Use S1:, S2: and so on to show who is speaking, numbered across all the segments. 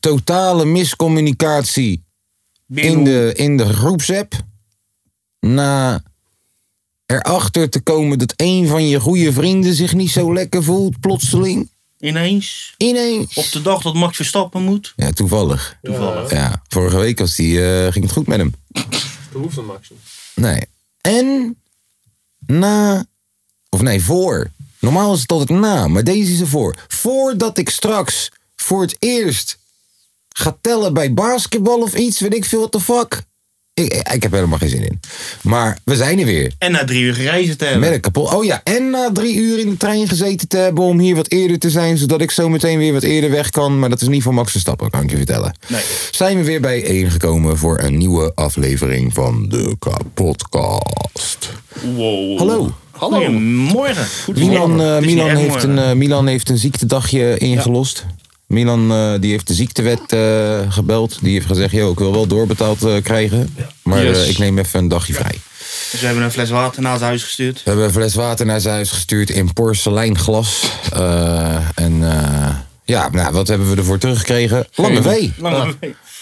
S1: totale miscommunicatie in de, in de groepsapp. Na erachter te komen dat een van je goede vrienden zich niet zo lekker voelt, plotseling.
S2: Ineens.
S1: Ineens.
S2: Op de dag dat Max Verstappen moet.
S1: Ja, toevallig.
S2: Toevallig.
S1: Ja, vorige week was die, eh, ging het goed met hem.
S3: Dat hoeft dan Max niet.
S1: Nee. En na, of nee, voor. Normaal is het altijd na, maar deze is ervoor. Voordat ik straks voor het eerst ga tellen bij basketbal of iets, weet ik veel, what the fuck. Ik, ik heb er helemaal geen zin in. Maar we zijn er weer.
S2: En eh, na drie uur gereizen te hebben.
S1: Met een kapot. Oh ja, en na drie uur in de trein gezeten te hebben om hier wat eerder te zijn, zodat ik zo meteen weer wat eerder weg kan. Maar dat is niet voor Max Verstappen, kan ik je vertellen.
S2: Nee.
S1: Zijn we weer bijeen gekomen voor een nieuwe aflevering van de Kapotcast.
S2: Wow.
S1: Hallo.
S3: Hallo.
S2: Goedemorgen. Goedemorgen.
S1: Milan, eh,
S2: Het is
S1: Milan,
S2: niet echt
S1: heeft een,
S2: morgen.
S1: eh, Milan heeft een ziektedagje ingelost. Milan eh, die heeft de ziektewet eh, gebeld. Die heeft gezegd, yo, ik wil wel doorbetaald eh, krijgen. Maar
S3: Yes.
S1: eh, ik neem even een dagje vrij. eh,
S2: Ze hebben een fles water naar zijn huis gestuurd.
S1: We hebben een fles water naar zijn huis gestuurd in porseleinglas. Eh, en eh, ja, nou, wat hebben we ervoor teruggekregen? Lange wee.
S2: Lang lang.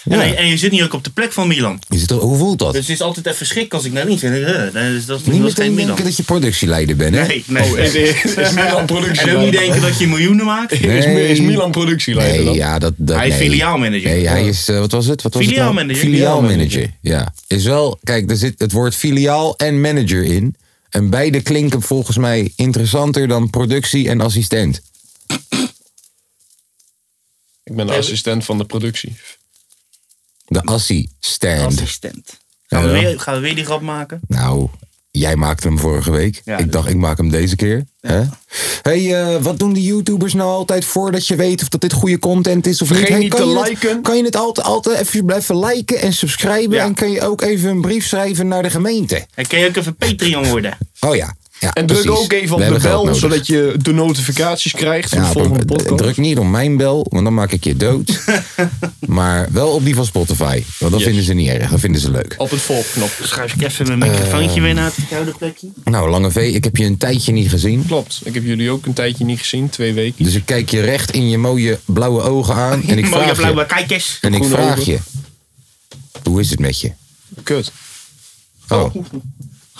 S2: En, hij- en je zit nu ook op de plek van Milan.
S1: Is het, hoe voelt dat?
S2: Dus het is altijd even schrik als ik naar links ben. Eh, Dat is, dat is
S1: Niet
S2: dat is geen
S1: meteen
S2: Milan.
S1: denken dat je productieleider bent, hè?
S2: Nee, nee.
S3: Is, Oh, is, is Milan
S2: en ook niet
S3: productieleider?
S2: denken dat je miljoenen maakt.
S1: Nee.
S3: Is, Mi- is Milan productieleider
S1: Nee,
S3: dan?
S1: ja, dat, dat,
S2: Hij is
S1: nee.
S2: filiaalmanager.
S1: Nee, hij is, eh, wat was het? Wat was het
S2: Filiaalmanager.
S1: nou? Filiaalmanager, ja. Is wel, kijk, er zit het woord filiaal en manager in. En beide klinken volgens mij interessanter dan productie en assistent.
S3: Ik ben de assistent van de productie.
S1: De assistent.
S2: Assistent. Gaan we,
S1: Ja.
S2: weer, gaan we weer die grap maken?
S1: Nou, jij maakte hem vorige week.
S2: Ja,
S1: ik
S2: dus-
S1: dacht, ik maak hem deze keer. Hè? hey, eh, wat doen die YouTubers nou altijd voordat je weet of dat dit goede content is of
S3: Vergeet
S1: Hey,
S3: niet
S1: kan
S3: te
S1: je het-
S3: liken.
S1: kan je het altijd, altijd even blijven liken en subscriben?
S2: Ja.
S1: En kan je ook even een brief schrijven naar de gemeente?
S2: En kan je ook even Patreon worden?
S1: Oh ja. ja
S3: En
S1: precies.
S3: druk ook even
S1: We
S3: op de
S1: hebben geld
S3: bel,
S1: nodig.
S3: zodat je de notificaties krijgt van
S1: Ja,
S3: de volgende
S1: d-
S3: podcast.
S1: druk niet op mijn bel, want dan maak ik je dood. maar wel op die van Spotify. Want dat
S3: Yes.
S1: vinden ze niet erg, dat vinden ze leuk.
S3: Op het volgknop.
S2: Schuif ik even
S1: Eh.
S2: mijn microfoontje weer naar het koude plekje.
S1: Nou, Lange V, ik heb je een tijdje niet gezien.
S3: Klopt. Ik heb jullie ook een tijdje niet gezien, twee weken.
S1: Dus ik kijk je recht in je mooie blauwe ogen aan. En ik
S2: Mooie
S1: vraag je.
S2: blauwe kijkers.
S1: En ik
S3: Groene
S1: vraag
S3: ogen.
S1: je. Hoe is het met je?
S3: Kut.
S1: Oh,
S2: Gaan we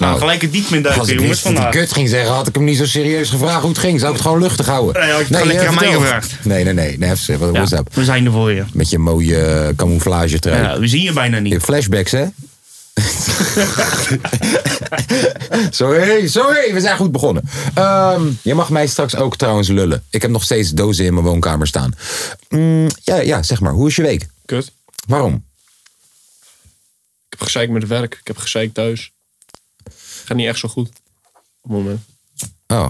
S2: Nou, gelijk het diep in
S1: als
S2: duiken,
S1: ik
S2: jongens,
S1: wist dat hij
S2: vandaag.
S1: kut ging zeggen, had ik hem niet zo serieus gevraagd hoe het ging. Zou ik het gewoon luchtig houden?
S2: Nee, had je het gewoon
S1: eh,
S2: lekker aan mij
S1: vertel.
S2: gevraagd.
S1: Nee, nee, nee. nee even, wat
S2: Ja,
S1: was dat?
S2: we zijn er voor je.
S1: Met je mooie eh, camouflage trui.
S2: Ja, we zien je bijna
S1: In
S2: niet.
S1: flashbacks, hè? sorry, sorry, we zijn goed begonnen. Ehm, je mag mij straks ook trouwens lullen. Ik heb nog steeds dozen in mijn woonkamer staan. Mm, ja, ja, zeg maar, hoe is je week?
S3: Kut.
S1: Waarom?
S3: Ik heb gezeik met het werk. Ik heb gezeik thuis. Gaat niet echt zo goed. Op het moment.
S1: Oh.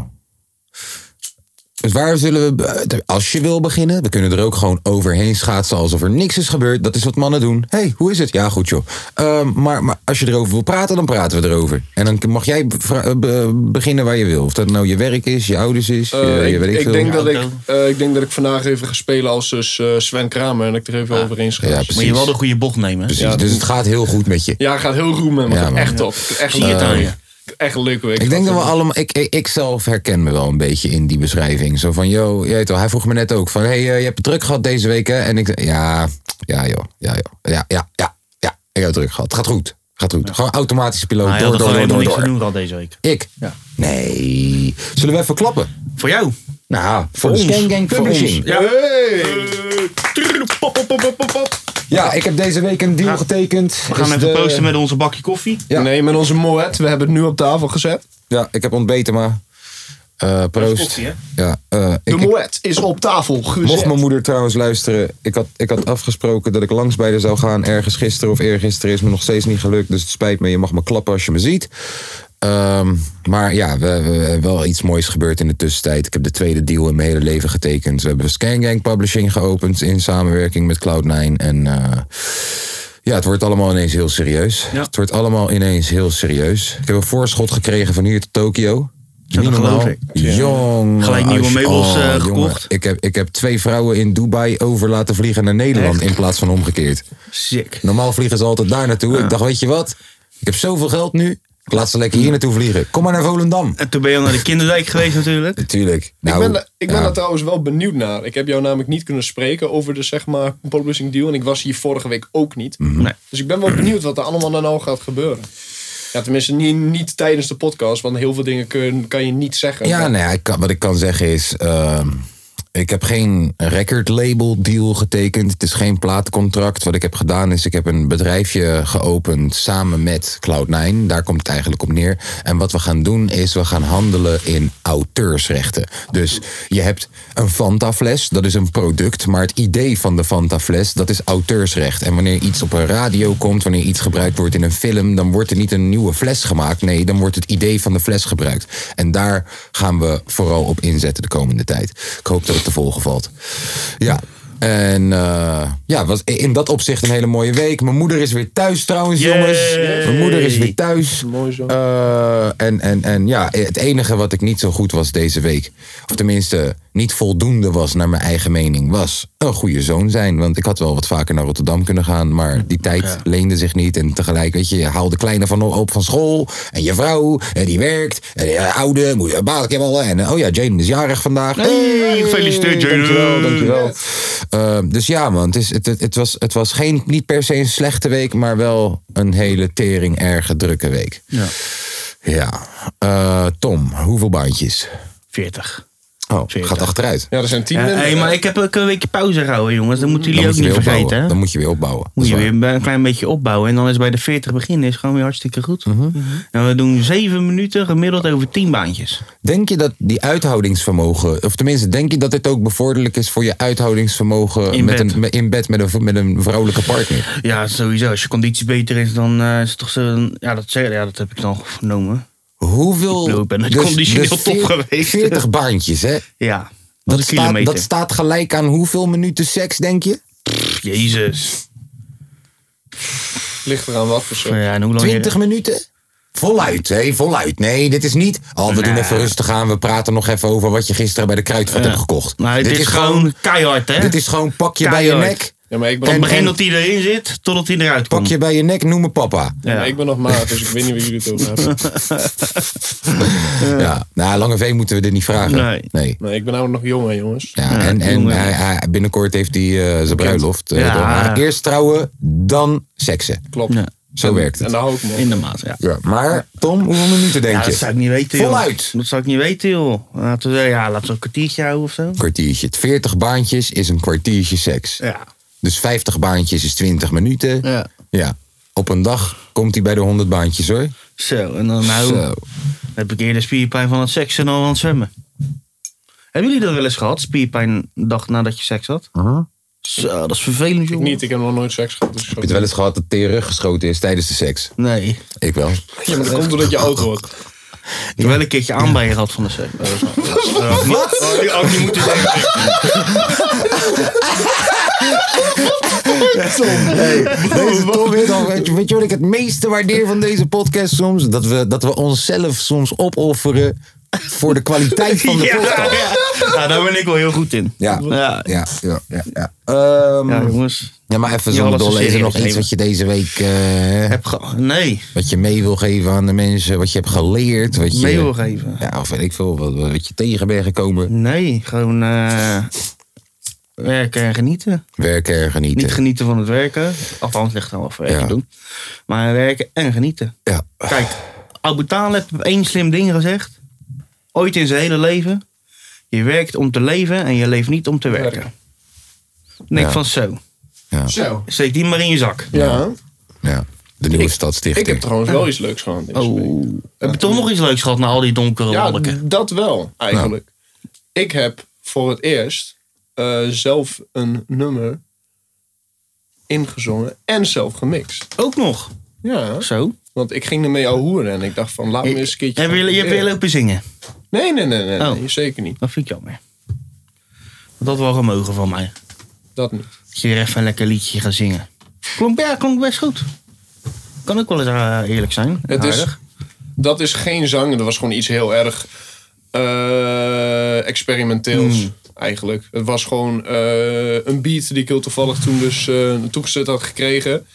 S1: Dus waar zullen we, als je wil beginnen, we kunnen er ook gewoon overheen schaatsen alsof er niks is gebeurd. Dat is wat mannen doen. Hé, hey, hoe is het? Ja, goed joh. Ehm, maar, maar als je erover wil praten, dan praten we erover. En dan mag jij vra- eh, be- beginnen waar je wil. Of dat nou je werk is, je ouders is,
S3: Eh,
S1: je, je
S3: ik,
S1: weet ik
S3: ik
S1: veel.
S3: denk dat ik,
S2: Auto.
S3: eh, ik denk dat ik vandaag even ga spelen als dus, eh, Sven Kramer. En dat ik er even overheen schaats.
S1: Ja,
S3: Ja,
S1: precies.
S2: Moet je wel de goede bocht nemen.
S1: Precies,
S3: Ja,
S1: dus het gaat heel goed met je.
S3: gaat heel goed met me.
S1: Ja, man.
S3: echt top. Ik heb Echt,
S2: Zie je het
S3: eh,
S2: aan je?
S3: ik heb Echt een leuke week.
S1: Ik denk dat we
S3: gehad.
S1: allemaal, ik, ik, ik zelf herken me wel een beetje in die beschrijving. Zo van, yo, je weet wel, hij vroeg me net ook van, hey, eh, je hebt het druk gehad deze week hè? En ik zei, ja, ja joh, ja joh, ja, ja, ja, ja, ik heb het druk gehad. Gaat goed, gaat goed. Gewoon automatisch piloot,
S2: Hij Nou, had
S1: door,
S2: er
S1: door,
S2: gewoon
S1: door,
S2: helemaal
S1: door,
S2: niks
S1: door.
S2: te doen al deze week.
S1: Ik?
S3: Ja.
S1: Nee. Zullen we even klappen?
S2: Voor jou.
S1: Nou, voor,
S2: ons.
S1: Gang Gang
S3: Voor ons.
S1: Publishing.
S3: Ja. Hey.
S2: Pop, pop, pop, pop, pop, pop.
S1: Ja, ik heb deze week een deal getekend.
S2: We gaan even posten met onze bakje koffie.
S1: Ja.
S3: Nee, met onze Moet. We hebben het nu op tafel gezet.
S1: Ja, ik heb ontbeten, maar... eh, proost.
S2: koffie, hè?
S1: ja, eh, ik,
S3: De
S1: ik-
S3: Moet is op tafel gezet.
S1: Mocht mijn moeder trouwens luisteren, ik had, ik had afgesproken dat ik langs bij haar zou gaan ergens gisteren of eergisteren. Is me nog steeds niet gelukt, dus het spijt me. Je mag me klappen als je me ziet. Ehm, maar ja, we, we- we- wel iets moois gebeurd in de tussentijd. Ik heb de tweede deal in mijn hele leven getekend. We hebben Scangang Publishing geopend in samenwerking met Cloud9. En eh, ja, het wordt allemaal ineens heel serieus.
S2: Ja.
S1: Het wordt allemaal ineens heel serieus. Ik heb een voorschot gekregen van hier tot Tokio.
S2: Ja, dat
S1: Niet
S2: geloof
S1: normaal.
S2: ik.
S1: Jong.
S2: Gelijk nieuwe
S1: als je- Oh,
S2: meubels, eh,
S1: jongen,
S2: gekocht.
S1: Ik heb, ik heb twee vrouwen in Dubai over laten vliegen naar Nederland in plaats van omgekeerd.
S2: Sick.
S1: Normaal vliegen ze altijd daar naartoe. Ik dacht, weet je wat? Ik heb zoveel geld nu. Ik laat ze lekker hier naartoe vliegen. Kom maar naar Volendam.
S2: En toen ben je al naar de kinderdijk geweest natuurlijk.
S1: Natuurlijk.
S3: ik
S1: Nou,
S3: ben, da- ik ben
S1: ja.
S3: daar trouwens wel benieuwd naar. Ik heb jou namelijk niet kunnen spreken over de zeg maar, publishing deal. En ik was hier vorige week ook niet.
S2: Nee.
S3: Dus ik ben wel benieuwd wat er allemaal nou gaat gebeuren. Ja, tenminste niet, niet tijdens de podcast. Want heel veel dingen kun, kan je niet zeggen.
S1: Ja,
S3: Maar-
S1: nou ja, ik kan, wat ik kan zeggen is... ehm, ik heb geen record label deal getekend. Het is geen plaatcontract. Wat ik heb gedaan is, ik heb een bedrijfje geopend samen met Cloud9. Daar komt het eigenlijk op neer. En wat we gaan doen is, we gaan handelen in auteursrechten. Dus je hebt een Fanta-fles, dat is een product. Maar het idee van de Fanta-fles, dat is auteursrecht. En wanneer iets op een radio komt, wanneer iets gebruikt wordt in een film... dan wordt er niet een nieuwe fles gemaakt. Nee, dan wordt het idee van de fles gebruikt. En daar gaan we vooral op inzetten de komende tijd. Ik hoop dat het te volgen valt. Ja. En eh, ja, was in dat opzicht een hele mooie week. Mijn moeder is weer thuis trouwens,
S2: Yay.
S1: jongens. Mijn moeder is weer thuis.
S3: Mooi zo.
S1: Eh, en, en, en ja, het enige wat ik niet zo goed was deze week, of tenminste niet voldoende was naar mijn eigen mening, was een goede zoon zijn. Want ik had wel wat vaker naar Rotterdam kunnen gaan, maar die tijd leende zich niet. En tegelijk, weet je, je haalt de kleine van op van school. En je vrouw, en die werkt. En de oude, moet je baat hebben. En oh ja, Jane is jarig vandaag.
S2: Hey, gefeliciteerd Jaden.
S1: Dankjewel, dankjewel. Eh, dus ja, man, het, is, het, het, het was, het was geen, niet per se een slechte week, maar wel een hele tering erge drukke week.
S2: Ja.
S1: Ja. Eh, Tom, hoeveel baantjes?
S2: 40.
S1: Oh,
S2: Veertig.
S1: gaat achteruit.
S3: Ja, er zijn tien
S2: Ja,
S3: mensen.
S2: hey, maar ik heb ook een weekje pauze gehouden, jongens. Dat moeten
S1: Dan
S2: jullie
S1: moet,
S2: ook
S1: je weer
S2: niet vergeten.
S1: opbouwen.
S2: hè?
S1: dan moet je weer opbouwen.
S2: Moet je
S1: Dat is
S2: weer een klein beetje opbouwen. En dan is bij de 40 beginnen is gewoon weer hartstikke goed.
S1: Mhm.
S2: En we doen 7 minuten gemiddeld over 10 baantjes.
S1: waar. Denk je dat die uithoudingsvermogen, of tenminste, denk je dat dit ook bevorderlijk is voor je uithoudingsvermogen
S2: In
S1: met
S2: bed.
S1: Een, met- in bed met een, met een vrouwelijke partner?
S2: Ja, sowieso. Als je conditie beter is, dan eh, is het toch zo. Ja dat, zeg- ja, dat heb ik dan vernomen. Ik
S1: Hoeveel.
S2: bedoel, ik ben conditioneel top geweest.
S1: 40 baantjes, hè?
S2: Ja.
S1: Dat
S2: een
S1: staat,
S2: kilometer.
S1: dat staat gelijk aan hoeveel minuten seks, denk je?
S2: Jezus.
S3: Ligt eraan wat voor soort.
S2: Ja, en hoe lang je-
S1: 20 minuten? Voluit, hé, voluit. Nee, dit is niet. Oh, we doen
S2: Nee.
S1: even rustig aan. We praten nog even over wat je gisteren bij de kruidvat hebt gekocht.
S2: Nou, dit, is gewoon, eh, keihard, hè?
S1: Dit is gewoon pak je bij je
S2: Keihard.
S1: nek.
S3: Ja, maar ik ben,
S2: Van het
S3: nog,
S2: begin
S1: en-
S2: dat hij erin zit, totdat hij eruit
S1: Pak
S2: komt.
S1: je bij je nek, noem me papa.
S3: ja, maar ik ben nog maat, dus ik weet niet waar jullie het over hebben.
S1: Ja. Nou, Lange V moeten we dit niet vragen.
S2: Nee.
S3: Nee, ik ben namelijk nog jong, hè, jongens.
S1: Ja, en en
S2: jongen.
S1: hij, hij- binnenkort heeft hij eh, zijn bruiloft. eh,
S2: Ja.
S1: door. Maar Eerst trouwen, dan seksen.
S3: Klopt.
S2: Ja.
S1: Zo werkt
S3: En
S1: het.
S3: daar hou ik me op.
S2: In de maat, ja.
S1: Ja, maar Tom, hoeveel minuten denk
S2: Ja, dat
S1: je?
S2: zou ik niet weten, joh.
S1: Voluit.
S2: Dat zou ik niet weten, joh. Laten we, ja, laten we een kwartiertje houden of zo.
S1: kwartiertje. 40 baantjes is een kwartiertje seks.
S2: Ja.
S1: Dus 50 baantjes is 20 minuten.
S2: Ja.
S1: Ja. Op een dag komt hij bij de 100 baantjes hoor.
S2: Zo, en dan nou
S1: Zo.
S2: heb ik eerder spierpijn van het seksen dan van het zwemmen. Hebben jullie dat wel eens gehad? Spierpijn de dag nadat je seks had? Zo, dat is vervelend,
S3: Ik
S2: joh.
S3: niet, ik heb nog nooit seks gehad. Dus ik zou-
S1: Heb je het wel eens gehad dat teer ruggeschoten is tijdens de seks?
S2: Nee. Ik
S1: Ik wel.
S3: Ja, maar dat komt doordat je oud wordt.
S2: heb wel een keertje aanbijen gehad van de seks. Dat is- dat Wat? Oh, die- oh, die moeten zeggen.
S1: Deze Tom is al- weet, je, weet je wat ik het meeste waardeer van deze podcast soms? Dat we, dat we onszelf soms opofferen voor de kwaliteit van de
S2: Ja,
S1: podcast.
S2: ja. Nou, daar ben ik wel heel goed in.
S1: Ja,
S2: Ja.
S1: ja, ja. ja, ja. Ehm,
S2: Ja, jongens.
S1: ja, maar even
S2: Ja,
S1: zonder
S2: alles
S1: dolle. Is er
S2: serieus
S1: nog iets
S2: nemen.
S1: wat je deze week... eh,
S2: Heb ge- nee,
S1: wat je mee wil geven aan de mensen? Wat je hebt geleerd? Wat je,
S2: mee wil geven.
S1: Ja, of weet ik veel, wat, wat je tegen bent gekomen.
S2: Nee, gewoon eh, werken en genieten.
S1: Werken en genieten.
S2: Niet genieten van het werken. Althans, ligt dan wel voor werken
S1: Ja.
S2: doen. Maar werken en genieten.
S1: ja.
S2: Kijk, Abu Talib heeft één slim ding gezegd. Ooit in zijn hele leven. Je werkt om te leven en je leeft niet om te werken. Dan denk ik
S1: Ja.
S2: van zo.
S3: Zo.
S2: Steek die maar in je zak.
S3: Ja.
S1: ja. De nieuwe
S3: Ik
S1: stadsstichting.
S3: heb trouwens wel iets leuks gehad. deze week.
S2: Oh. Heb je toch nog iets leuks gehad na al die donkere
S3: Ja,
S2: wolken?
S3: dat wel, eigenlijk. Ik heb voor het eerst eh, zelf een nummer ingezongen en zelf gemixt.
S2: Ook nog.
S3: Ja,
S2: Zo.
S3: Want ik ging ermee al hoeren en ik dacht van, laat me eens een keertje...
S2: Heb je, je hebt weer
S3: proberen.
S2: lopen zingen.
S3: Nee, nee, nee, nee,
S2: Oh.
S3: nee, zeker niet.
S2: Dat vind ik jammer. Want dat had wel gemogen van mij.
S3: Dat niet.
S2: Dat je weer even een lekker liedje gaat zingen. Klonk, ja, klonk best goed. Kan ook wel eens eh, eerlijk zijn.
S3: Het is,
S2: Aardig.
S3: dat is geen zang, dat was gewoon iets heel erg eh, experimenteels eigenlijk. Het was gewoon eh, een beat die ik heel toevallig toen dus eh toegestuurd had gekregen.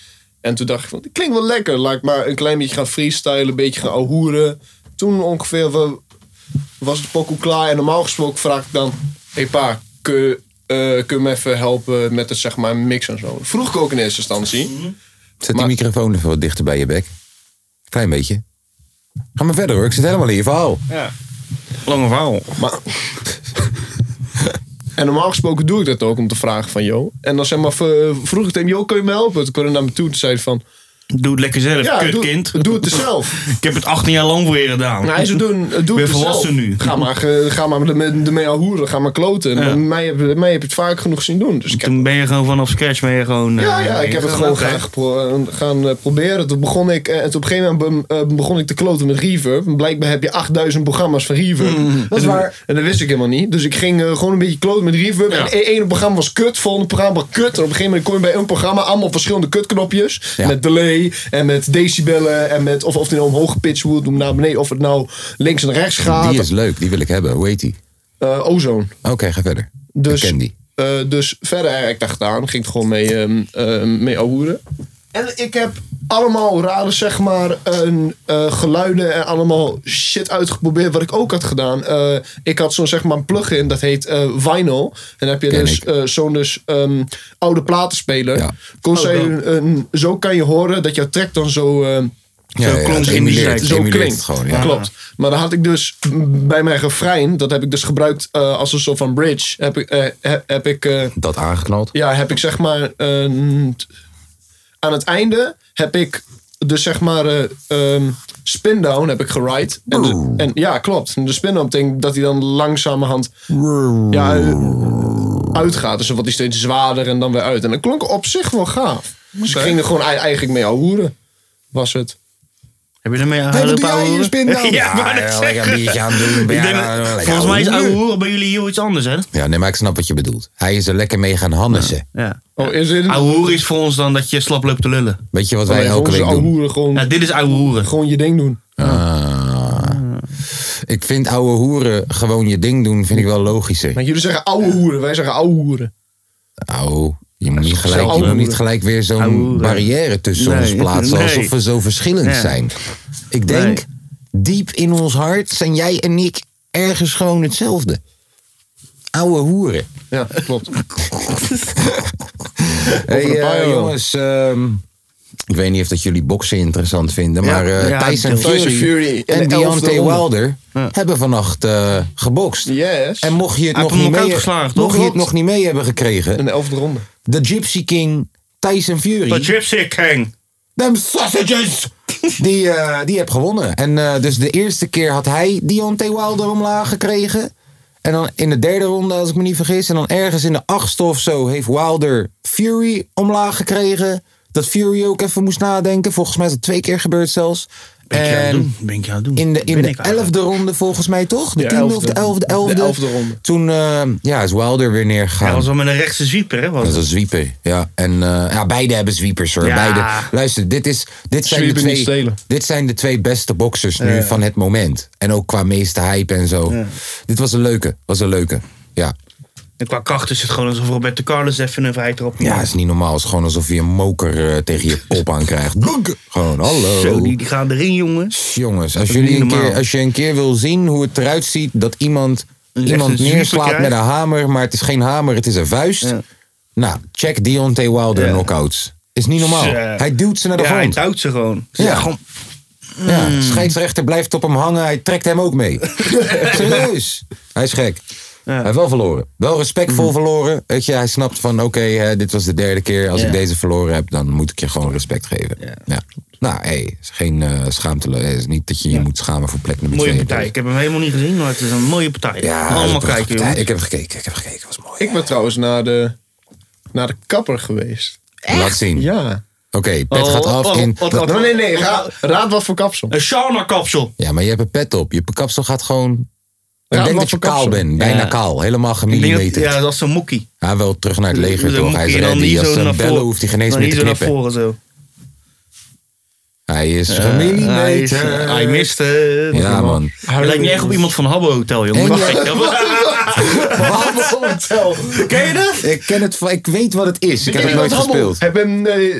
S3: En toen dacht ik van, dit klinkt wel lekker. Laat ik maar een klein beetje gaan freestylen, een beetje gaan ahoeren. Toen ongeveer wa- was de pokoe klaar. En normaal gesproken vraag ik dan, hey pa, kun, je, eh, kun je me even helpen met het zeg maar mix en zo. Vroeg ik ook in eerste instantie.
S1: Zet
S3: Maar-
S1: die microfoon even wat dichter bij je bek. Klein beetje. Ga maar verder hoor, ik zit helemaal in je verhaal.
S2: Lange verhaal.
S3: Maar... en normaal gesproken doe ik dat ook om te vragen van joh. En dan zeg maar, v- eh, vroeg ik tegen hem, joh, kun je me helpen? Toen kwam hij naar me toe en zei hij van,
S2: Doe het lekker zelf,
S3: ja, doe,
S2: kutkind.
S3: doe het er zelf.
S2: Ik heb het 18 jaar lang voor je gedaan.
S3: Nou, hij zou doen, doe
S2: ben
S3: het er zelf.
S2: volwassen nu.
S3: Ga maar, ge- ga maar ermee- ermee aan hoeren, ga maar kloten.
S2: Ja.
S3: Mij, heb, mij heb je het vaak genoeg zien doen. Dus ik heb,
S2: Toen ben je gewoon vanaf scratch ben je gewoon...
S3: ja,
S1: Nou,
S2: eh,
S3: ja, ik heb het gewoon
S2: oké.
S3: gaan, gepro- gaan eh, proberen. Toen begon ik, eh, en toen op een gegeven moment be- eh, begon ik te kloten met Reverb. En Blijkbaar heb je 8000 programma's van Reverb.
S1: Mm, Dat is
S3: En-
S1: waar.
S3: En dat wist ik helemaal niet. Dus ik ging eh, gewoon een beetje kloten met Reverb.
S2: Ja.
S3: En het ene programma was kut, het volgende programma was kut. En op een gegeven moment kom je bij een programma allemaal verschillende kutknopjes.
S1: Ja.
S3: Met delay en met decibellen. En met of, of het nou omhoog gepitcht wordt, om naar beneden. Of het nou links en rechts gaat.
S1: Die is leuk, die wil ik hebben. Hoe heet die?
S3: Eh, ozone.
S1: Oké, ga verder.
S3: Dus,
S1: Ik ken die.
S3: eh, dus verder eigenlijk dacht ik aan, ging ik gewoon mee, ehm eh, mee ahoeren. En ik heb allemaal rare, zeg maar, een, eh, geluiden en allemaal shit uitgeprobeerd wat ik ook had gedaan. Eh, ik had zo'n, zeg maar, een plugin, dat heet eh Vinyl. En dan heb je
S1: Ken
S3: dus
S1: ik.
S3: eh, zo'n dus, ehm, oude platenspeler.
S1: Ja.
S3: Kon zij een, een- zo kan je horen dat jouw track dan zo... ehm,
S1: Ja, ja,
S2: klonk
S1: het
S2: ze in die
S1: emuleert,
S2: tijd.
S1: het
S3: zo
S1: emuleert
S3: klinkt.
S1: het gewoon, ja.
S3: Klopt. Maar dan had ik dus m, bij mijn refrein, dat heb ik dus gebruikt eh, als een soort van bridge. Heb ik, eh, he- heb ik, eh,
S1: Dat aangeknald.
S3: ja, heb ik zeg maar. een- aan het einde heb ik dus zeg maar. eh ehm, spin-down heb ik geride. En, de- en ja, klopt. En De spin-down betekent dat hij dan langzamerhand. Ja, eh, uitgaat. Dus dan wordt hij steeds zwaarder en dan weer uit. En dat klonk op zich wel gaaf. Dus ik ging er gewoon ei- eigenlijk mee ahoeren. Was het.
S2: Heb je ermee aan
S1: Hey, wat
S2: gelopen,
S1: doe jij
S2: ouwe
S1: hier,
S2: hoeren?
S1: spin dan?
S2: Ja, maar dat
S1: ja,
S2: zeg
S1: lekker
S2: ik.
S1: een biertje aan het doen.
S2: Ik
S1: Ja,
S2: denk dat-
S1: lekker
S2: Volgens mij is
S1: ouwe
S2: ouwe
S1: hoeren.
S2: hoeren bij jullie heel iets anders, hè?
S1: Ja, nee, maar ik snap wat je bedoelt. Hij is er lekker mee gaan hannissen.
S2: Ja.
S3: Oh, is het?
S2: Ouwe hoeren is voor ons dan dat je slap loopt te lullen.
S1: Weet je wat
S3: Nee,
S1: wij elke
S3: gewoon
S1: week
S3: zo
S1: doen?
S3: ahoeren, gewoon,
S2: Ja, dit is ouwe hoeren.
S3: gewoon je ding doen.
S1: Ah. Ik vind ouwe hoeren gewoon je ding doen, vind ik wel logischer.
S3: Maar jullie zeggen ouwe hoeren, wij zeggen ouwe hoeren.
S1: Au, je moet niet gelijk, je
S3: ouwe
S1: moet niet
S3: hoeren.
S1: gelijk weer
S2: Ouwe
S1: zo'n
S2: hoeren.
S1: barrière tussen
S2: Nee,
S1: ons plaatsen.
S2: nee.
S1: Alsof we zo verschillend
S2: Ja.
S1: zijn. Ik denk, diep in ons hart zijn jij en ik ergens gewoon hetzelfde. Ouwe hoeren.
S3: Ja, klopt.
S1: Hey,
S3: een paar
S1: eh,
S3: jaar wel.
S1: jongens, ehm, ik weet niet of dat jullie boksen interessant vinden,
S2: Ja,
S1: maar eh,
S2: ja,
S1: Tyson,
S2: Tyson
S1: Fury
S3: Fury in
S1: en
S3: de elfde
S1: Deontay
S3: ronde.
S1: Wilder hebben vannacht eh, gebokst.
S3: Yes.
S1: En mocht je het,
S2: Hij
S1: nog niet,
S2: heeft hem
S1: mee,
S2: knock-out geslagen,
S1: mocht je
S2: toch?
S1: het nog niet mee hebben gekregen,
S3: in de elfde ronde.
S1: de Gypsy King Tyson Fury,
S2: De Gypsy King.
S1: them sausages, die, eh, die heb gewonnen. En eh, dus de eerste keer had hij Deontay Wilder omlaag gekregen. En dan in de derde ronde, als ik me niet vergis, en dan ergens in de achtste of zo, heeft Wilder Fury omlaag gekregen. Dat Fury ook even moest nadenken. Volgens mij is dat twee keer gebeurd zelfs.
S2: Ben ik je aan het
S1: En
S2: doen? Ben ik je aan het doen?
S1: in de, in
S2: Ben
S1: de
S2: ik eigenlijk.
S1: elfde ronde volgens mij toch? De
S3: Ja,
S1: tiende of
S3: elfde.
S1: de elfde?
S3: De
S1: elfde.
S3: elfde ronde.
S1: Toen eh, ja, is Wilder weer
S2: Hij
S1: neergegaan.
S2: was wel met een rechtse zwieper, hè? Was
S1: Dat is
S2: het?
S1: een zwieper, ja. En eh, ja, beide hebben zwiepers hoor.
S2: Ja.
S1: Beide. Luister, dit, is, dit, zijn de
S3: Zwiepen niet
S1: twee,
S3: stelen.
S1: dit zijn de twee beste boxers nu van het moment. En ook qua meeste hype en zo. Dit was een leuke, was een leuke. Ja,
S2: En qua kracht is het gewoon alsof Roberto Carlos even een vijf erop
S1: ja is niet normaal. Het is gewoon alsof je een moker eh, tegen je kop aan krijgt. Blunk! Gewoon, hallo.
S2: Zo, die, die gaan erin, jongens.
S1: Jongens, als,
S2: is niet
S1: jullie een keer,
S2: normaal.
S1: als je een keer wil zien hoe het eruit ziet dat iemand,
S2: echt
S1: iemand
S2: een zwieper
S1: neerslaat met
S2: krijgt.
S1: een hamer, maar het is geen hamer, het is een vuist.
S2: Ja.
S1: Nou, check Deontay Wilder
S2: Ja.
S1: knockouts. Is niet normaal.
S2: Ja.
S1: Hij duwt ze naar de
S2: Ja, hij
S1: grond.
S2: duwt ze gewoon. Ze
S1: Ja.
S2: zeggen gewoon Hmm.
S1: Ja, scheidsrechter blijft op hem hangen. Hij trekt hem ook mee. Serieus. Hij is gek. Hij heeft wel verloren. Wel respectvol
S2: Hmm.
S1: verloren. Weet je, hij snapt van oké, hè, dit was de derde keer. Als
S2: Ja.
S1: ik deze verloren heb, dan moet ik je gewoon respect geven. Ja. Nou, hé, is geen eh schaamte. Het is niet dat je je moet schamen voor plek nummer
S2: mooie
S1: twee.
S2: partij. Ik heb hem helemaal niet gezien, maar het is een mooie partij.
S1: Ja,
S2: Allemaal
S1: dat is een
S2: kijken,
S1: partij.
S2: jongens.
S1: Ik heb gekeken, ik heb gekeken. Het was mooi.
S3: Ik ben trouwens naar de, naar de kapper geweest.
S1: Laat zien.
S3: Ja.
S1: pet
S2: Oh,
S1: gaat af
S2: oh,
S1: in...
S2: oh, oh,
S3: Nee, nee, nee. Raad, raad wat voor kapsel.
S2: Een sauna-kapsel.
S1: Ja, maar je hebt een pet op. Je kapsel gaat gewoon... Ik
S3: Raad
S1: denk
S3: wat
S1: dat je
S3: voor
S1: kaal
S3: kapsel.
S1: bent. Bijna
S2: Ja.
S1: kaal. Helemaal
S2: Ik denk dat-
S1: gemillimeterd.
S2: Ja, dat is zo'n moekie.
S1: Hij Ah, wel terug naar het leger
S2: Dan
S1: toch.
S2: moet
S1: Hij is
S2: je dan
S1: ready.
S2: niet
S1: Als
S2: zo
S1: ze hem
S2: naar
S1: bellen
S2: voren-
S1: hoeft hij geen eens
S2: dan
S1: meer
S2: niet
S1: te
S2: zo naar
S1: knippen.
S2: voren zo.
S1: Hij is
S2: Hij is-
S1: gemillimeterd.
S2: Hij mist het.
S1: ja, man.
S2: Je lijkt niet echt op iemand van Habbo Hotel, jongen.
S1: En-
S2: Ken je dat?
S1: Ik, ken het, van- ik weet wat het is. Ik heb het nooit gespeeld.
S3: Heb, hem, eh,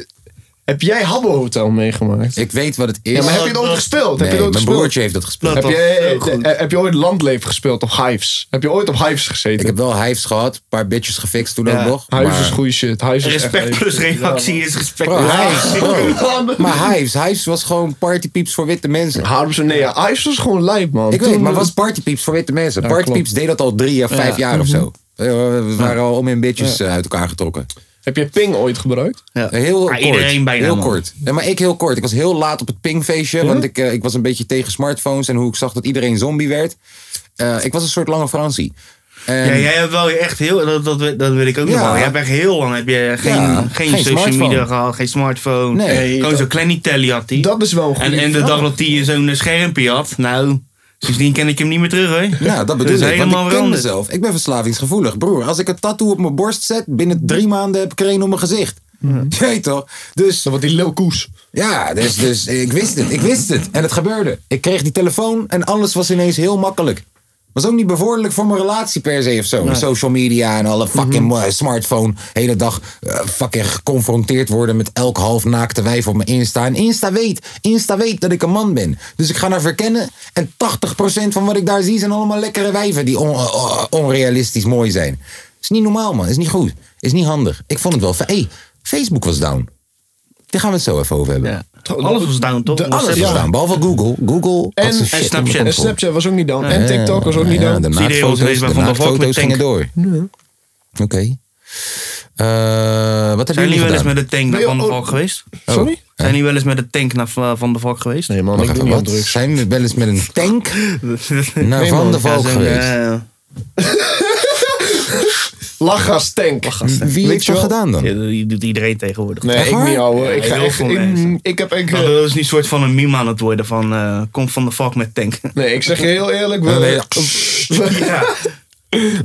S3: heb jij Habbo Hotel meegemaakt?
S1: Ik weet wat het is.
S3: ja, maar heb je het ooit
S2: dat-
S3: gespeeld?
S1: Nee,
S3: heb je het
S1: mijn
S3: ooit gespeeld?
S1: broertje heeft dat gespeeld.
S2: Dat-
S3: Heb
S2: toch?
S3: je,
S2: Heel goed.
S3: eh, heb je ooit Landleven gespeeld op Hives? Heb je ooit op Hives
S1: Ik
S3: gezeten?
S1: heb wel hives gehad. Een paar bitches gefixt toen
S2: Ja.
S1: ook nog.
S3: Hives
S1: maar-
S3: is goede shit. Hives is echt
S2: Respect
S3: leuk.
S2: plus reactie is respect
S1: Bro,
S2: plus
S1: Hives,
S2: reactie.
S1: bro. Maar Hives, Hives was gewoon partypieps voor witte mensen.
S3: Harms en nee, ja, Hives was dus gewoon lijp, man.
S1: Ik weet,
S3: Toen-
S1: maar was partypieps voor witte mensen. partypieps deed dat al drie of vijf jaar
S2: Mhm.
S1: of zo. Eh, We waren al om in bitches eh, uit elkaar getrokken.
S3: Heb jij Ping ooit gebruikt?
S2: Ja.
S1: Heel
S2: Maar
S1: kort.
S2: Iedereen bijna.
S1: heel
S2: man.
S1: kort. Ja, maar ik heel kort. Ik was heel laat op het pingfeestje. Want ik, eh, ik was een beetje tegen smartphones en hoe ik zag dat iedereen zombie werd. Eh, ik was een soort lange Fransie. En-
S2: Ja, jij hebt wel echt heel, dat, dat, dat wil ik ook nog
S1: Ja.
S2: wel. Jij hebt echt heel lang heb je geen,
S1: Ja,
S2: geen,
S1: geen
S2: social
S1: smartphone.
S2: media gehad, geen smartphone.
S1: Nee.
S3: Nee,
S2: Gewoon
S3: dat-
S2: zo'n kleine telly had hij.
S3: Dat is wel een goede
S2: En, en de
S3: vraag.
S2: dag dat hij zo'n schermpje had, nou, sindsdien ken ik hem niet meer terug hoor.
S1: Ja, dat bedoel ik.
S2: Dus
S1: Want
S2: helemaal
S1: ik ken
S2: veranderd.
S1: mezelf. Ik ben verslavingsgevoelig. Broer, als ik een tattoo op mijn borst zet, binnen drie maanden heb ik er een op mijn gezicht. Je weet toch? Dus
S3: Dan wordt die Lil Koes.
S1: ja, dus, dus ik wist het. Ik wist het. En het gebeurde. Ik kreeg die telefoon en alles was ineens heel makkelijk. Was ook niet bevorderlijk voor mijn relatie per se of zo. Social media en alle fucking eh, smartphone. Hele dag eh, fucking geconfronteerd worden met elk half naakte wijf op mijn Insta. En Insta weet, Insta weet dat ik een man ben. Dus ik ga naar verkennen. En 80% van wat ik daar zie zijn allemaal lekkere wijven die on- eh, onrealistisch mooi zijn. Is niet normaal man, is niet goed. Is niet handig. Ik vond het wel... fa- hey, Facebook was down. Daar gaan we het zo even over hebben.
S2: Ja. Alles was down toch?
S3: De- alles
S1: Alles
S2: WhatsApp
S1: was
S3: Ja.
S1: down, behalve Google. Google
S3: En-
S1: had zijn
S3: en
S1: shit onder
S2: Snapchat.
S1: controle.
S3: En Snapchat was ook niet down. En TikTok was ook niet
S1: Ja,
S3: down.
S1: De
S2: Zie je, was
S1: naaktfoto's,
S2: ineens
S1: de
S2: bij Van der Valk
S1: naaktfoto's
S2: met
S1: gingen door. Oké. Eh, wat hebben
S2: Zijn
S1: jullie
S2: jullie wel eens
S1: gedaan?
S2: met de tank naar
S3: Nee,
S2: Van der
S3: oh,
S2: Valk geweest?
S3: Sorry?
S2: Zijn jullie wel eens met de tank naar Va- Van der Valk geweest? Dus-
S3: Nee man,
S1: Wacht
S3: ik doe
S1: even,
S3: niet aan
S1: wat?
S3: drugs.
S1: Zijn we wel eens met een tank naar
S3: Nee,
S1: Van
S3: man.
S1: der
S2: Ja,
S1: Valk
S2: zo'n,
S1: geweest?
S2: eh,
S3: Lachgas tank.
S1: Wie
S3: Weet
S1: heeft
S3: je
S1: dat
S3: wel?
S1: gedaan dan?
S2: ja, die doet iedereen tegenwoordig.
S3: Nee,
S1: Echt
S3: ik
S1: waar?
S3: niet ouwe. ik,
S2: Ja,
S3: ga,
S2: heel
S3: ik,
S2: veel
S3: ik-
S2: mensen.
S3: ik heb een
S2: Dat is niet een soort van een meme aan het worden van eh, kom van de valk met tank.
S3: Nee, ik zeg je heel eerlijk. we-
S1: Ja, nee, ja.
S2: ja.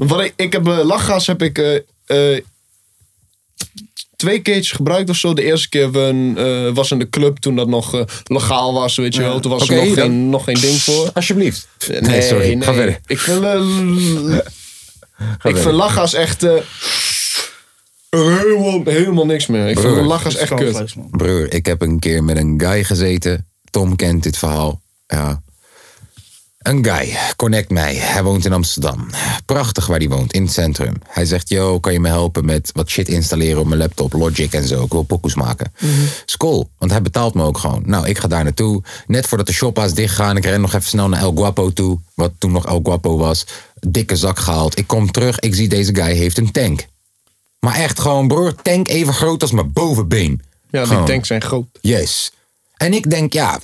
S3: Wat ik, ik heb eh, lachgas heb ik eh, eh, twee keertjes gebruikt of zo. De eerste keer we een, eh, was in de club toen dat nog eh, legaal was, weet je wel. Toen was
S1: Oké,
S3: er nog
S1: dan.
S3: geen, nog geen ding voor.
S1: Alsjeblieft.
S3: Nee,
S1: sorry.
S3: nee.
S1: Ga verder.
S3: Ik vind, eh, ik
S1: verder.
S3: vind lachgas echt eh, helemaal, helemaal niks meer. Ik
S1: Broer.
S3: vind lachgas echt kut.
S1: Broer, ik heb een keer met een guy gezeten. Tom kent dit verhaal. Ja. Een guy, connect mij. Hij woont in Amsterdam. Prachtig waar hij woont, in het centrum. Hij zegt, yo, kan je me helpen met wat shit installeren op mijn laptop, Logic en zo. Ik wil pokoes maken. Is cool, want hij betaalt me ook gewoon. Nou, ik ga daar naartoe. Net voordat de shoppa's dichtgaan, ik ren nog even snel naar El Guapo toe. Wat toen nog El Guapo was. Dikke zak gehaald. Ik kom terug, ik zie deze guy heeft een tank. Maar echt gewoon, broer, tank even groot als mijn bovenbeen.
S3: Ja, die
S1: Gewoon.
S3: tanks zijn groot.
S1: Yes. En ik denk, ja,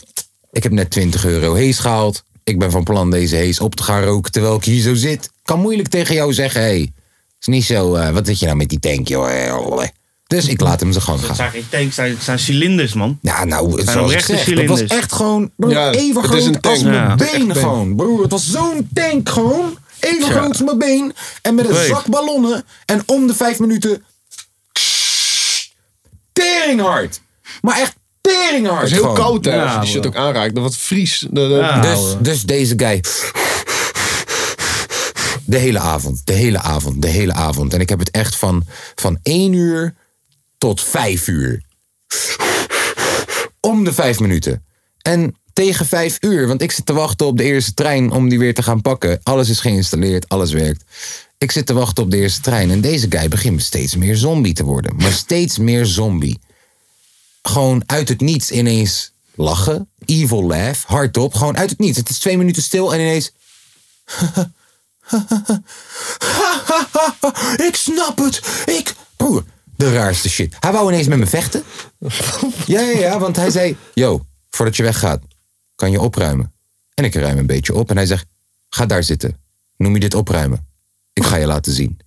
S1: ik heb net 20 euro hees gehaald. Ik ben van plan deze hees op te gaan roken terwijl ik hier zo zit. Kan moeilijk tegen jou zeggen, hé, hey, is niet zo, eh, wat zit je nou met die tank, joh. Dus ik laat hem zijn gang
S2: Dat
S1: gaan.
S2: zijn geen tanks, dat zijn cilinders, man.
S1: Ja, nou, zoals ik
S2: oprechte
S1: zeg, het was
S2: cilinders.
S1: echt gewoon broer,
S3: Ja,
S1: even
S3: het is
S1: groot
S3: een tank. eh.
S1: als mijn
S2: Ja.
S1: been gewoon. Broer, het was zo'n tank gewoon. Even groot als mijn been. En met een
S2: Weet.
S1: zak ballonnen. En om de vijf minuten... Teringhard. Maar echt teringhard
S3: Het is heel
S1: gewoon.
S3: koud hè, als je
S2: Ja,
S3: die shit ook aanraakt. Dan wordt het vries. De- de-
S2: Ja.
S1: Dus, dus deze guy. De hele avond, de hele avond, de hele avond. En ik heb het echt van, van 1 uur tot 5 uur. Om de 5 minuten. En tegen 5 uur, want ik zit te wachten op de eerste trein om die weer te gaan pakken. Alles is geïnstalleerd, alles werkt. Ik zit te wachten op de eerste trein en deze guy begint steeds meer zombie te worden. Maar steeds meer zombie gewoon uit het niets ineens lachen. Evil laugh, hardop, gewoon uit het niets. Het is twee minuten stil en ineens... ik snap het, ik... Broer, de raarste shit. Hij wou ineens met me vechten. Ja, ja, ja, want hij zei... Yo, voordat je weggaat, kan je opruimen. En ik ruim een beetje op en hij zegt... Ga daar zitten. Noem je dit opruimen. Ik ga je laten zien.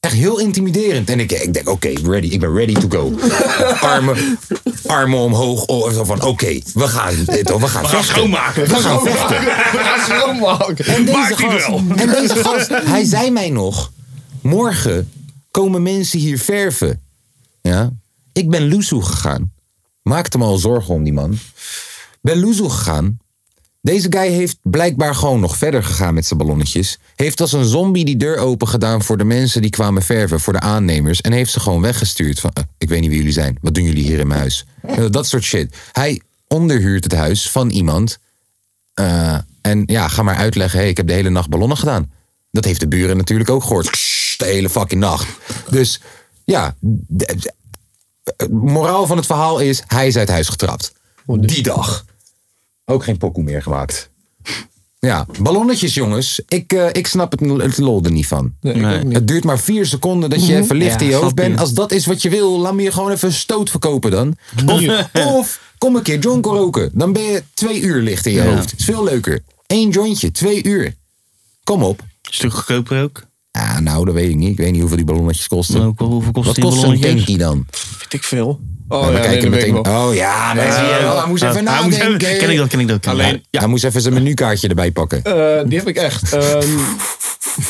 S1: Echt echt heel intimiderend. En ik, ik denk, oké, ready. Ik ben ready to go. armen, armen omhoog. oh, zo van, oké, we gaan, dit, we gaan vechten.
S4: schoonmaken.
S1: We gaan vechten.
S3: We gaan ze schoonmaken.
S1: En deze,
S4: Maakt hij
S1: gast,
S4: wel.
S1: en deze gast, hij zei mij nog: Morgen komen mensen hier verven. Ja? Ik ben Loesoe gegaan. Maakte me al zorgen om die man. Ben Loesoe gegaan. Deze guy heeft blijkbaar gewoon nog verder gegaan met zijn ballonnetjes. Heeft als een zombie die deur open gedaan voor de mensen die kwamen verven, voor de aannemers. En heeft ze gewoon weggestuurd. Van, eh, ik weet niet wie jullie zijn. Wat doen jullie hier in mijn huis? Eh, Dat soort shit. Hij onderhuurt het huis van iemand eh, en ja, ga maar uitleggen. Hey, ik heb de hele nacht ballonnen gedaan. Dat heeft de buren natuurlijk ook gehoord. Kssst, De hele fucking nacht. Dus ja, de- de- het moraal van het verhaal is: hij is uit huis getrapt. Die dag. Ook geen pokoe meer gemaakt. Ja, ballonnetjes, jongens. Ik, eh, ik snap het, het lol er niet van. Het duurt maar vier seconden dat je even licht
S2: Mhm. Ja,
S1: in je hoofd
S2: snap je.
S1: bent. Als dat is wat je wil, laat me je gewoon even een stoot verkopen dan. Of, of kom een keer jonk roken. Dan ben je twee uur licht in je
S2: Ja.
S1: hoofd. Is veel leuker. Eén jointje, twee uur. Kom op.
S2: Stuk goedkoper ook.
S1: Ah, nou, dat weet ik niet. Ik weet niet hoeveel die ballonnetjes kosten.
S2: Maar ook wel, hoeveel Nou, kost
S1: Wat
S2: die
S1: kost zo'n
S2: ballonnetjes?
S1: tankie dan?
S5: Vind ik veel.
S3: Oh
S1: Ja, we
S3: ja, nee,
S1: kijken
S3: dat weet ik
S1: meteen.
S3: wel.
S1: Oh ja, nee, zie je wel. hij moest
S2: Ah,
S1: even
S2: hij moest
S1: nadenken.
S2: even- Ken ik dat, ken ik dat. ken ik
S3: Alleen-
S2: dat.
S1: Ja. Hij moest even zijn menukaartje erbij pakken.
S3: Eh, die heb ik echt. Ehm,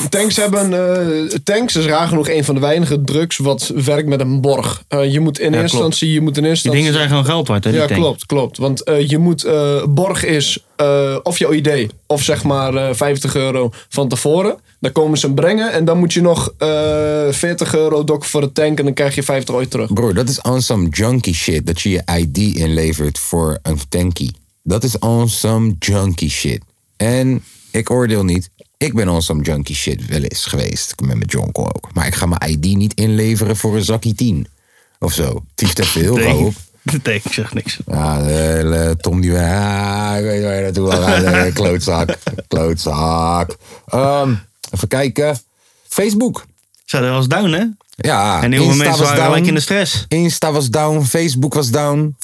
S3: tanks hebben. eh, tanks is raar genoeg een van de weinige drugs wat werkt met een borg. Eh, je moet in
S2: klopt.
S3: eerste instantie. Je moet in eerste
S2: Die dingen
S3: instantie-
S2: zijn gewoon geld waard, hè? die
S3: Ja,
S2: tank.
S3: klopt, klopt. Want eh, je moet. eh, borg is eh, of jouw idee, of zeg maar eh, 50 euro van tevoren. Dan komen ze hem brengen en dan moet je nog eh, 40 euro dokken voor de tank en dan krijg je 50 ooit terug.
S1: Broer, dat is on some junkie shit. Dat je je ID inlevert voor een tankie. Dat is on some junkie shit. En ik oordeel niet. Ik ben on some junkie shit wel eens geweest. Ik ben met Jonko ook. Maar ik ga mijn ID niet inleveren voor een zakkie 10. Of zo. Tief te veel,
S2: Nee.
S1: hoop.
S2: De tank zegt niks.
S1: Ja, de hele Tom die... Ah, ik weet waar je naartoe wil gaan. Eh, Klootzak. Klootzak. Ehm, even kijken. Facebook.
S2: Zo, dat was down, hè?
S1: Ja,
S2: En heel veel
S1: Insta
S2: mensen
S1: was
S2: waren
S1: down.
S2: gelijk in de stress.
S1: Insta was down, Facebook was down.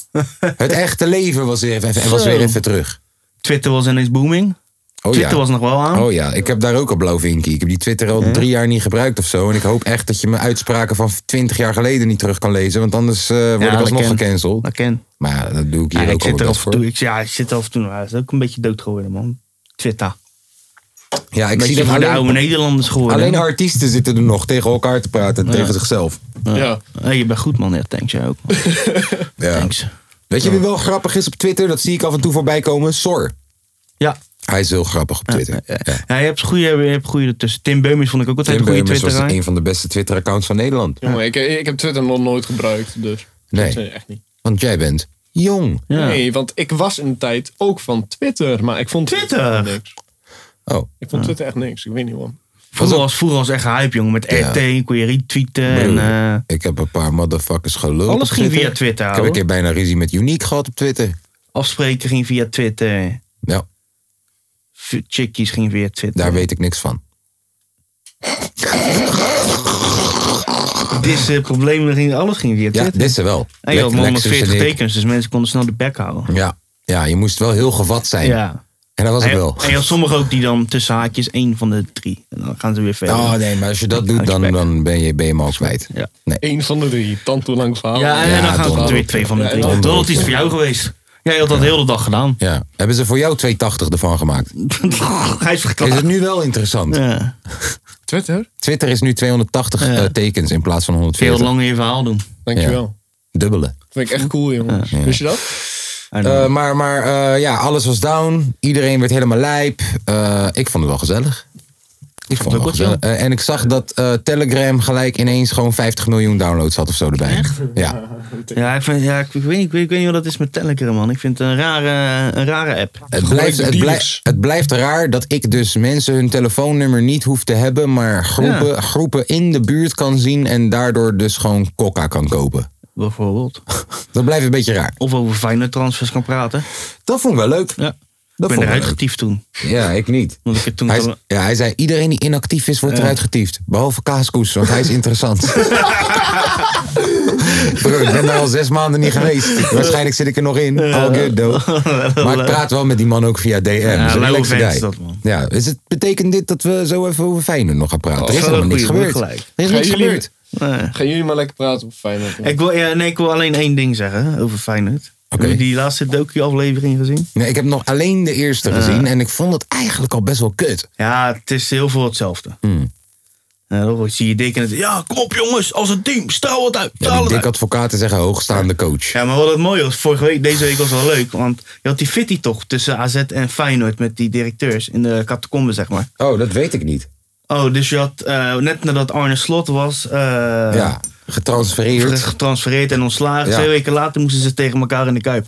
S1: Het echte leven was weer even, was weer
S2: Zo.
S1: even terug.
S2: Twitter was ineens booming.
S1: Oh
S2: Twitter
S1: ja.
S2: was nog wel aan.
S1: Oh ja, ik heb daar ook een blauw vinkje. Ik heb die Twitter al drie jaar niet gebruikt of zo. En ik hoop echt dat je mijn uitspraken van 20 jaar geleden niet terug kan lezen. Want anders eh word
S2: Ja,
S1: ik
S2: dat
S1: alsnog
S2: ken.
S1: gecanceld.
S2: Dat ken.
S1: Maar ja, dat doe ik hier
S2: Ja,
S1: ook
S2: ik
S1: al
S2: zit
S1: mijn
S2: er
S1: best
S2: af en
S1: voor.
S2: toe. Ik, ja, ik zit er af en toe. maar Het is ook een beetje dood geworden, man. Twitter.
S1: Ja, ik
S2: Een
S1: zie
S2: beetje
S1: dat
S2: voor de oude
S1: alleen,
S2: Nederlanders geworden.
S1: alleen artiesten zitten er nog tegen elkaar te praten. en Tegen zichzelf.
S3: Ja.
S2: Hey, je bent goed, man. Ja, thanks jij ook. man.
S1: Ja.
S2: Thanks.
S1: Weet je wie wel grappig is op Twitter? Dat zie ik af en toe voorbij komen. Sor.
S2: Ja.
S1: Hij is heel grappig op Twitter. Ja.
S2: ja, je hebt goede, je hebt goede ertussen. Tim Beumers vond ik ook altijd
S1: Tim
S2: een goede
S1: Beumers was
S2: Twitter.
S1: een van de beste Twitter-accounts van Nederland.
S3: Jongen, ik, ik heb Twitter nog nooit gebruikt, dus.
S1: Nee.
S3: echt niet.
S1: Want jij bent jong.
S3: Nee, want ik was een tijd ook van Twitter, maar ik vond
S2: Twitter?
S3: niks.
S1: Oh,
S3: Ik vond Twitter echt niks. Ik weet niet waarom.
S2: Vroeger was, vroeger was echt hype, jongen. Met
S1: Ja.
S2: RT kon je retweeten. En,
S1: broer,
S2: eh,
S1: ik heb een paar motherfuckers gelopen.
S2: alles
S1: op
S2: ging via Twitter.
S1: Ik heb een
S2: ouwe.
S1: keer bijna ruzie met Unique gehad op Twitter.
S2: Afspreken ging via Twitter.
S1: Nou,
S2: V- Chickies ging via Twitter.
S1: daar weet ik niks van.
S2: Disse, problemen, ging, alles ging via
S1: Ja,
S2: Twitter.
S1: dit is er wel.
S2: en je had
S1: Lex-
S2: maar
S1: Lexus en
S2: 140
S1: ik.
S2: tekens, dus mensen konden snel de bek houden.
S1: Ja. ja, je moest wel heel gevat zijn.
S2: Ja.
S1: En dat was
S2: En,
S1: ik
S2: en
S1: wel.
S2: je had sommigen ook die dan tussen haakjes één van de drie. En dan gaan ze weer verder.
S1: Oh nee, maar als je dat doet, dan,
S2: Respect.
S1: dan ben, je, ben je hem al kwijt.
S2: Ja.
S1: Nee.
S3: Eén van de drie, tante lang verhaal.
S2: Ja, en
S1: Ja,
S2: dan gaan
S1: donder.
S2: ze weer twee van de
S3: Ja,
S2: drie.
S3: donder.
S2: Dan had het iets voor jou geweest. Jij had dat de hele dag gedaan.
S1: Ja. Hebben ze voor jou 280 ervan gemaakt?
S2: Hij is
S1: Is
S2: verklaard.
S1: het nu wel interessant?
S2: Ja.
S3: Twitter?
S1: Twitter is nu 280
S2: Ja.
S1: eh, tekens in plaats van
S2: Veel
S1: 140.
S2: langer je verhaal doen.
S3: Dankjewel.
S1: Dubbele.
S3: Vind ik echt cool, jongen. Wist je dat?
S1: Eh, maar maar eh, ja, alles was down. Iedereen werd helemaal lijp. Eh, ik vond het wel gezellig. Ik vond het wel gezellig. Eh, en ik zag dat eh, Telegram gelijk ineens gewoon 50 miljoen downloads had of zo erbij. Echt? Ja.
S2: Ja, ik, vind, ja ik, ik weet, niet- ik, weet, ik weet niet wat dat is met Telegram, man. Ik vind het een rare, een rare app.
S1: Het blijft, het,
S3: dealers.
S1: blijft, het blijft raar dat ik dus mensen hun telefoonnummer niet hoef te hebben, maar groepen,
S2: Ja.
S1: groepen in de buurt kan zien en daardoor dus gewoon coca kan kopen.
S2: Bijvoorbeeld.
S1: Dat blijft een beetje raar.
S2: Of over fijne transfers kan praten.
S1: Dat vond ik wel leuk.
S2: Ja.
S1: Dat
S2: ik ben
S1: vond ik
S2: eruit
S1: wel leuk.
S2: getiefd toen.
S1: Ja, ik niet.
S2: Want ik heb toen
S1: Hij,
S2: al-
S1: is- ja, hij zei, iedereen die inactief is, wordt eruit getiefd. Behalve Kaaskoes, want hij is interessant. Bro, ik ben daar al zes maanden niet geweest. Waarschijnlijk zit ik er nog in. All good, though. Maar ik praat wel met die man ook via DM. Ja,
S2: lauwe
S1: relaxed
S2: vent
S1: guy.
S2: is dat, man.
S1: Ja, is het, betekent dit dat we zo even over Feyenoord nog gaan praten? er is
S2: dat
S1: helemaal
S2: is
S1: niks
S2: een goeie,
S1: gebeurd.
S2: moet
S1: Er
S2: gelijk.
S1: is
S3: Gaan
S1: niks
S3: jullie-
S1: gebeurd.
S2: Nee.
S3: Gaan jullie maar lekker praten op Feyenoord? man.
S2: Ik wil, ja, nee, ik wil alleen één ding zeggen over Feyenoord.
S1: Oké.
S2: Heb je die laatste docu-aflevering gezien?
S1: Nee, ik heb nog alleen de eerste gezien en ik vond het eigenlijk al best wel kut.
S2: Ja, het is heel veel hetzelfde.
S1: Hmm.
S2: En dan zie je Dick en het... Ja, kom op jongens, als een team, straal het uit,
S1: Ja,
S2: straal
S1: die
S2: het
S1: dik
S2: uit.
S1: advocaten zeggen hoogstaande coach.
S2: Ja, maar wat het mooie was, vorige week, deze week was wel leuk. Want je had die fitty toch tussen AZ en Feyenoord met die directeurs in de catacombe, zeg maar.
S1: Oh, dat weet ik niet.
S2: Oh, dus je had eh, net nadat Arne Slot was eh,
S1: Ja,
S2: werd
S1: getransfereerd.
S2: getransfereerd en ontslagen.
S1: Ja.
S2: Twee weken later moesten ze tegen elkaar in de kuip.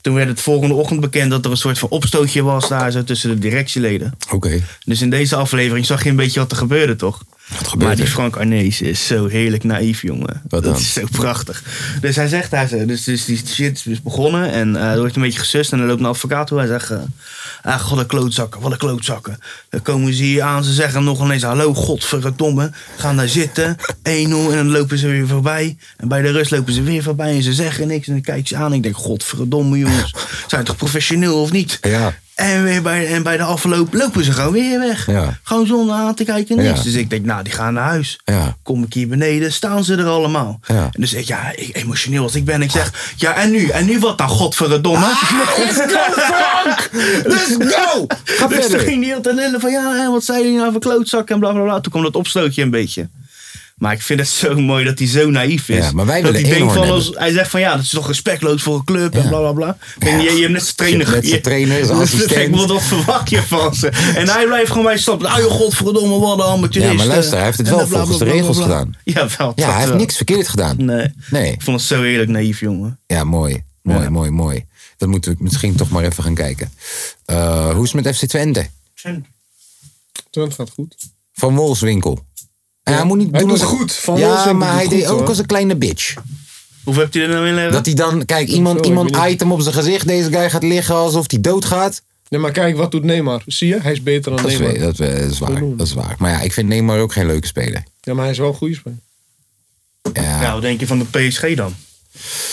S2: Toen werd het volgende ochtend bekend dat er een soort van opstootje was daar zo tussen de directieleden.
S1: Oké,
S2: Dus in deze aflevering zag je een beetje wat er gebeurde, toch?
S1: wat
S2: Maar
S1: gebeurt
S2: die
S1: er?
S2: Frank Arnees is zo heerlijk naïef, jongen.
S1: Wat
S2: dat
S1: dan?
S2: is zo prachtig. Dus hij zegt daar zo. Dus, dus die shit is dus begonnen en eh er wordt een beetje gesust. En dan loopt een advocaat toe. Hij zegt: eh, Ah, god, een klootzakken, wat een klootzakken. Dan komen ze hier aan, ze zeggen nog ineens: Hallo, godverdomme. Gaan daar zitten, 1-0. En dan lopen ze weer voorbij. En bij de rust lopen ze weer voorbij en ze zeggen niks. En dan kijk ze aan. En ik denk: Godverdomme, jongens. Zijn we toch professioneel of niet?
S1: Ja.
S2: En, weer bij, en bij de afloop lopen ze gewoon weer weg.
S1: Ja.
S2: Gewoon zonder aan te kijken, niks.
S1: Ja.
S2: Dus ik denk, nou, die gaan naar huis.
S1: Ja.
S2: Kom ik hier beneden, staan ze er allemaal.
S1: Ja.
S2: En dus ik, ja, ik, emotioneel als ik ben, ik zeg, ja, en nu? En nu wat dan, godverdomme?
S1: Let's go, Frank! Let's go! Ga
S2: dus toen
S1: verder.
S2: ging die altijd lillen van, ja, hè, wat zei jullie nou voor klootzak en bla, bla, bla. Toen kwam dat opstootje een beetje. Maar ik vind het zo mooi dat hij zo naïef is.
S1: Ja, maar wij
S2: dat
S1: willen
S2: hij denkt
S1: Eenhoorn
S2: van,
S1: hebben.
S2: als, hij zegt van, ja, dat is toch respectloos voor een club en
S1: Ja.
S2: bla, bla, bla. Ik Denk, je, je hebt net zijn trainer.
S1: Net zijn
S2: je-
S1: trainer, zijn
S2: Dus ik
S1: assistent.
S2: denk, wat- wat verwacht je van ze? En hij blijft gewoon bij stappen. Nou, joh, godverdomme, wat een amateurist. eh,
S1: Ja, maar luister, hij heeft het
S2: En
S1: wel
S2: dan bla, bla,
S1: volgens de
S2: bla, bla,
S1: regels
S2: bla.
S1: gedaan.
S2: Ja,
S1: Ja,
S2: wel. dat
S1: hij heeft
S2: wel.
S1: niks verkeerd gedaan.
S2: Nee.
S1: Nee.
S2: Ik vond het zo heerlijk naïef, jongen.
S1: Ja, mooi. Mooi, mooi, mooi. Dat moeten we misschien toch maar even gaan kijken. Eh, hoe is het met FC Twente?
S3: Twente gaat goed.
S1: Van Wolfswinkel. En hij moet niet
S3: Hij
S1: doen
S3: doet
S1: als-
S3: goed. Van
S1: ja,
S3: Wolfswinkel
S1: maar
S3: doet
S1: hij
S3: goed,
S1: deed ook
S3: hoor.
S1: als een kleine bitch.
S2: Hoeveel hebt hij er nou in leggen?
S1: Dat hij dan, kijk,
S3: zo,
S1: iemand,
S3: ik
S1: iemand
S3: weet niet.
S1: item op zijn gezicht. Deze guy gaat liggen alsof hij doodgaat.
S3: Nee, maar kijk, wat doet Neymar? Zie je? Hij is beter dan
S1: Dat is,
S3: Neymar.
S1: dat, eh, dat is waar, dat is waar. Maar ja, ik vind Neymar ook geen leuke speler.
S3: Ja, maar hij is wel een goede speler.
S1: Ja,
S2: Nou, wat denk je van de PSG dan?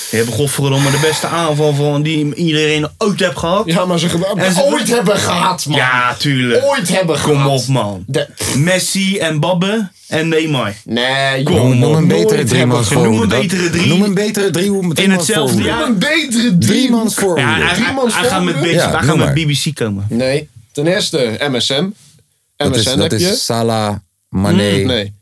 S2: Die hebben godverdomme de beste aanval van die iedereen ooit heeft gehad.
S3: Ja, maar ze gebruiken
S2: En ze-
S3: ooit hebben gehad, man.
S2: Ja, tuurlijk.
S3: Ooit hebben
S2: Kom
S3: gehad.
S2: op, man.
S3: De-
S2: Messi en Babbe en Neymar.
S1: Oh,
S3: Nee,
S2: Kom
S1: noem, noem
S3: op,
S1: een betere
S3: nooit hebben
S1: driemans
S3: gehad.
S1: voorhoede.
S2: Noem een
S1: Dat-
S2: betere drie-
S1: Noem een betere drie. hoe-
S2: In
S1: driemans
S2: hetzelfde
S1: voorhoede.
S2: jaar.
S3: Noem een betere
S1: Driemans
S2: Ja,
S1: voorhoede.
S2: hij, hij-
S3: Driemans
S2: hij gaat met,
S3: volgende?
S2: B-
S1: Ja,
S2: hij
S1: noem
S2: gaat met
S1: maar.
S2: BBC komen.
S3: Nee. Ten eerste MSM.
S1: Dat is,
S3: MSN
S1: dat
S3: heb je.
S1: is Salah, Mané.
S3: Mm, Nee.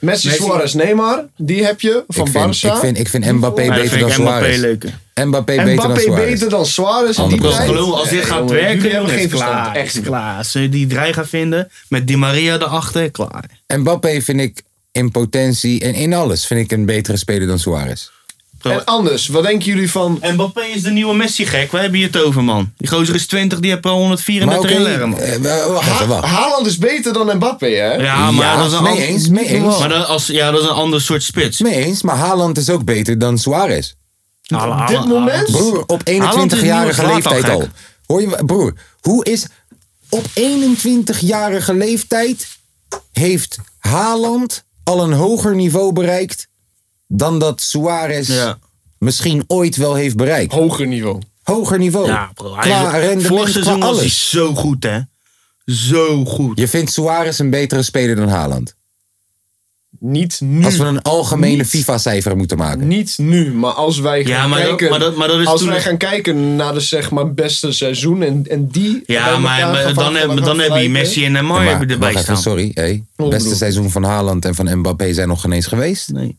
S3: Messi,
S2: Messi.
S3: Suarez, Neymar. Die heb je van
S1: ik, vind,
S3: Barca.
S1: ik, vind, ik vind Mbappé
S2: Maar dat
S1: beter
S2: vind
S1: dan
S2: ik Mbappé
S1: Suarez.
S2: leuker.
S1: Mbappé beter dan
S3: Mbappé
S1: Suarez.
S3: beter dan Suarez. En die
S1: 100%.
S3: tijd-
S2: Geloof, als dit
S3: Nee,
S2: gaat
S3: jongen,
S2: werken,
S3: jullie
S2: jongen,
S3: hebben
S2: is
S3: geen verstand.
S2: klaar. Echt
S3: Echt niet.
S2: klaar. Als ze die draai gaan vinden, met Di Maria erachter, klaar.
S1: Mbappé vind ik in potentie en in alles vind ik een betere speler dan Suarez.
S3: En anders, wat denken jullie van...
S2: Mbappé is de nieuwe Messi gek. Waar hebben je het over, man? Die gozer is 20, die heeft al
S1: Maar
S2: 134
S1: oké,
S2: in leggen, man.
S1: eh, wa- wacht even,
S3: Ha-
S1: wacht.
S3: Haaland is beter dan Mbappé, hè?
S2: Ja, maar
S1: ja,
S2: dat is een
S1: mee
S2: ander-
S1: eens, mee eens.
S2: Maar dat, als, ja, dat is een ander soort spits.
S1: Mee eens, maar Haaland is ook beter dan Suarez.
S2: Haaland-
S3: Op dit
S2: Haaland-
S3: moment?
S1: Broer, op
S2: Haaland is
S1: 21-jarige
S2: nieuwe Zlatan,
S1: leeftijd
S2: gek.
S1: al. Hoor je, broer, hoe is op 21-jarige leeftijd heeft Haaland al een hoger niveau bereikt dan dat Suarez
S2: Ja.
S1: misschien ooit wel heeft bereikt?
S3: Hoger niveau.
S1: Hoger niveau.
S2: Ja, bro. Hij
S1: Qua rendement,
S2: vorig
S1: qua
S2: seizoen was hij
S1: alles.
S2: zo goed, hè. Zo goed.
S1: Je vindt Suarez een betere speler dan Haaland?
S3: Niet nu.
S1: Als we een algemene
S3: Hmm. Niet.
S1: FIFA-cijfer moeten maken.
S3: Niet nu, maar als wij gaan
S2: Ja, maar dat-
S3: kijken...
S2: maar dat- maar dat is
S3: als
S2: toen-
S3: wij gaan kijken naar de zeg maar, beste seizoen en, en die... bij
S2: Ja,
S3: elkaar
S2: maar,
S3: gaan
S2: maar
S3: van-
S2: dan,
S3: van-
S2: heb,
S3: gaan
S2: dan heb je
S3: vergelijken.
S2: Messi en Neymar
S1: Maar,
S2: hebben
S1: wacht
S2: erbij
S1: even,
S2: staan.
S1: sorry. Hey.
S3: Oh,
S1: Beste
S3: broer.
S1: seizoen van Haaland en van Mbappé zijn nog geen eens geweest.
S2: Nee.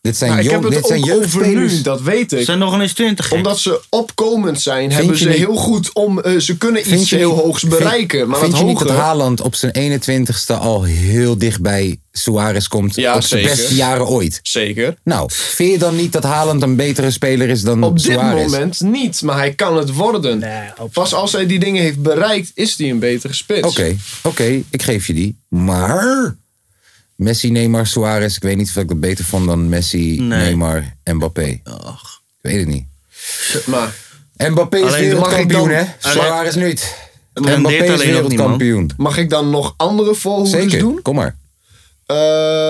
S1: Dit zijn,
S3: Maar Nou, ik heb
S1: jong,
S3: het
S1: dit zijn
S3: ook over
S1: jeugdspelers.
S3: nu, dat weet ik.
S2: Ze zijn nog ineens 20, gek.
S3: Omdat ze opkomend zijn, hebben
S1: je
S3: ze
S1: niet-
S3: heel goed om... eh, ze kunnen
S1: Vind
S3: iets
S1: je
S3: heel
S1: niet-
S3: hoogs
S1: vind-
S3: bereiken, maar
S1: vind
S3: dat
S1: je
S3: hoger...
S1: niet dat Haaland op zijn 21ste al heel dicht bij Suarez komt?
S3: Ja,
S1: op zijn
S3: zeker.
S1: beste jaren ooit.
S3: Zeker.
S1: Nou, vind je dan niet dat Haaland een betere speler is dan
S3: Op dit
S1: Hmm, Suarez?
S3: moment niet, maar hij kan het worden. Pas als hij die dingen heeft bereikt, is hij een betere spits.
S1: Oké, oké, ik geef je die. Maar Messi, Neymar, Suarez. Ik weet niet of ik dat beter vond dan Messi, Neymar en Mbappé.
S2: Ach.
S1: Ik weet het niet.
S3: Maar
S1: Mbappé is
S2: Alleen
S1: wereldkampioen,
S3: mag
S1: hè?
S3: ik
S2: dan-
S1: Suarez niet.
S2: dit
S1: Mbappé is
S2: alleen ook niet, man.
S1: wereldkampioen.
S3: mag ik dan nog andere voorhoeders
S1: Zeker,
S3: doen?
S1: kom maar.
S3: Eh,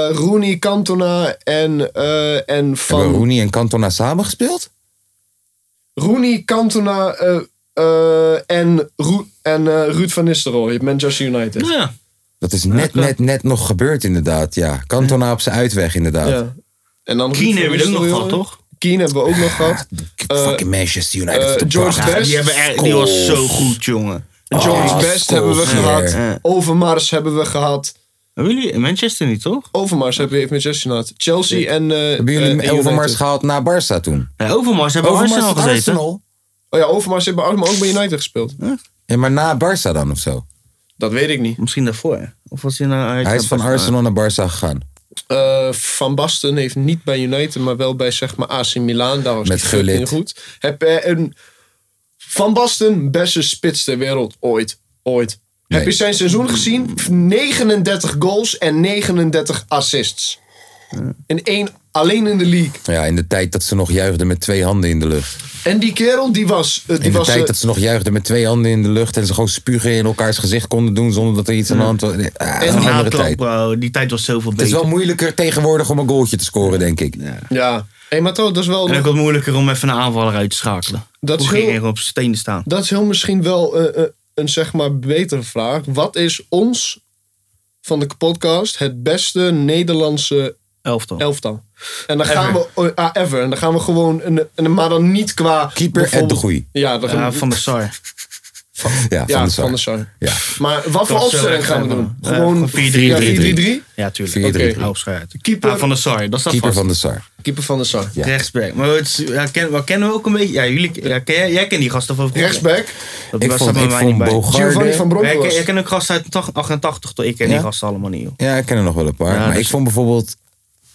S3: eh, Rooney, Cantona en, eh, en
S1: Hebben
S3: Van...
S1: Rooney en Cantona samen gespeeld?
S3: Rooney, Cantona eh, eh, en, Ru- en eh, Ruud van Nistelrooy, Manchester United.
S2: Nou ja.
S1: Dat is net, net, net nog gebeurd inderdaad, ja. Cantona op zijn uitweg inderdaad.
S3: Ja. En dan Ruud
S2: Keane hebben we ook
S3: van
S2: nog
S3: Nistelrooy.
S2: gehad, toch?
S3: Keane hebben we ook nog gehad. Eh,
S1: Ah, Fucking Manchester United.
S3: eh,
S1: op de
S3: George
S1: bank.
S3: Best.
S2: Die, hebben echt, die was zo goed, jongen.
S3: Jones
S1: Ah,
S3: Best hebben we
S1: Scholes,
S3: gehad.
S2: ja.
S3: Overmars hebben we gehad.
S2: Hebben jullie in Manchester niet, toch?
S3: Overmars hebben we even Manchester United. Chelsea en
S1: Hebben
S3: eh, eh, en
S1: jullie
S3: United.
S1: Overmars gehaald naar Barça toen?
S2: Ja, Overmars hebben
S1: Overmars
S2: Arsenal
S1: tot
S2: gezeten.
S1: Arsenal?
S3: Oh ja, Overmars hebben ook, maar ook bij United gespeeld.
S1: Ja, maar na Barça dan of zo?
S3: Dat weet ik niet.
S2: Misschien daarvoor. hè? Of was hij naar Ajax?
S1: Hij is van Arsenal naar Barça gegaan.
S3: Eh, van Basten heeft niet bij United, maar wel bij zeg maar AC Milan. Daar was
S1: Met
S3: hij fucking
S1: Gullit.
S3: goed. Heb eh, een Van Basten beste spits ter wereld ooit. Ooit.
S1: Nee.
S3: Heb je zijn seizoen gezien? 39 goals en 39 assists. In één, alleen in de league.
S1: Ja, in de tijd dat ze nog juichten met twee handen in de lucht.
S3: En die kerel die was. eh, die
S1: In de
S3: was
S1: tijd
S3: eh,
S1: dat ze nog juichten met twee handen in de lucht. En ze gewoon spugen in elkaars gezicht konden doen zonder dat er iets aan de hand was. Ah,
S3: En
S1: een
S3: die
S1: andere
S2: Naadklap,
S1: tijd.
S2: bro. Die tijd was zoveel
S1: Het is
S2: beter.
S1: wel moeilijker tegenwoordig om een goaltje te scoren, denk ik.
S3: Ja. Hé, maar toch, dat is wel.
S2: En ook wat moeilijker om even een aanvaller uit te schakelen.
S3: Dat
S2: Hoe
S3: is
S2: ging
S3: heel-
S2: er op zijn stenen staan?
S3: Dat is heel misschien wel eh, eh, een zeg maar betere vraag. Wat is ons van de podcast het beste Nederlandse
S2: Elftal.
S3: elftal? En dan gaan we eh, ah, ever. En dan gaan we gewoon een, een- maar dan niet qua
S1: Keeper en de
S3: bijvoorbeeld-
S1: goeie.
S3: Ja, dan gaan
S2: Ja,
S3: we-
S2: van de Sar.
S1: Ja,
S3: ja,
S1: van de
S3: van de
S1: Sar.
S3: Sar.
S1: Ja.
S3: Maar wat voor
S2: was
S3: opstelling
S2: zo
S3: gaan we
S2: erg,
S3: doen?
S2: ja.
S3: Gewoon
S2: Eh, 4-3-3-3.
S3: 4-3-3.
S2: Ja, tuurlijk.
S1: 4-3-3.
S2: Oké, hou schuil uit.
S3: Keeper-
S2: Ah, van de Sar. Dat staat
S1: Keeper
S2: vast.
S1: van de Sar.
S3: Keeper van de Sar.
S1: Ja.
S2: Rechtsback. Maar het, is- ja, ken, wat kennen we ook een beetje? Ja, jullie, ja, ken jij, jij kent die gasten van vroeger.
S3: Rechtsback.
S2: Dat
S1: Ik
S2: was
S1: vond,
S2: dat bij
S1: ik
S2: mij
S1: vond
S2: niet bij.
S3: Giovanni
S1: Bogarde...
S3: van
S2: Ja, ik, ik
S3: Bronckhorst.
S2: ken ook gasten uit 88, 88, toch? Ik ken
S1: Ja?
S2: die gasten allemaal niet, joh.
S1: Ja, ik ken er nog wel een paar.
S2: Ja,
S1: maar
S2: dus-
S1: ik vond bijvoorbeeld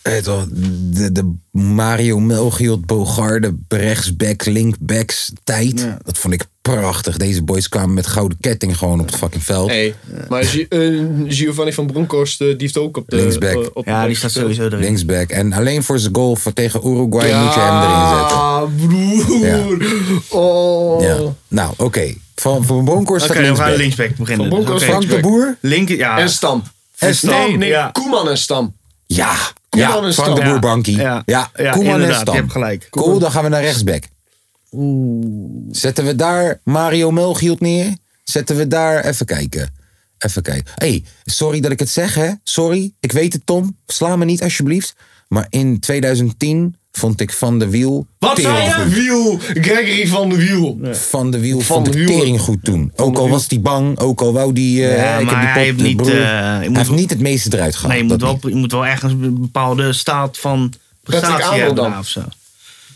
S1: weet je wel, de, de Mario Melchiot, Bogarde, rechtsback, linkbacks tijd. Dat vond ik prachtig. Deze boys kwamen met gouden ketting gewoon op het fucking veld.
S3: Hey, maar Gi- eh, Giovanni van Bronckhorst eh, die heeft ook op de
S1: Linksback.
S3: eh, op de
S2: Ja,
S3: bank
S2: die staat
S3: gespeeld.
S2: sowieso erin.
S1: Linksback. En alleen voor zijn goal voor tegen Uruguay moet je hem erin zetten.
S3: broer. Oh.
S1: Ja. Nou, oké. Van, van Bonkor staat
S2: Oké, we gaan
S1: linksback.
S2: linksback beginnen.
S3: Van Bonkers
S2: Oké.
S3: van-
S1: Frank de Boer?
S2: Link, ja.
S3: En Stam.
S1: En Stam.
S3: Nee, nee,
S2: Ja.
S3: Koeman en Stam.
S1: Ja.
S3: Koeman
S1: ja.
S3: en
S1: Frank
S3: Stam.
S1: de Boer Bankie.
S2: Ja.
S1: Ja.
S2: Ja,
S1: Koeman en
S2: inderdaad,
S1: Stam.
S2: je hebt gelijk.
S1: Cool, dan gaan we naar rechtsback. Zetten we daar Mario Melchiot neer? Zetten we daar... Even kijken. Even kijken. hey, sorry dat ik het zeg, hè? Sorry. Ik weet het, Tom. Sla me niet, alsjeblieft. Maar in 2010 vond ik Van de Wiel...
S3: Wat zei
S1: tering
S3: je?
S1: goed.
S3: Wiel. Gregory van de Wiel.
S1: Van de Wiel vond
S3: de
S1: ik
S3: Wiel.
S1: tering goed toen. Ook al was hij bang, ook al wou die. eh,
S2: Ja,
S1: ik heb
S2: maar
S1: die
S2: hij
S1: pot,
S2: heeft niet,
S1: broer.
S2: eh,
S1: hij
S2: moet-
S1: heeft niet het meeste eruit gehaald.
S2: Nee, je moet,
S1: dat
S2: wel,
S1: niet.
S2: je moet wel ergens een bepaalde staat van prestatie
S3: Arnold
S2: hebben
S3: dan.
S2: daar of zo.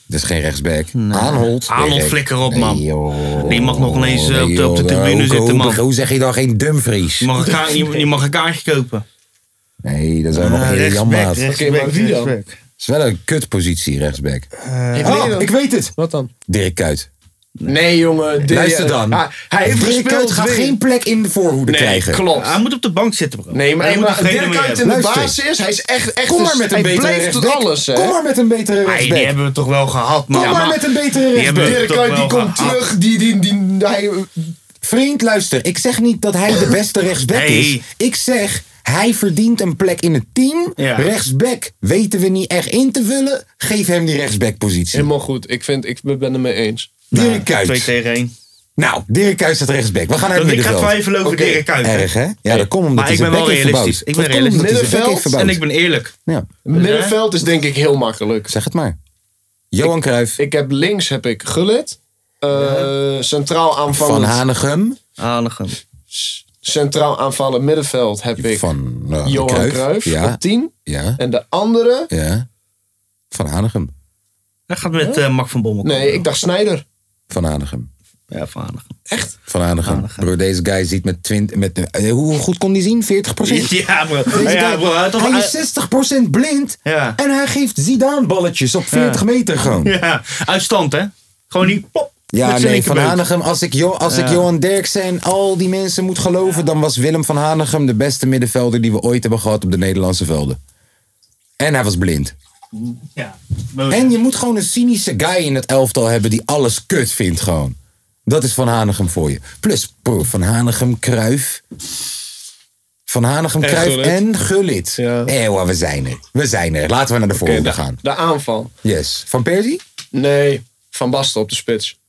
S1: Dat is geen rechtsback. Aanhold.
S2: Aanholt,
S1: Nee,
S2: flikker op,
S1: nee,
S2: man.
S1: joh.
S2: Die mag nog ineens, eh, op de-
S1: joh,
S2: op de
S1: daar-
S2: tribune
S1: hoe-
S2: zitten,
S1: hoe-
S2: man.
S1: Hoe zeg je dan geen Dumfries?
S2: Je mag een, kaart, je, je mag een kaartje kopen.
S1: Nee, dat zou nog heel jammer.
S2: Eh, rechtsback,
S1: Het
S2: rechtsback,
S3: Oké, maar wie dan?
S2: rechtsback.
S1: is wel een kutpositie, rechtsback.
S3: Ik
S1: Oh,
S3: weet het.
S1: ik weet het.
S3: Wat dan?
S1: Dirk Kuyt.
S3: Nee, jongen. de-
S1: Luister dan.
S3: Ah, hij heeft
S1: Dirk
S3: gespeeld.
S1: Kuyt gaat
S3: weer.
S1: geen plek in de voorhoede
S3: Nee,
S1: krijgen.
S3: klopt.
S2: Hij moet op de bank zitten, bro.
S3: Oh, Nee, maar,
S2: hij
S3: hij maar
S2: moet een
S3: Dirk Kuyt in de
S1: Luister.
S3: basis. Hij is echt... echt
S1: Kom
S3: een-
S1: maar met een
S3: Hij
S1: betere
S3: blijft tot
S1: rechtsback.
S3: alles, hè.
S1: Kom maar met een betere
S2: Die
S1: rechtsback.
S2: hebben we toch wel gehad, man.
S1: Kom
S2: Ja,
S1: maar met een betere
S2: Die hebben
S1: rechtsback.
S2: we toch
S3: Dirk Kuyt die
S2: wel
S3: komt
S2: gehad.
S3: terug. Die, die, die, hij,
S1: Vriend, luister. Ik zeg niet dat hij de beste rechtsback
S2: Nee.
S1: is. Ik zeg, hij verdient een plek in het team.
S2: Ja.
S1: Rechtsback weten we niet echt in te vullen. Geef hem die rechtsbackpositie.
S3: Helemaal goed. Ik, vind, ik ben het mee eens.
S1: Dirk
S2: Twee
S1: Kuyt.
S2: tegen één.
S1: Nou, Dirk Kuyt staat rechtsback. We gaan naar het
S2: Dat ik ga
S1: middenveld.
S2: twijfelen over
S3: Oké,
S2: Dirk Kuyt.
S1: Erg, hè? Ja, dat komt omdat
S2: Maar
S1: hij
S2: ik ben
S1: zijn
S2: wel
S1: bek heeft verbouwd.
S2: realistisch. Ik ben
S1: Dat komt omdat hij zijn bek heeft
S3: realistisch.
S1: verbouwd.
S2: En ik ben eerlijk.
S1: Ja,
S3: Middenveld is denk ik heel makkelijk.
S1: zeg het maar. Johan Cruijff,
S3: Ik heb links heb ik Gullit. eh, Centraal aanvallend.
S1: Van Hanegem,
S2: Aanigen.
S3: Centraal aanvallend middenveld heb ik
S1: van eh,
S3: Johan Cruijff,
S1: Ja,
S3: op 10.
S1: ja,
S3: En de andere...
S1: ja. Van Hanegem,
S2: Hij gaat met eh Mak van Bommel.
S3: Nee,
S2: komen.
S3: ik dacht Snijder.
S1: Van Hanegem.
S2: Ja, van Aanigen.
S1: Van Hanegem. Bro, deze guy ziet met 20... Met, eh, hoe goed kon die zien? 40
S2: Ja, bro.
S1: Deze
S2: Ja,
S1: guy,
S2: bro. Hij had toch-
S1: hij is 60% blind
S2: Ja.
S1: en hij geeft Zidane balletjes op 40 meter gewoon. Ja,
S2: Ja, uit stand, hè? Gewoon die pop. met zijn
S1: nee, Van
S2: linkerbeuk.
S1: Hanegem, als, ik, Jo- als ik Johan Derksen en al die mensen moet geloven... dan was Willem van Hanegem de beste middenvelder die we ooit hebben gehad op de Nederlandse velden. En hij was blind.
S2: Ja.
S1: En je moet gewoon een cynische guy in het elftal hebben die alles kut vindt gewoon. Dat is Van Hanegem voor je. Plus, bro, Van Hanegem, Kruif. Van Hanegem,
S3: En
S1: Cruijff
S3: Gullit.
S1: en Gullit.
S3: Ja.
S1: Eeuw, we zijn er. We zijn er. Laten we naar de volgende
S3: de,
S1: gaan.
S3: de aanval.
S1: Yes. Van Persie?
S3: Nee, Van Basten op de spits.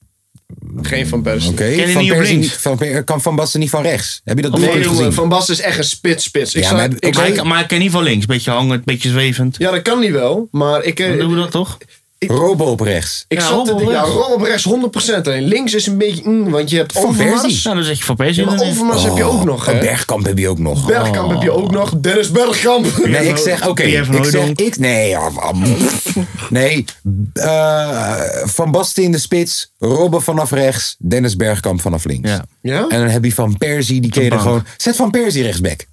S3: Geen Van Persie.
S1: Oké.
S2: Ken je
S1: Van
S2: niet op
S1: Persie
S2: links?
S1: niet- Van Per- Kan Van Basten niet van rechts? Heb je dat
S3: Nee,
S1: doelpunt
S3: jongen,
S1: gezien?
S3: Van Basten is echt een spits-spits. Ik
S1: Ja,
S3: zou-
S1: maar-
S3: ik
S2: Maar
S3: zou-
S2: ik, maar ik ken niet van links. Beetje hangend, beetje zwevend.
S3: ja, dat kan niet wel, maar ik... eh,
S2: Dan doen we dat toch?
S1: Robo op rechts.
S3: Ik
S2: Ja,
S3: zat
S2: Rob
S3: te
S2: op
S3: denken, ja,
S2: rechts.
S3: Rob op rechts 100% heen. Links is een beetje, mm, want je hebt
S1: Van Persie.
S3: Overmars.
S2: Nou, dan zeg je van Persie.
S3: Ja, maar
S2: dan even.
S3: Overmars heb je ook nog, hè?
S1: Oh, Bergkamp heb je ook nog.
S3: Bergkamp heb je ook nog. Dennis Bergkamp.
S1: Nee, ik
S2: Pierre
S1: zeg, oké.
S2: Pierre van
S1: ik zeg,
S2: Hooijdonk.
S1: ik, nee, ja, van- nee. eh, van Basten in de spits, Robben vanaf rechts, Dennis Bergkamp vanaf links.
S2: Ja.
S3: Ja?
S1: En dan heb je Van Persie, die keer
S2: bank.
S1: gewoon... Zet Van Persie rechtsback.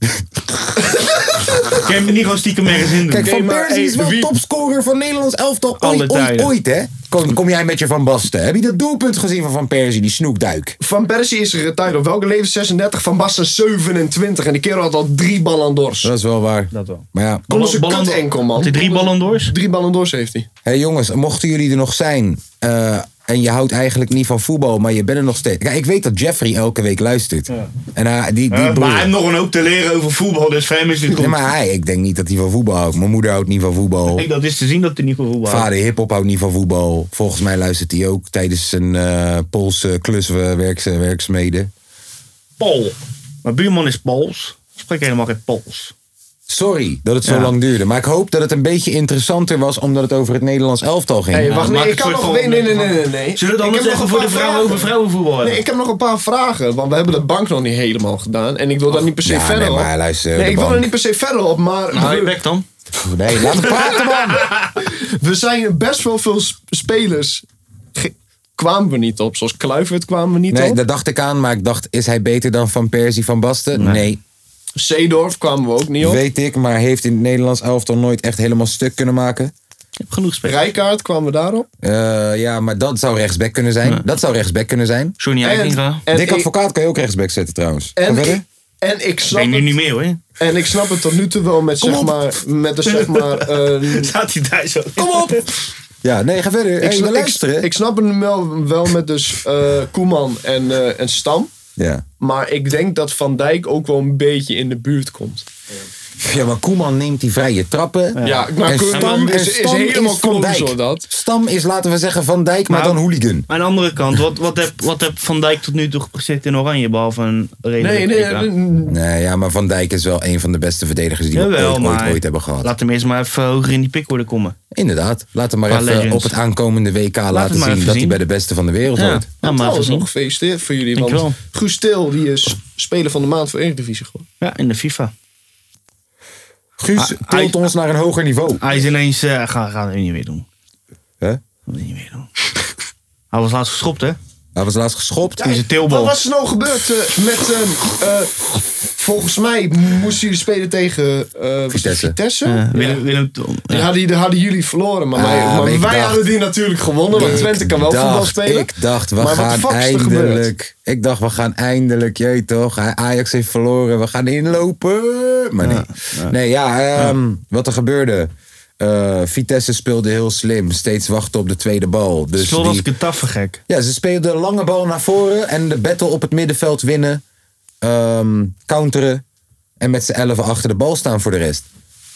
S2: Kan je hem niet gewoon stiekem ergens in doen?
S1: Kijk, Van
S3: maar,
S1: Persie is
S3: hey,
S1: wel
S3: wie-
S1: topscorer van Nederlands elftal
S2: Alle
S1: ooit, ooit,
S2: tijden.
S1: ooit, hè? Kom, kom jij met je Van Basten. Heb je dat doelpunt gezien van Van Persie, die snoekduik?
S3: Van Persie is retired op welke leven 36, Van Basten 27. En die kerel had al drie Ballon d'Ors.
S1: Dat is wel waar.
S2: Dat wel.
S1: Maar ja,
S3: Kom eens een
S2: Eh, Ballon-
S3: kut enkel, man.
S2: Had hij drie Ballon d'Ors?
S3: Drie Ballon d'Ors heeft hij.
S1: Hé jongens, mochten jullie er nog zijn eh, en je houdt eigenlijk niet van voetbal, maar je bent er nog steeds. Kijk, ik weet dat Jeffrey elke week luistert. En hij- die, die
S2: Ja,
S1: broer.
S2: maar hij heeft nog een hoop te leren over voetbal, dus voor hem is dit goed.
S1: Nee, maar hij, ik denk niet dat hij van voetbal houdt. Mijn moeder houdt niet van voetbal.
S2: Kijk, dat is te zien dat hij niet van voetbal houdt.
S1: Vader hip-hop houdt niet van voetbal. Volgens mij luistert hij ook tijdens zijn eh, Poolse kluswerks, werkzaamheden.
S2: Paul. Mijn buurman is Pools. Ik spreek helemaal geen Pools.
S1: Sorry dat het zo
S2: Ja.
S1: lang duurde. Maar ik hoop dat het een beetje interessanter was omdat het over het Nederlands elftal ging. Nou,
S3: Hey,
S2: Ja,
S3: wacht, nee,
S2: maak
S3: ik
S2: het
S3: kan
S2: voor
S3: nog...
S2: het
S3: Nee, nee, nee,
S2: volgende.
S3: nee, nee.
S2: Zullen we
S3: Ik
S2: dan eens
S3: heb nog
S2: even
S3: een
S2: voor
S3: paar
S2: de vrouwen over vrouwenvoetbal hebben?
S3: Nee, ik heb nog een paar vragen, want we hebben de bank nog niet helemaal gedaan. En ik wil daar niet per se
S1: Ja,
S3: verder
S1: nee,
S3: op.
S1: maar luister,
S3: nee,
S1: de
S3: ik wil er
S1: bank.
S3: niet per se verder op, maar...
S2: Hou je bek Nou, dan.
S1: Nee, laat me praten man.
S3: We zijn best wel veel sp- spelers. ge- kwamen we niet op. Zoals Kluivert kwamen we niet
S1: Nee,
S3: op.
S1: daar dacht ik aan. Maar ik dacht, is hij beter dan Van Persie van Basten? nee.
S3: Seedorf kwamen we ook niet op.
S1: Weet ik, maar heeft in het Nederlands elftal nooit echt helemaal stuk kunnen maken.
S2: Ik heb genoeg spelen.
S3: Rijkaard kwamen we daarop.
S1: Eh, ja, maar dat zou rechtsback kunnen zijn. Dat zou rechtsback kunnen zijn.
S2: Johnny Eitinga.
S3: en,
S1: Dick
S3: ik-
S1: Advocaat kan je ook rechtsback zetten trouwens. Ga
S3: en, ik,
S1: verder.
S3: en ik
S2: Ik
S3: snap
S2: denk nu
S3: het,
S2: niet meer hoor.
S3: en ik snap het tot nu toe wel met zeg maar, met de zeg maar, eh,
S2: Staat hij daar zo. Kom op!
S1: Ja, nee, ga verder.
S3: ik,
S1: Ik
S3: sna-
S1: wil
S3: ik,
S1: luisteren.
S3: ik snap het wel, wel met dus eh, Koeman en, eh, en Stam.
S1: ja.
S3: Maar ik denk dat Van Dijk ook wel een beetje in de buurt komt.
S1: ja, maar Koeman neemt die vrije trappen.
S3: Ja, nou,
S1: en
S3: Koeman
S1: Stam
S3: is-
S1: en
S3: is
S1: Stam
S3: helemaal
S1: Van
S3: kloten, zo
S1: Dijk.
S3: dat.
S1: Stam is, laten we zeggen, Van Dijk, maar,
S2: Nou,
S1: dan hooligan.
S2: Maar aan de andere kant, wat, wat, heb, wat heb Van Dijk tot nu toe gezet in Oranje? Behalve een redelijk
S3: Nee, nee,
S2: EK?
S3: nee,
S1: Nee, ja, maar Van Dijk is wel een van de beste verdedigers die we
S2: Jawel,
S1: ooit, ooit,
S2: maar
S1: ooit hebben gehad.
S2: Laat hem eerst maar even hoger in die pick worden komen.
S1: Inderdaad. Laten we maar
S2: Qua
S1: even
S2: legends.
S1: op het aankomende WK laten
S2: maar
S1: zien
S2: even
S1: dat hij
S2: zien.
S1: bij de beste van de wereld
S2: Ja,
S1: hoort.
S2: ja maar
S3: Trouwens,
S2: gezien.
S3: nog gefeliciteerd voor jullie.
S2: Dankjewel.
S3: Want Guus Til, die is speler van de maand voor Eredivisie geworden.
S2: Ja, Ah, in de FIFA.
S1: Guus
S2: Ah,
S1: tilt
S2: hij-
S1: ons naar een hoger niveau.
S2: Hij is ineens, eh gaan ga we niet meer doen.
S1: Hè?
S2: Gaan we niet meer doen. Hij was laatst geschopt, hè?
S1: Hij was laatst geschopt.
S2: Toen is het teelbal.
S3: Wat was er nou gebeurd eh, met... eh, eh, volgens mij moesten jullie spelen tegen eh, was het
S1: Vitesse.
S3: Vitesse.
S2: Ja,
S3: Ja.
S2: Willem, Willem Tom.
S1: Dus
S3: Die hadden, die hadden jullie verloren, maar, wij-
S1: Ah,
S3: maar
S1: ik
S3: wij
S1: dacht-
S3: hadden die natuurlijk gewonnen. Want
S1: Ik
S3: Twente kan wel
S1: dacht-
S3: voetbal spelen.
S1: Ik dacht, we
S3: Maar wat de
S1: gaan
S3: fuck is er gebeurd?
S1: eindelijk. Ik dacht, we gaan eindelijk. Jeet toch? Hij- Ajax heeft verloren. We gaan inlopen. Maar nee. Nee, ja. ehm, Wat er gebeurde. Eh, Vitesse speelde heel slim. Steeds wachten op de tweede bal. Dus
S2: Zoals als
S1: die-
S2: ik een taffe gek.
S1: Ja, ze speelden lange bal naar voren en de battle op het middenveld winnen. ehm, counteren. En met z'n elfen achter de bal staan voor de rest.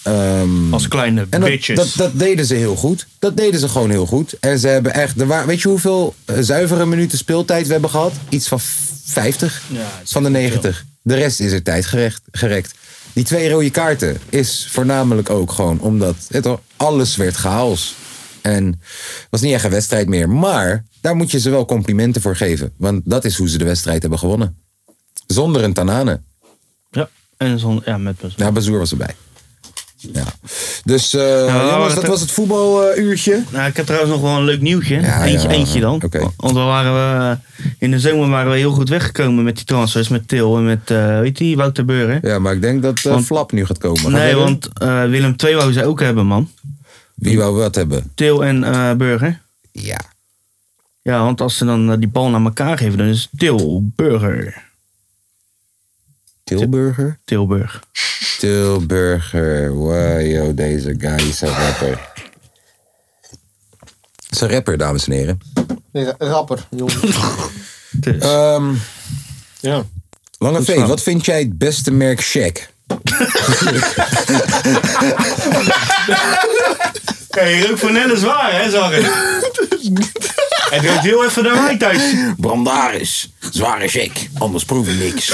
S1: Ehm,
S2: Als kleine
S1: en dat,
S2: bitches.
S1: dat, dat deden ze heel goed. Dat deden ze gewoon heel goed. En ze hebben echt. Er waren, weet je hoeveel eh, zuivere minuten speeltijd we hebben gehad? Iets van 50
S2: het is
S1: van de 90. De rest is er tijd gerecht, gerekt. Die twee rode kaarten is voornamelijk ook gewoon omdat het, al- alles werd chaos. En het was niet echt een wedstrijd meer. Maar daar moet je ze wel complimenten voor geven. Want dat is hoe ze de wedstrijd hebben gewonnen. Zonder een Tanane.
S2: Ja, en zo'n, ja, met best.
S1: Ja, Bazoer was erbij. Ja. Dus eh,
S2: Nou,
S1: jongens,
S2: dat
S1: dat
S2: heb-
S1: was het voetbaluurtje.
S2: Nou, ik heb trouwens nog wel een leuk nieuwtje.
S1: Ja,
S2: eentje,
S1: ja,
S2: eentje dan.
S1: oké.
S2: Want we waren we, in de zomer waren we heel goed weggekomen met die transfers. Met Til en met, eh weet je, Wouter Beuren.
S1: ja, maar ik denk dat eh,
S2: Want-
S1: Flap nu gaat komen. Gaan
S2: nee,
S1: we-
S2: want eh, Willem II wou ze ook hebben, man.
S1: Wie wou wat hebben?
S2: Til en eh Burger.
S1: Ja.
S2: Ja, want als ze dan eh, die bal naar elkaar geven, dan is het Til, Burger.
S1: Tilburger?
S2: Tilburg.
S1: Tilburger. Wow, yo, deze guy is een rapper. Het is een rapper, dames en heren.
S3: Nee, ra- rapper, jongen.
S2: Dus.
S1: Ehm,
S3: ja.
S1: Lange
S2: Goed
S1: V,
S2: gedaan.
S1: wat vind jij het beste merk Shaq?
S2: Kijk, je rook van Nelle zwaar, hè, zag ik. Het rookt heel even naar mij thuis.
S1: Brandaris. Zware check. Anders proef je niks.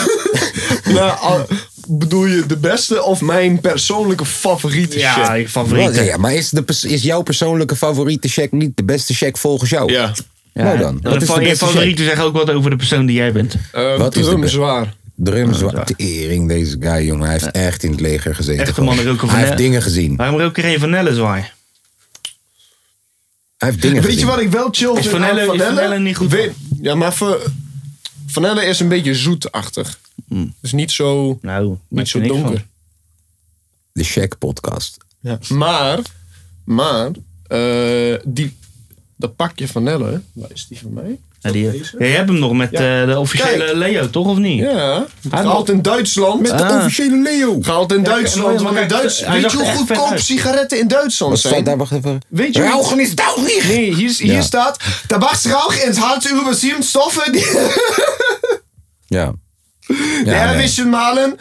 S3: Nou, al- bedoel je de beste of mijn persoonlijke favoriete
S2: Ja,
S3: shit?
S2: je favoriete.
S1: Ja, maar is, de, pers- is jouw persoonlijke favoriete check niet de beste check volgens jou?
S3: Ja.
S1: Nou dan.
S2: Ja,
S1: Wat is de
S2: je
S1: beste check?
S2: favorieten zeggen ook wat over de persoon die jij bent.
S3: Eh,
S1: Wat is de
S3: drum
S1: be-
S3: zwaar. Ah,
S1: Drum, zwa- tering, deze guy, jongen. Hij heeft echt in het leger gezeten.
S2: Echte
S1: gewoon.
S2: mannen roken van
S1: Hij heeft
S2: net.
S1: dingen gezien.
S2: Waarom rook er geen vanille zwaar?
S1: Hij heeft dingen
S3: Weet je
S1: gezien.
S3: wat ik wel chill
S2: Is
S3: vind
S2: Van
S3: aan
S2: Helle- is Van Helle niet goed?
S3: Weet- ja, maar Van Van Helle is een beetje zoetachtig.
S1: Hmm.
S3: Dus niet zo,
S2: Nou,
S3: niet zo donker.
S1: De check podcast.
S3: Maar, maar, eh, die, dat pakje Van Helle, waar is die van mij?
S2: Ja, die, eh, ja, je hebt hem nog met eh, de officiële
S3: Kijk.
S2: Leo, toch of niet?
S3: Ja, gehaald in Duitsland.
S1: Met de officiële Leo.
S3: Gehaald in
S2: maar
S3: Duitsland.
S2: ja, maar
S3: want in
S2: kijk,
S3: Duits,
S2: hij
S3: weet
S2: zag
S3: je hoe
S2: er echt vet
S3: goedkoop
S2: uit.
S3: sigaretten in Duitsland
S1: Wat staat
S3: zijn?
S1: daar? Wacht even.
S3: Weet je-
S1: Rauchen is dauwig.
S3: Nee, hier, hier
S1: Ja.
S3: staat. Tabaksrauch enthält über sieben Stoffe, die
S1: Ja.
S3: ja,
S1: nee.
S3: malen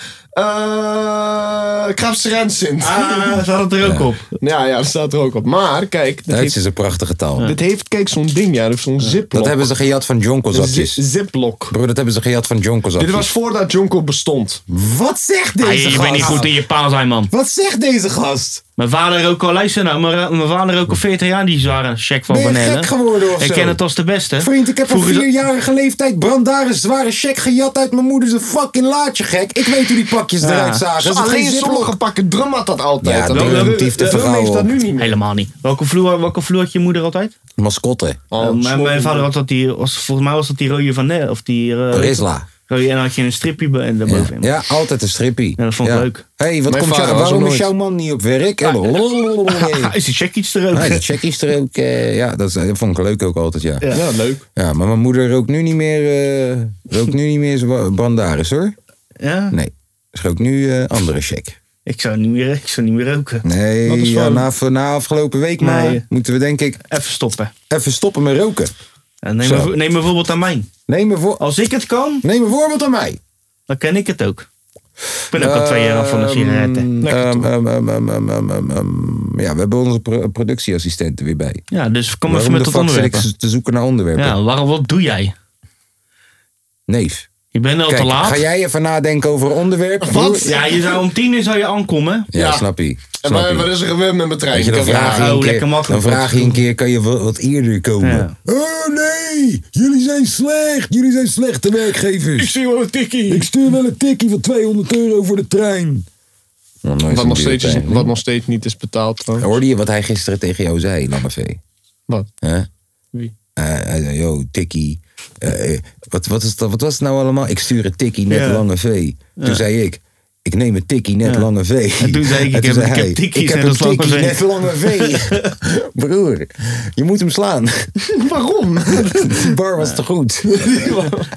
S3: eh krebserend zijn.
S2: Ah, staat het er ook op.
S3: Ja, ja, dat staat er ook op. Maar kijk, dit
S1: Duits
S3: heeft,
S1: is een prachtige taal.
S3: dit heeft kijk, zo'n ding, ja, dus zo'n ziplock.
S1: Dat hebben ze gejat van
S3: Zi-
S1: jonkozapjes.
S3: ziplock.
S1: Broer, dat hebben ze gejat van
S3: Dit
S1: jonkozapjes.
S3: was voordat Jonko bestond.
S1: Wat zegt deze
S2: Ah, je je bent niet goed in je paal zijn, man.
S1: Wat zegt deze gast?
S2: Mijn vader rook al, luister nou, mijn, mijn vader rook al 40 jaar die zware check van
S1: Ben je
S2: Van Helle.
S1: gek geworden of
S2: Ik
S1: zo?
S2: ken het als de beste.
S1: Vriend, ik heb op
S2: Vroeger zo-
S1: vierjarige leeftijd brandaren zware check gejat uit mijn moeder. Ze fucking laatje gek. Ik weet hoe die pakjes eruit zagen.
S3: Dus
S1: Ze hadden
S3: alleen
S1: geen
S3: sommige
S1: ziplock.
S3: pakken drum had dat altijd.
S1: Ja,
S3: En
S1: drum
S3: dat-
S1: heeft de
S3: dat- dat-
S1: verhaal
S3: is dat
S1: op.
S3: nu niet meer.
S2: Helemaal niet. Welke vloer, welke vloer had je moeder altijd?
S1: Mascotte.
S3: Oh,
S2: Eh, mijn,
S3: sorry,
S2: mijn vader
S3: man.
S2: had dat die, was, volgens mij was dat die rode Van Helle. Of die eh,
S1: Risla.
S2: rode, en dan had je een stripje be- en
S1: Oh, Ja.
S2: daarbovenin.
S1: ja, altijd een strippie.
S2: Ja, dat vond ik
S1: Ja.
S2: leuk.
S1: hey, wat
S3: Mijn
S1: komt
S3: vader
S1: jou,
S3: was er
S1: waarom is
S3: nooit.
S1: jouw man niet op werk? En
S2: Ah, is die check iets te roken?
S1: Hij is checkies er ook. eh, ja, dat, is- dat vond ik leuk ook altijd, ja. ja.
S3: Ja, leuk.
S1: maar mijn moeder rookt nu niet meer, eh, rookt nu niet meer zwa- brandaris hoor.
S2: Ja?
S1: Nee, ze rookt nu eh, andere check.
S2: Ik zou niet meer, ik zou niet meer roken.
S1: Nee,
S3: is
S1: ja,
S3: wel-
S1: na, na afgelopen week
S2: Nee.
S1: maar moeten we denk ik
S2: Even stoppen.
S1: even stoppen met roken.
S2: En neem,
S1: Zo.
S2: een, vo- neem een voorbeeld aan mij.
S1: Neem een, voor,
S2: Als ik het kan,
S1: neem een voorbeeld aan mij.
S2: dan ken ik het ook. Ik ben ook al twee jaar af van de
S1: Ehm,
S2: sigaretten.
S1: ehm, ehm, ehm, ehm, ehm, ehm, ehm, ehm. Ja, we hebben onze pro- productieassistent er weer bij.
S2: Ja, dus kom even
S1: Waarom
S2: met
S1: de
S2: dat
S1: fuck zit ik
S2: onderwerp.
S1: te zoeken naar onderwerpen?
S2: Ja, waarom, wat doe jij?
S1: Neef.
S2: Je bent al te
S1: Kijk,
S2: laat.
S1: ga jij even nadenken over onderwerpen?
S3: Wat?
S1: Ja,
S2: Ja, je zou om tien uur zou je aankomen.
S3: Ja.
S1: snap je.
S3: En
S1: Snap
S3: waar,
S1: je.
S3: waar is er gebeurd met mijn trein?
S1: Weet je, dan
S3: Ik heb-
S1: vraag je,
S2: oh,
S1: een keer,
S2: lekker
S1: dan
S2: makkelijk.
S1: vraag je een keer, kan je wel wat eerder komen?
S2: Ja.
S1: Oh nee, jullie zijn slecht. Jullie zijn slechte werkgevers.
S3: zie wel een tikkie.
S1: Ik stuur wel een tikkie van 200 euro voor de trein.
S3: Wat nog, steeds is, wat nog steeds niet is betaald. trouwens.
S1: Hoorde je wat hij gisteren tegen jou zei, Lammevee?
S3: Wat?
S1: Huh?
S3: Wie?
S1: Eh, hij zei, yo, tikkie. Eh, eh, wat, wat, is dat, wat was het nou allemaal? Ik stuur een tikkie, net
S2: Ja.
S1: lange V. Toen zei ik, ik neem een tikkie, net
S2: Ja.
S1: lange V.
S2: En toen zei ik, ik heb- ik heb
S1: hij,
S2: tikkies,
S1: ik heb
S2: net
S1: een
S2: als lange
S1: tikkie,
S2: V.
S1: net lange V. Broer, je moet hem slaan.
S3: Waarom?
S1: Die bar was te goed.
S2: Nee,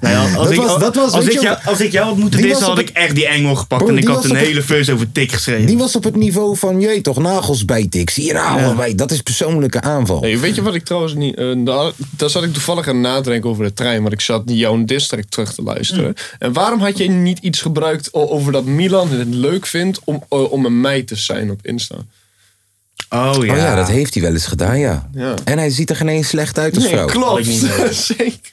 S2: Nou als
S1: Dat
S2: ik,
S1: was- dat was-
S2: als,
S1: weet
S2: ik
S1: je
S2: jou, als ik jou had moeten
S1: Die
S2: dissen,
S1: was
S2: had
S1: op
S2: ik echt die engel gepakt.
S1: Bro,
S2: en ik
S1: die
S2: had
S1: was
S2: een
S1: op-
S2: hele verse over tik geschreven.
S1: Die was op het niveau van, jee toch, nagels bijten. Ik zie je nagel bij. Dat is persoonlijke aanval.
S3: Hey, weet je wat ik trouwens niet. eh, daar, daar zat ik toevallig aan na te denken over de trein, want ik zat jouw district terug te luisteren.
S1: Mm.
S3: En waarom had je niet iets gebruikt o- over dat Milan het leuk vindt om, eh, om een meid te zijn op Insta?
S2: Oh ja.
S1: Oh ja, dat heeft hij wel eens gedaan, ja.
S3: Ja.
S1: En hij ziet er geen eens slecht uit als vrouw.
S3: klopt.
S2: ik niet
S3: Zeker.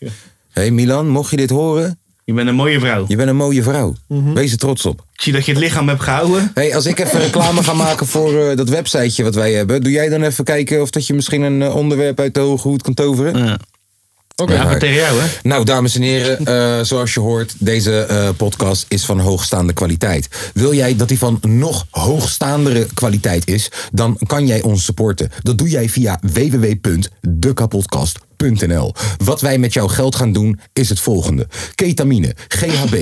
S1: Hé hey Milan, mocht je dit horen,
S2: Je bent een mooie vrouw.
S1: je bent een mooie vrouw.
S2: Mhm.
S1: Wees er trots op.
S2: Ik zie dat je het lichaam hebt gehouden.
S1: Hé, hey, als ik even reclame ga maken voor eh, dat websiteje wat wij hebben, doe jij dan even kijken of dat je misschien een eh, onderwerp uit de hoge hoed kan toveren?
S3: Oké.
S2: Ja, maar tegen jou, hè?
S1: Nou, dames en heren, eh, zoals je hoort, deze eh, podcast is van hoogstaande kwaliteit. Wil jij dat die van nog hoogstaandere kwaliteit is, dan kan jij ons supporten. Dat doe jij via www.dekapodcast.nl. Wat wij met jouw geld gaan doen, is het volgende: ketamine, GHB,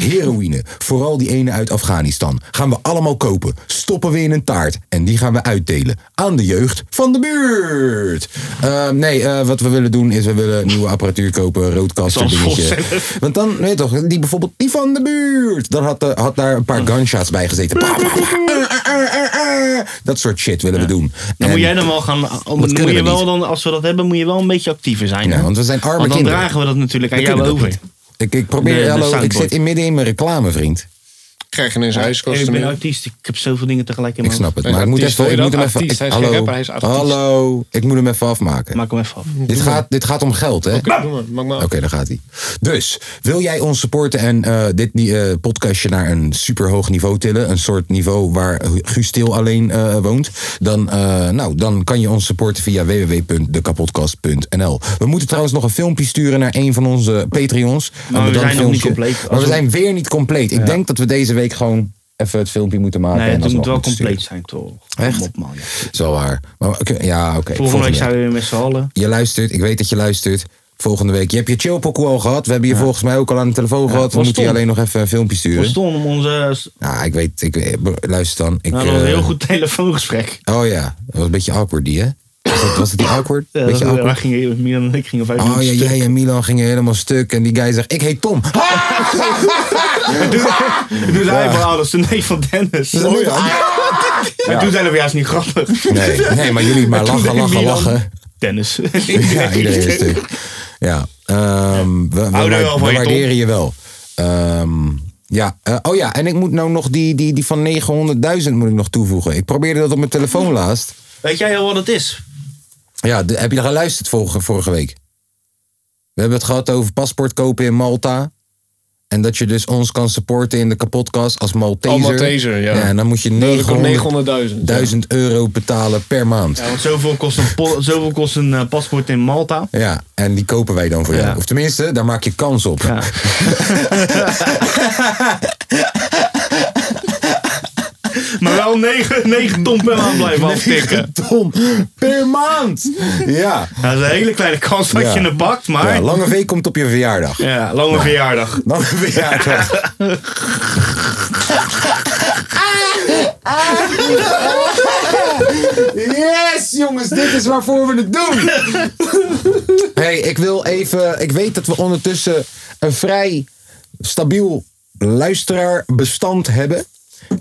S1: heroïne, vooral die ene uit Afghanistan, gaan we allemaal kopen, stoppen we in een taart en die gaan we uitdelen aan de jeugd van de buurt. Eh, nee, eh, wat we willen doen is we willen nieuwe apparatuur kopen, roodkasten,
S2: Zoals Vos
S1: dingetje. Want dan, weet je toch, die bijvoorbeeld, die van de buurt, dan had, eh, had daar een
S2: Hmm.
S1: paar gunshots bij gezeten. Pa, pa, pa, eh, eh, eh, eh. Dat soort shit willen we doen.
S2: Dan
S1: En-
S2: moet jij dan wel gaan. Dan
S1: kunnen
S2: moet
S1: we
S2: je wel
S1: niet.
S2: dan, als we dat hebben, moet je wel een beetje actiever zijn.
S1: Ja,
S2: hè?
S1: want we zijn arme
S2: Want dan
S1: kinderen.
S2: dragen we dat natuurlijk aan
S1: We
S2: jou
S1: kunnen dat
S2: over.
S1: niet. Ik, ik probeer,
S2: De- de
S1: hallo, ik
S2: soundboard.
S1: zit in midden in mijn reclame, vriend.
S3: krijg je ineens
S2: ik
S3: ijskasten
S2: ben
S3: meer.
S2: artiest, ik heb zoveel dingen tegelijk in
S1: Ik
S2: mijn
S1: snap het,
S3: Hij is
S1: maar ik moet
S3: artiest,
S1: even... Ik
S3: hoor je
S1: moet hem
S3: dat?
S1: even
S3: Artiest, hij
S1: ik-
S3: is geen
S1: hallo,
S3: rapper, hij is artiest.
S1: hallo, ik moet hem even afmaken.
S2: Maak hem even af.
S1: Dit gaat, dit gaat om geld, hè?
S3: Doe maar, maak maar
S1: Oké,
S3: af.
S1: daar gaat hij. Dus, wil jij ons supporten en eh, dit eh, podcastje naar een superhoog niveau tillen? Een soort niveau waar Guus Til alleen eh, woont? Dan, eh, nou, dan kan je ons supporten via www.dekapodcast.nl. We moeten trouwens nog een filmpje sturen naar een van onze Patreons. Een
S2: we
S1: bedankt
S2: zijn nog
S1: filmpje.
S2: niet compleet.
S1: Maar we
S2: Als we-
S1: zijn weer niet compleet. Ik denk dat we deze week gewoon even het filmpje moeten maken.
S2: Nee,
S1: en
S2: het
S1: alsnog
S2: moet wel
S1: moeten
S2: compleet
S1: sturen.
S2: zijn, toch?
S1: Echt?
S2: Kom Op, man. Ja.
S1: Dat is wel waar. Maar, oké, ja, oké.
S2: Volgende week
S1: volgende
S2: zijn we weer met z'n allen.
S1: je luistert. Ik weet dat je luistert. Volgende week. Je hebt je chillpokoe al gehad. We hebben je volgens mij ook al aan de telefoon gehad. We
S2: was
S1: moeten je
S2: stom.
S1: alleen nog even een filmpje
S2: We
S1: sturen.
S2: stonden om onze.
S1: Ja, ik weet. Ik, eh, bro, luister dan. Ik,
S2: Nou, dat was een
S1: eh,
S2: heel goed telefoongesprek.
S1: Oh ja, dat was een beetje awkward die hè? Was dat, was dat die awkward?
S2: Ja,
S1: beetje
S2: dat-
S1: awkward?
S2: wij gingen, Milan en ik gingen vijf
S1: Oh
S2: minuten
S1: ja,
S2: stuk.
S1: jij en Milan gingen helemaal stuk. En die guy zegt, ik heet Tom.
S2: Toen zei hij van, oh, dat is de neef van Dennis.
S1: Oh ja.
S2: En toen zeiden we, juist niet grappig.
S1: Nee, nee, maar jullie maar
S2: En toen
S1: lachen,
S2: deed
S1: lachen,
S2: Milan,
S1: lachen.
S2: Dennis.
S1: Ja, iedereen is stuk. Ja, ehm, we, we,
S2: Hou er wel
S1: we
S2: van je,
S1: waarderen je wel. Ehm, ja, eh, oh ja, en ik moet nou nog die, die, die van 900.000 moet ik nog toevoegen. Ik probeerde dat op mijn telefoon laatst.
S2: Weet jij al wat het is?
S1: Ja, de- heb je daar geluisterd vorige, vorige week? We hebben het gehad over paspoort kopen in Malta. En dat je dus ons kan supporten in de kapotkast als Malteser.
S3: Al Malteser, ja. Nou,
S1: En dan moet je 900.000
S3: 900.000.
S1: euro betalen per maand.
S2: Ja, want zoveel kost een, po- zoveel kost een eh, paspoort in Malta.
S1: Ja, en die kopen wij dan voor jou.
S2: Ja.
S1: Of tenminste, daar maak je kans op.
S2: Ja. Maar wel 9, 9 ton per maand blijven aftikken.
S1: Tom, per maand! Ja.
S2: Ja, dat is een hele kleine kans dat
S1: Ja.
S2: je het bakt, maar...
S1: ja,
S2: Ja,
S1: Lange V komt op je verjaardag.
S2: lange verjaardag.
S1: Lange verjaardag. Yes, jongens, dit is waarvoor we het doen. hey, ik wil even. Ik weet dat we ondertussen een vrij stabiel luisteraarbestand hebben.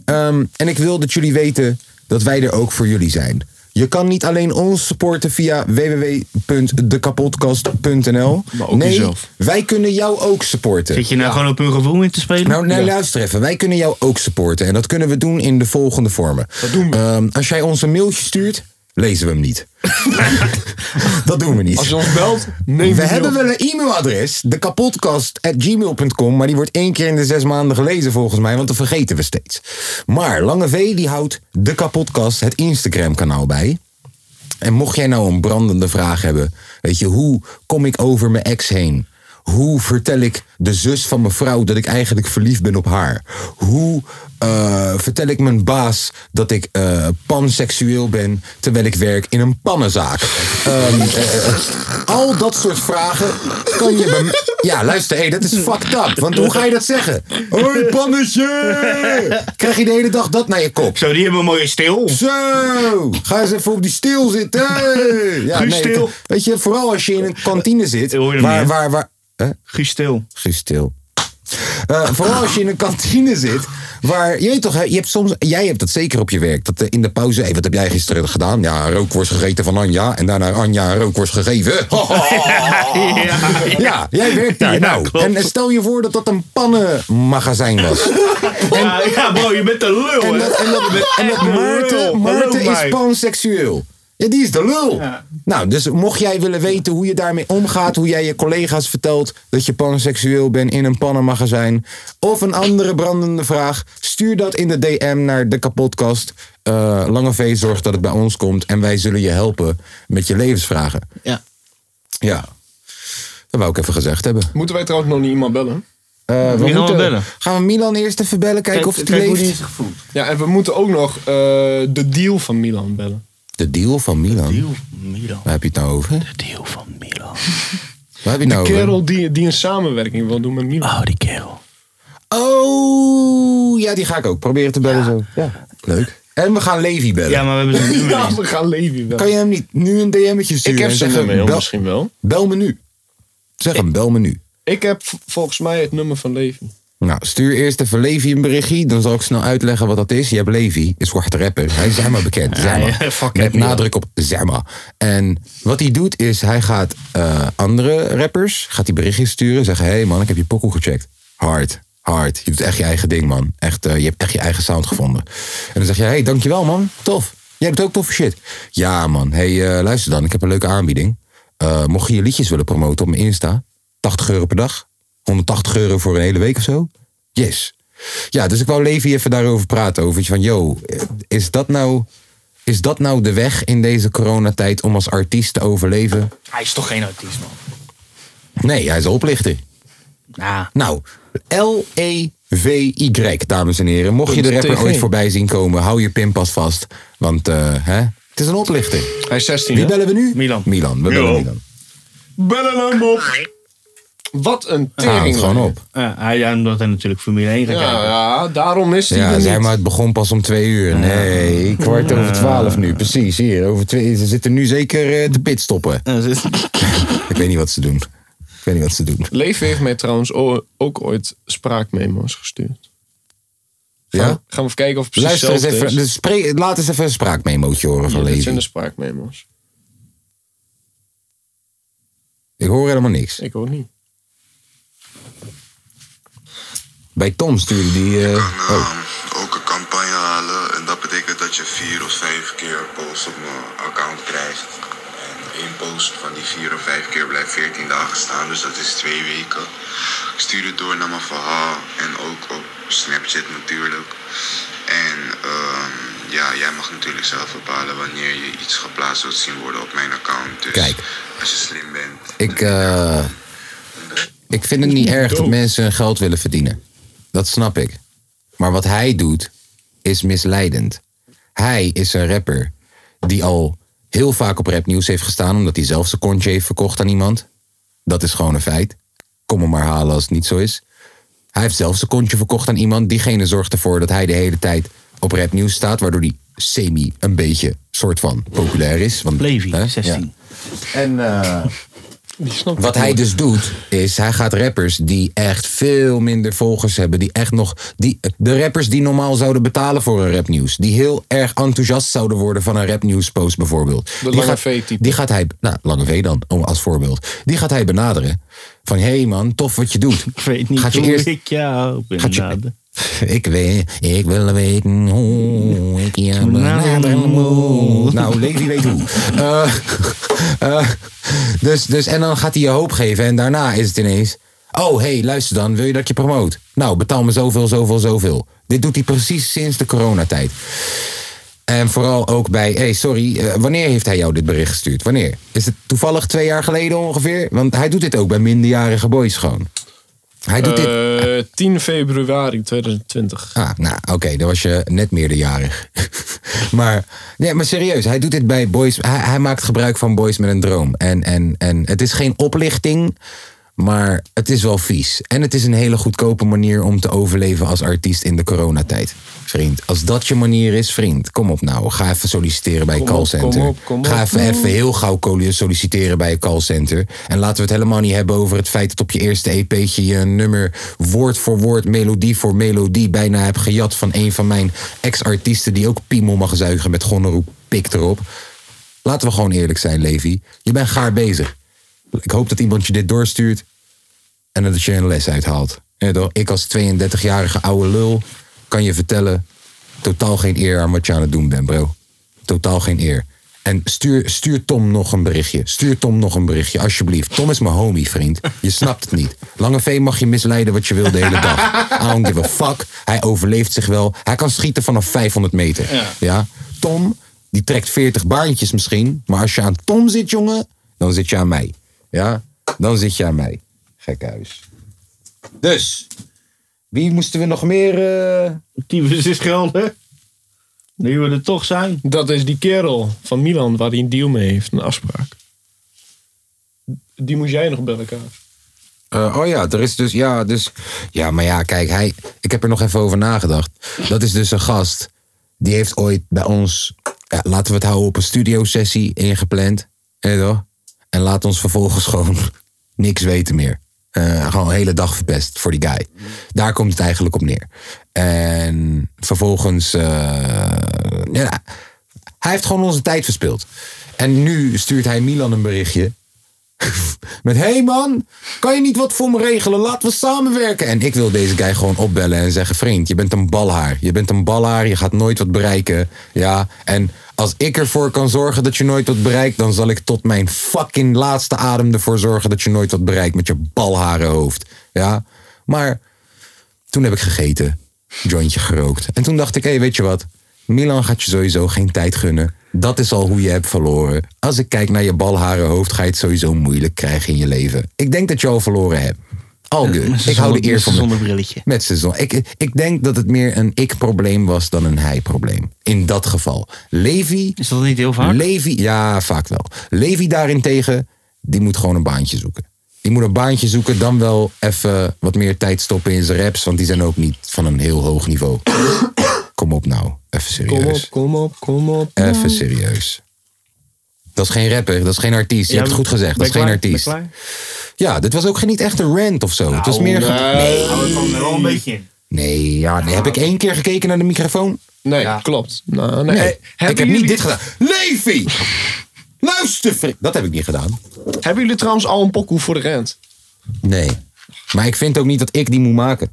S1: Ehm, en ik wil dat jullie weten dat wij er ook voor jullie zijn. Je kan niet alleen ons supporten via www.dekapodcast.nl.
S3: Maar ook
S1: nee,
S3: jezelf.
S1: wij kunnen jou ook supporten.
S2: Zit je nou gewoon op hun gevoel in te spelen?
S1: Nou, nou luister even. Wij kunnen jou ook supporten. En dat kunnen we doen in de volgende vormen. Dat doen we. als jij ons een mailtje stuurt, lezen we hem niet. dat doen we niet.
S3: Als je ons belt, neem
S1: we
S3: het
S1: hebben
S3: niet
S1: wel een e-mailadres, dekapotkast.gmail.com, maar die wordt één keer in de zes maanden gelezen volgens mij, want dat vergeten we steeds. Maar Lange V die houdt de kapotkast, het Instagram-kanaal bij. En mocht jij nou een brandende vraag hebben, weet je, hoe kom ik over mijn ex heen? Hoe vertel ik de zus van mijn vrouw dat ik eigenlijk verliefd ben op haar? Hoe eh, vertel ik mijn baas dat ik eh, panseksueel ben terwijl ik werk in een pannenzaak? Ehm, eh, eh, al dat soort vragen kan je bij mij- Ja, luister, hey, dat is fucked up. Want hoe ga je dat zeggen? Hoi, pannetje! Krijg je de hele dag dat naar je kop?
S2: Zo, die hebben een mooie stil.
S1: Zo, ga eens even op die stil zitten. Ja,
S2: Guus
S1: ik-
S2: stil.
S1: Weet je, vooral als je in een kantine zit.
S2: Hoor je hem
S1: Waar,
S2: niet,
S1: waar, waar, hè?
S2: Guus stil.
S1: Guus stil. Eh, vooral als je in een kantine zit, waar je weet toch, hè, je hebt soms, jij hebt dat zeker op je werk. Dat eh, in de pauze, hey, wat heb jij gisteren gedaan? Ja, rookworst gegeten van Anja en daarna Anja een rookworst gegeven.
S2: Ja.
S1: Ja, jij werkt daar.
S2: Ja,
S1: nou,
S2: klopt.
S1: en eh, stel je voor dat dat een pannenmagazijn was.
S2: Ja, ja, bro, je bent een lul,
S1: En
S2: hè?
S1: dat, en dat, en dat
S2: Echt een lul.
S1: Maarten, Maarten
S2: Hallo,
S1: is
S2: Mike.
S1: panseksueel. Ja, die is de lul.
S2: Ja.
S1: Nou, dus mocht jij willen weten hoe je daarmee omgaat, hoe jij je collega's vertelt dat je panseksueel bent in een pannenmagazijn, of een andere brandende vraag, stuur dat in de DM naar de kapotkast. Eh, Lange V zorgt dat het bij ons komt en wij zullen je helpen met je levensvragen.
S2: Ja.
S1: Ja, dat wou ik even gezegd hebben.
S3: Moeten wij trouwens nog niet iemand bellen?
S1: Eh, we
S2: gaan we
S1: moeten-
S2: bellen?
S1: Gaan we Milan eerst even bellen, kijken of het leeft?
S2: zich voelt.
S3: Ja, en we moeten ook nog eh, de deal van Milan bellen.
S1: De deal van Milan.
S2: Deal van Milan.
S1: Waar heb je het nou over?
S2: Deal van Milan.
S1: Waar heb je het nou over?
S3: Kerel die, die een samenwerking wil doen met Milan.
S1: Ah,
S2: Oh, die kerel.
S1: Oh, ja, die ga ik ook. Proberen te bellen zo. Ja. Leuk. En we gaan Levi bellen.
S2: Ja, maar we hebben zijn nummer
S3: Ja,
S2: niet.
S3: we gaan Levi bellen.
S1: Kan je hem niet nu een DM'tje
S3: Ik
S1: sturen?
S3: heb
S1: en
S3: zijn
S1: zeggen,
S3: nummer heel
S1: bel,
S3: misschien wel.
S1: bel me nu. Zeg hem, bel me nu.
S3: Ik heb v- volgens mij het nummer van Levi.
S1: Nou, stuur eerst even Levi een berichtje. Dan zal ik snel uitleggen wat dat is. Je hebt Levi, is zwarte rapper. Hij is Zemma bekend. Zemma.
S2: ja, fuck
S1: Met
S2: hem, joh.
S1: nadruk op Zemma. En wat hij doet is, hij gaat eh, andere rappers gaat die berichtjes sturen. Zeggen, hé hey man, ik heb je pokoe gecheckt. Hard. Hard. Je doet echt je eigen ding, man. Echt, eh, je hebt echt je eigen sound gevonden. En dan zeg je, hey, dankjewel, man. Tof. Jij hebt ook toffe shit. Ja, man. Hey, eh, luister dan. Ik heb een leuke aanbieding. Eh, mocht je je liedjes willen promoten op mijn Insta, 80 euro per dag. 180 euro voor een hele week of zo. Yes. Ja, dus ik wou Levi even daarover praten. Over iets van, yo, eh, is dat nou... Is dat nou de weg in deze coronatijd om als artiest te overleven?
S5: Hij is toch geen artiest, man.
S1: Nee, hij is een oplichter.
S5: Nou,
S1: Nou, L-E-V-Y, dames en heren. Mocht je de rapper
S3: TV.
S1: ooit voorbij zien komen, hou je pinpas vast. Want eh, hè, het is een oplichter.
S3: Hij is 16,
S1: Wie
S3: hè?
S1: bellen we nu?
S2: Milan.
S1: Milan, we bellen
S3: Milan.
S1: Milan.
S3: Bellen hem op! Wat een
S1: Hij
S3: tering.
S1: hangt gewoon op.
S2: Ja, hij, ja, omdat hij natuurlijk Formule 1 gaat
S3: Ja,
S2: kijken.
S3: ja, daarom is hij
S1: Ja,
S3: er
S1: zeg
S3: niet.
S1: maar, het begon pas om twee uur. Nee, kwart over twaalf nu, precies. Hier, over twee, ze zitten nu zeker eh, te pitstoppen.
S2: Ja, dat is-
S1: Ik weet niet wat ze doen. Ik weet niet wat ze doen.
S3: Leven heeft mij trouwens o- ook ooit spraakmemo's gestuurd. Gaan,
S1: Ja?
S3: gaan we even kijken of het precies
S1: Luister eens
S3: hetzelfde
S1: even,
S3: is.
S1: dus spreek, laat eens even een spraakmemootje horen van
S3: Ja, dit zijn dus-
S1: Levi.
S3: de spraakmemo's.
S1: Ik hoor helemaal niks.
S3: Ik ook niet.
S1: Bij Tom stuurde die... eh,
S6: kan
S1: oh.
S6: eh, ook een campagne halen. En dat betekent dat je vier of vijf keer posts op mijn account krijgt. En één post van die vier of vijf keer blijft 14 dagen staan. Dus dat is twee weken. Ik stuur het door naar mijn verhaal. En ook op Snapchat natuurlijk. En ehm, ja, jij mag natuurlijk zelf bepalen wanneer je iets geplaatst wilt zien worden op mijn account. Dus
S1: Kijk.
S6: als je slim bent.
S1: Ik, eh, ik vind het niet erg dat mensen hun geld willen verdienen. Dat snap ik. Maar wat hij doet, is misleidend. Hij is een rapper die al heel vaak op rapnieuws heeft gestaan... omdat hij zelf zijn kontje heeft verkocht aan iemand. Dat is gewoon een feit. Kom hem maar halen als het niet zo is. Hij heeft zelf zijn kontje verkocht aan iemand. Diegene zorgt ervoor dat hij de hele tijd op rapnieuws staat... waardoor hij semi een beetje soort van populair is. Want, hè?
S2: Levi,
S1: Ja.
S2: 16.
S1: Wat hij dus doet, is hij gaat rappers die echt veel minder volgers hebben. Die echt nog. Die, de rappers die normaal zouden betalen voor een rapnieuws. Die heel erg enthousiast zouden worden van een rapnieuwspost bijvoorbeeld. die
S3: Lange
S1: gaat,
S3: V-type.
S1: Die gaat hij. Nou, Lange V dan, om- als voorbeeld. Die gaat hij benaderen. Van hé hey man, tof wat je doet.
S2: Ik weet niet
S1: gaat je
S2: hoe
S1: eerst,
S2: ik jou
S1: Gaat je-
S2: benade.
S1: ik, weet, ik wil weten hoe ik je benaderen moet. Nou, Levi weet hoe. Eh, eh, dus, dus, en dan gaat hij je hoop geven en daarna is het ineens... Oh, hey, luister dan, wil je dat ik je promoot? Nou, betaal me zoveel, zoveel, zoveel. Dit doet hij precies sinds de coronatijd. En vooral ook bij, hey, sorry, eh, wanneer heeft hij jou dit bericht gestuurd? Wanneer? Is het toevallig twee jaar geleden ongeveer? Want hij doet dit ook bij minderjarige boys gewoon. Hij doet dit
S3: Eh, 10 februari 2020.
S1: Ah, nou, oké, dan was je net meerderjarig. maar, nee, maar serieus, hij doet dit bij Boys. Hij, hij maakt gebruik van Boys met een Droom. En, en, en het is geen oplichting, maar het is wel vies. En het is een hele goedkope manier om te overleven als artiest in de coronatijd. Vriend, als dat je manier is, vriend, kom op nou. Ga even solliciteren bij een
S3: Kom op,
S1: callcenter.
S3: kom op, kom
S1: Ga
S3: op.
S1: even, even heel gauw call- solliciteren bij een callcenter. En laten we het helemaal niet hebben over het feit dat op je eerste EP'tje je een nummer woord voor woord, melodie voor melodie bijna hebt gejat van een van mijn ex-artiesten die ook piemel mag zuigen met Gonneroe pik erop. Laten we gewoon eerlijk zijn, Levi. Je bent gaar bezig. Ik hoop dat iemand je dit doorstuurt en dat je een les uithaalt. Ja, toch? Ik als 32-jarige oude lul kan je vertellen... totaal geen eer aan wat je aan het doen bent, bro. Totaal geen eer. En stuur, stuur Tom nog een berichtje. Stuur Tom nog een berichtje, alsjeblieft. Tom is mijn homie, vriend. Je snapt het niet. Lange V mag je misleiden wat je wil de hele dag. I don't give a fuck. Hij overleeft zich wel. Hij kan schieten vanaf 500 meter. Ja. Tom, die trekt 40 baantjes misschien. Maar als je aan Tom zit, jongen, dan zit je aan mij. Ja? Dan zit je aan mij. Gekhuis. Dus, wie moesten we nog meer... eh,
S2: Tyfus is gelden. Nu we er toch zijn.
S3: Dat is die kerel van Milan waar hij een deal mee heeft, een afspraak. Die moest jij nog bellen, Kaas.
S1: Eh, oh ja, er is dus ja, dus ja, maar ja, kijk, hij, ik heb er nog even over nagedacht. Dat is dus een gast die heeft ooit bij ons, ja, laten we het houden op een studiosessie ingepland, hè toch? En laat ons vervolgens gewoon niks weten meer. Eh, gewoon een hele dag verpest voor die guy. Daar komt het eigenlijk op neer. En vervolgens, eh, ja, hij heeft gewoon onze tijd verspild. En nu stuurt hij Milan een berichtje Met, hé hey man, kan je niet wat voor me regelen? Laten we samenwerken. En ik wil deze guy gewoon opbellen en zeggen, vriend, je bent een balhaar. Je bent een balhaar, je gaat nooit wat bereiken. Ja, en als ik ervoor kan zorgen dat je nooit wat bereikt, dan zal ik tot mijn fucking laatste adem ervoor zorgen dat je nooit wat bereikt met je balharenhoofd. Ja, maar toen heb ik gegeten, jointje gerookt. En toen dacht ik, hé, weet je wat? Milan gaat je sowieso geen tijd gunnen. Dat is al hoe je hebt verloren. Als ik kijk naar je balharen hoofd, ga je het sowieso moeilijk krijgen in je leven. Ik denk dat je al verloren hebt. Al good. Ik hou de eer van
S2: Zonder
S1: me.
S2: brilletje.
S1: Met z'n zon. Ik, ik denk dat het meer een ik-probleem was dan een hij-probleem. In dat geval. Levi
S2: Is dat niet heel vaak?
S1: Levi, ja, vaak wel. Levi daarentegen, die moet gewoon een baantje zoeken. Die moet een baantje zoeken, dan wel even wat meer tijd stoppen in zijn raps, want die zijn ook niet van een heel hoog niveau. kom op nou, even
S3: Kom op,
S1: serieus.
S3: kom op, kom op.
S1: Even serieus. Dat is geen rapper, dat is geen artiest. Je hebt het goed gezegd, dat is geen artiest. Ja, dit was ook geen- niet echt een rant of zo. het
S2: Nou,
S1: was meer. ge-
S3: Nee,
S5: het kwam er wel een beetje in.
S1: Nee, ja, nee. heb ik één keer gekeken naar de microfoon?
S3: nee klopt. Nou, nee.
S1: Nee, ik heb
S3: hebben,
S1: niet
S3: jullie,
S1: dit gedaan. Levi! Luister, vriend. Dat heb ik niet gedaan.
S3: hebben jullie trouwens al een pokoe voor de rent?
S1: Nee. Maar ik vind ook niet dat ik die moet maken.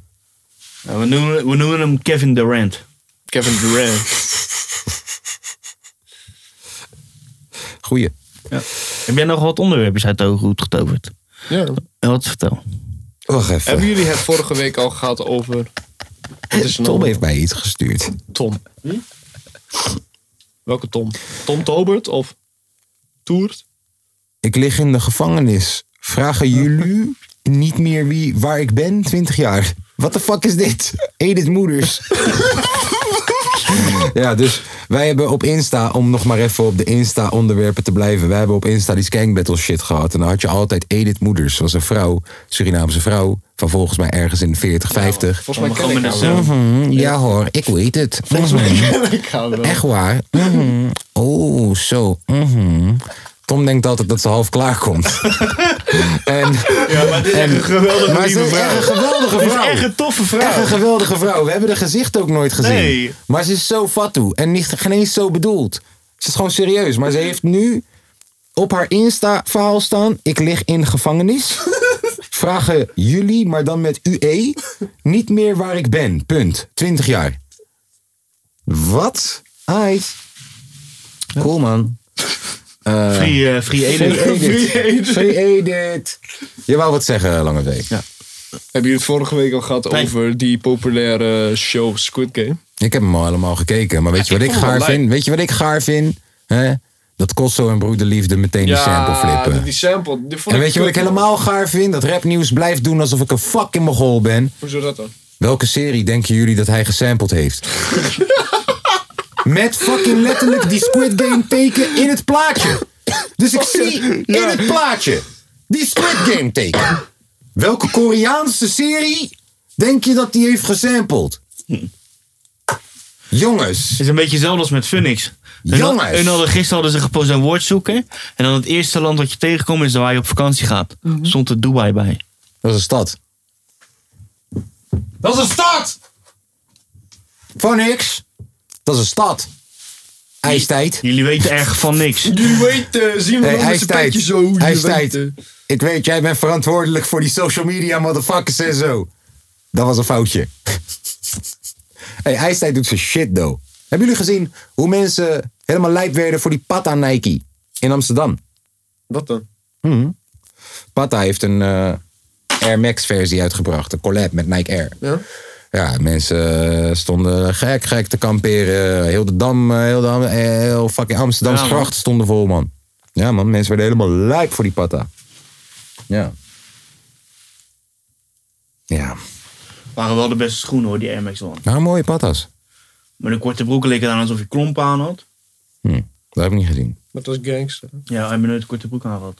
S2: Nou, we, noemen, we noemen hem Kevin Durant.
S3: Kevin Durant.
S1: Goeie.
S2: Heb jij nog wat onderwerpjes uit de hoge hoed getoverd?
S3: ja.
S2: En wat vertel?
S1: Wacht even.
S3: Hebben jullie het vorige week al gehad over... Wat is er nou?
S1: Tom heeft mij iets gestuurd.
S3: Tom. Welke Tom? Tom Tobert of Toert?
S1: Ik lig in de gevangenis. Vragen jullie niet meer wie, waar ik ben? 20 jaar. Wat de fuck is dit? Edith Moeders. ja, dus wij hebben op Insta, om nog maar even op de Insta-onderwerpen te blijven. Wij hebben op Insta die skank battle shit gehad. En dan had je altijd Edith Moeders. was een vrouw, Surinaamse vrouw. Van volgens mij ergens in 40, 50.
S3: Volgens mij ken ik haar wel.
S1: Mhm, ja hoor, ik weet het. Mhm.
S3: Ken ik haar wel.
S1: Echt waar? Mhm. Oh, zo. Mhm. Tom denkt altijd dat ze half klaar komt. en,
S2: Ja, maar dit is echt een geweldige
S1: maar ze is echt een geweldige
S2: Dit is
S1: vrouw.
S2: echt een toffe
S1: Echt
S2: vrouw.
S1: een geweldige vrouw. We hebben haar gezicht ook nooit gezien.
S2: Nee.
S1: Maar ze is zo fatsoen en niet, geen eens zo bedoeld. Ze is gewoon serieus. Maar ze heeft nu op haar Insta-verhaal staan... Ik lig in gevangenis. Vragen jullie, maar dan met UE... Niet meer waar ik ben. Punt. 20 jaar. Wat? Hi. Cool, man.
S2: Free, eh, free Eden.
S1: Free
S2: E
S1: Edit. Free Edit. E Je wou wat zeggen, Lange V.
S3: Hebben jullie het vorige week al gehad over die populaire show Squid Game?
S1: Ik heb hem al helemaal gekeken, maar weet je wat ik
S3: vond hem
S1: gaar
S3: wel leuk.
S1: vind? Weet je wat ik gaar vind? Hè? Dat Kosso en Broederliefde meteen die sample flippen.
S3: die sample. Die vond
S1: En weet je wat ik helemaal gaar vind? Dat rapnieuws blijft doen alsof ik een fucking mogol ben.
S3: Hoezo dat dan?
S1: Welke serie denken jullie dat hij gesampled heeft? Met fucking letterlijk die Squid Game teken in het plaatje. Dus ik zie in het plaatje die Squid Game teken. Welke Koreaanse serie denk je dat die heeft gesampled? Jongens.
S2: Het is een beetje hetzelfde als met Phoenix. Hun
S1: Jongens.
S2: hun hadden, gisteren hadden ze gepost een woordzoeker. En dan het eerste land wat je tegenkomt is waar je op vakantie gaat. Stond er Dubai bij.
S1: Dat is een stad. Dat is een stad! Van niks. Dat is een stad. IJstijd.
S2: Jullie weten erg van niks.
S3: Jullie weten, zien we
S1: Hey,
S3: wel met z'n
S1: ijstijd.
S3: petje zo. jullie
S1: IJstijd.
S3: weten.
S1: Ik weet, jij bent verantwoordelijk voor die social media motherfuckers en zo. Dat was een foutje. hey, IJstijd doet zijn shit, though. Hebben jullie gezien hoe mensen helemaal lijp werden voor die Pata Nike in Amsterdam?
S3: Wat dan?
S1: Pata heeft een eh, Air Max versie uitgebracht. Een collab met Nike Air.
S3: Ja?
S1: Ja, mensen eh, stonden gek, gek te kamperen. Heel de Dam, eh, heel, de, Am- eh, heel fucking Amsterdamse
S2: Ja, man.
S1: grachten stonden vol, man. Ja, man, mensen werden helemaal lijp voor die patta. Ja. Ja.
S2: Waren wel de beste schoenen hoor, die Air Max One.
S1: Nou, mooie patas.
S2: Maar de korte broeken leken aan alsof je klompen aan had.
S1: Hm, dat heb ik niet gezien.
S3: Maar dat is gangster.
S2: Ja, hij heeft nooit de korte broek aan gehad.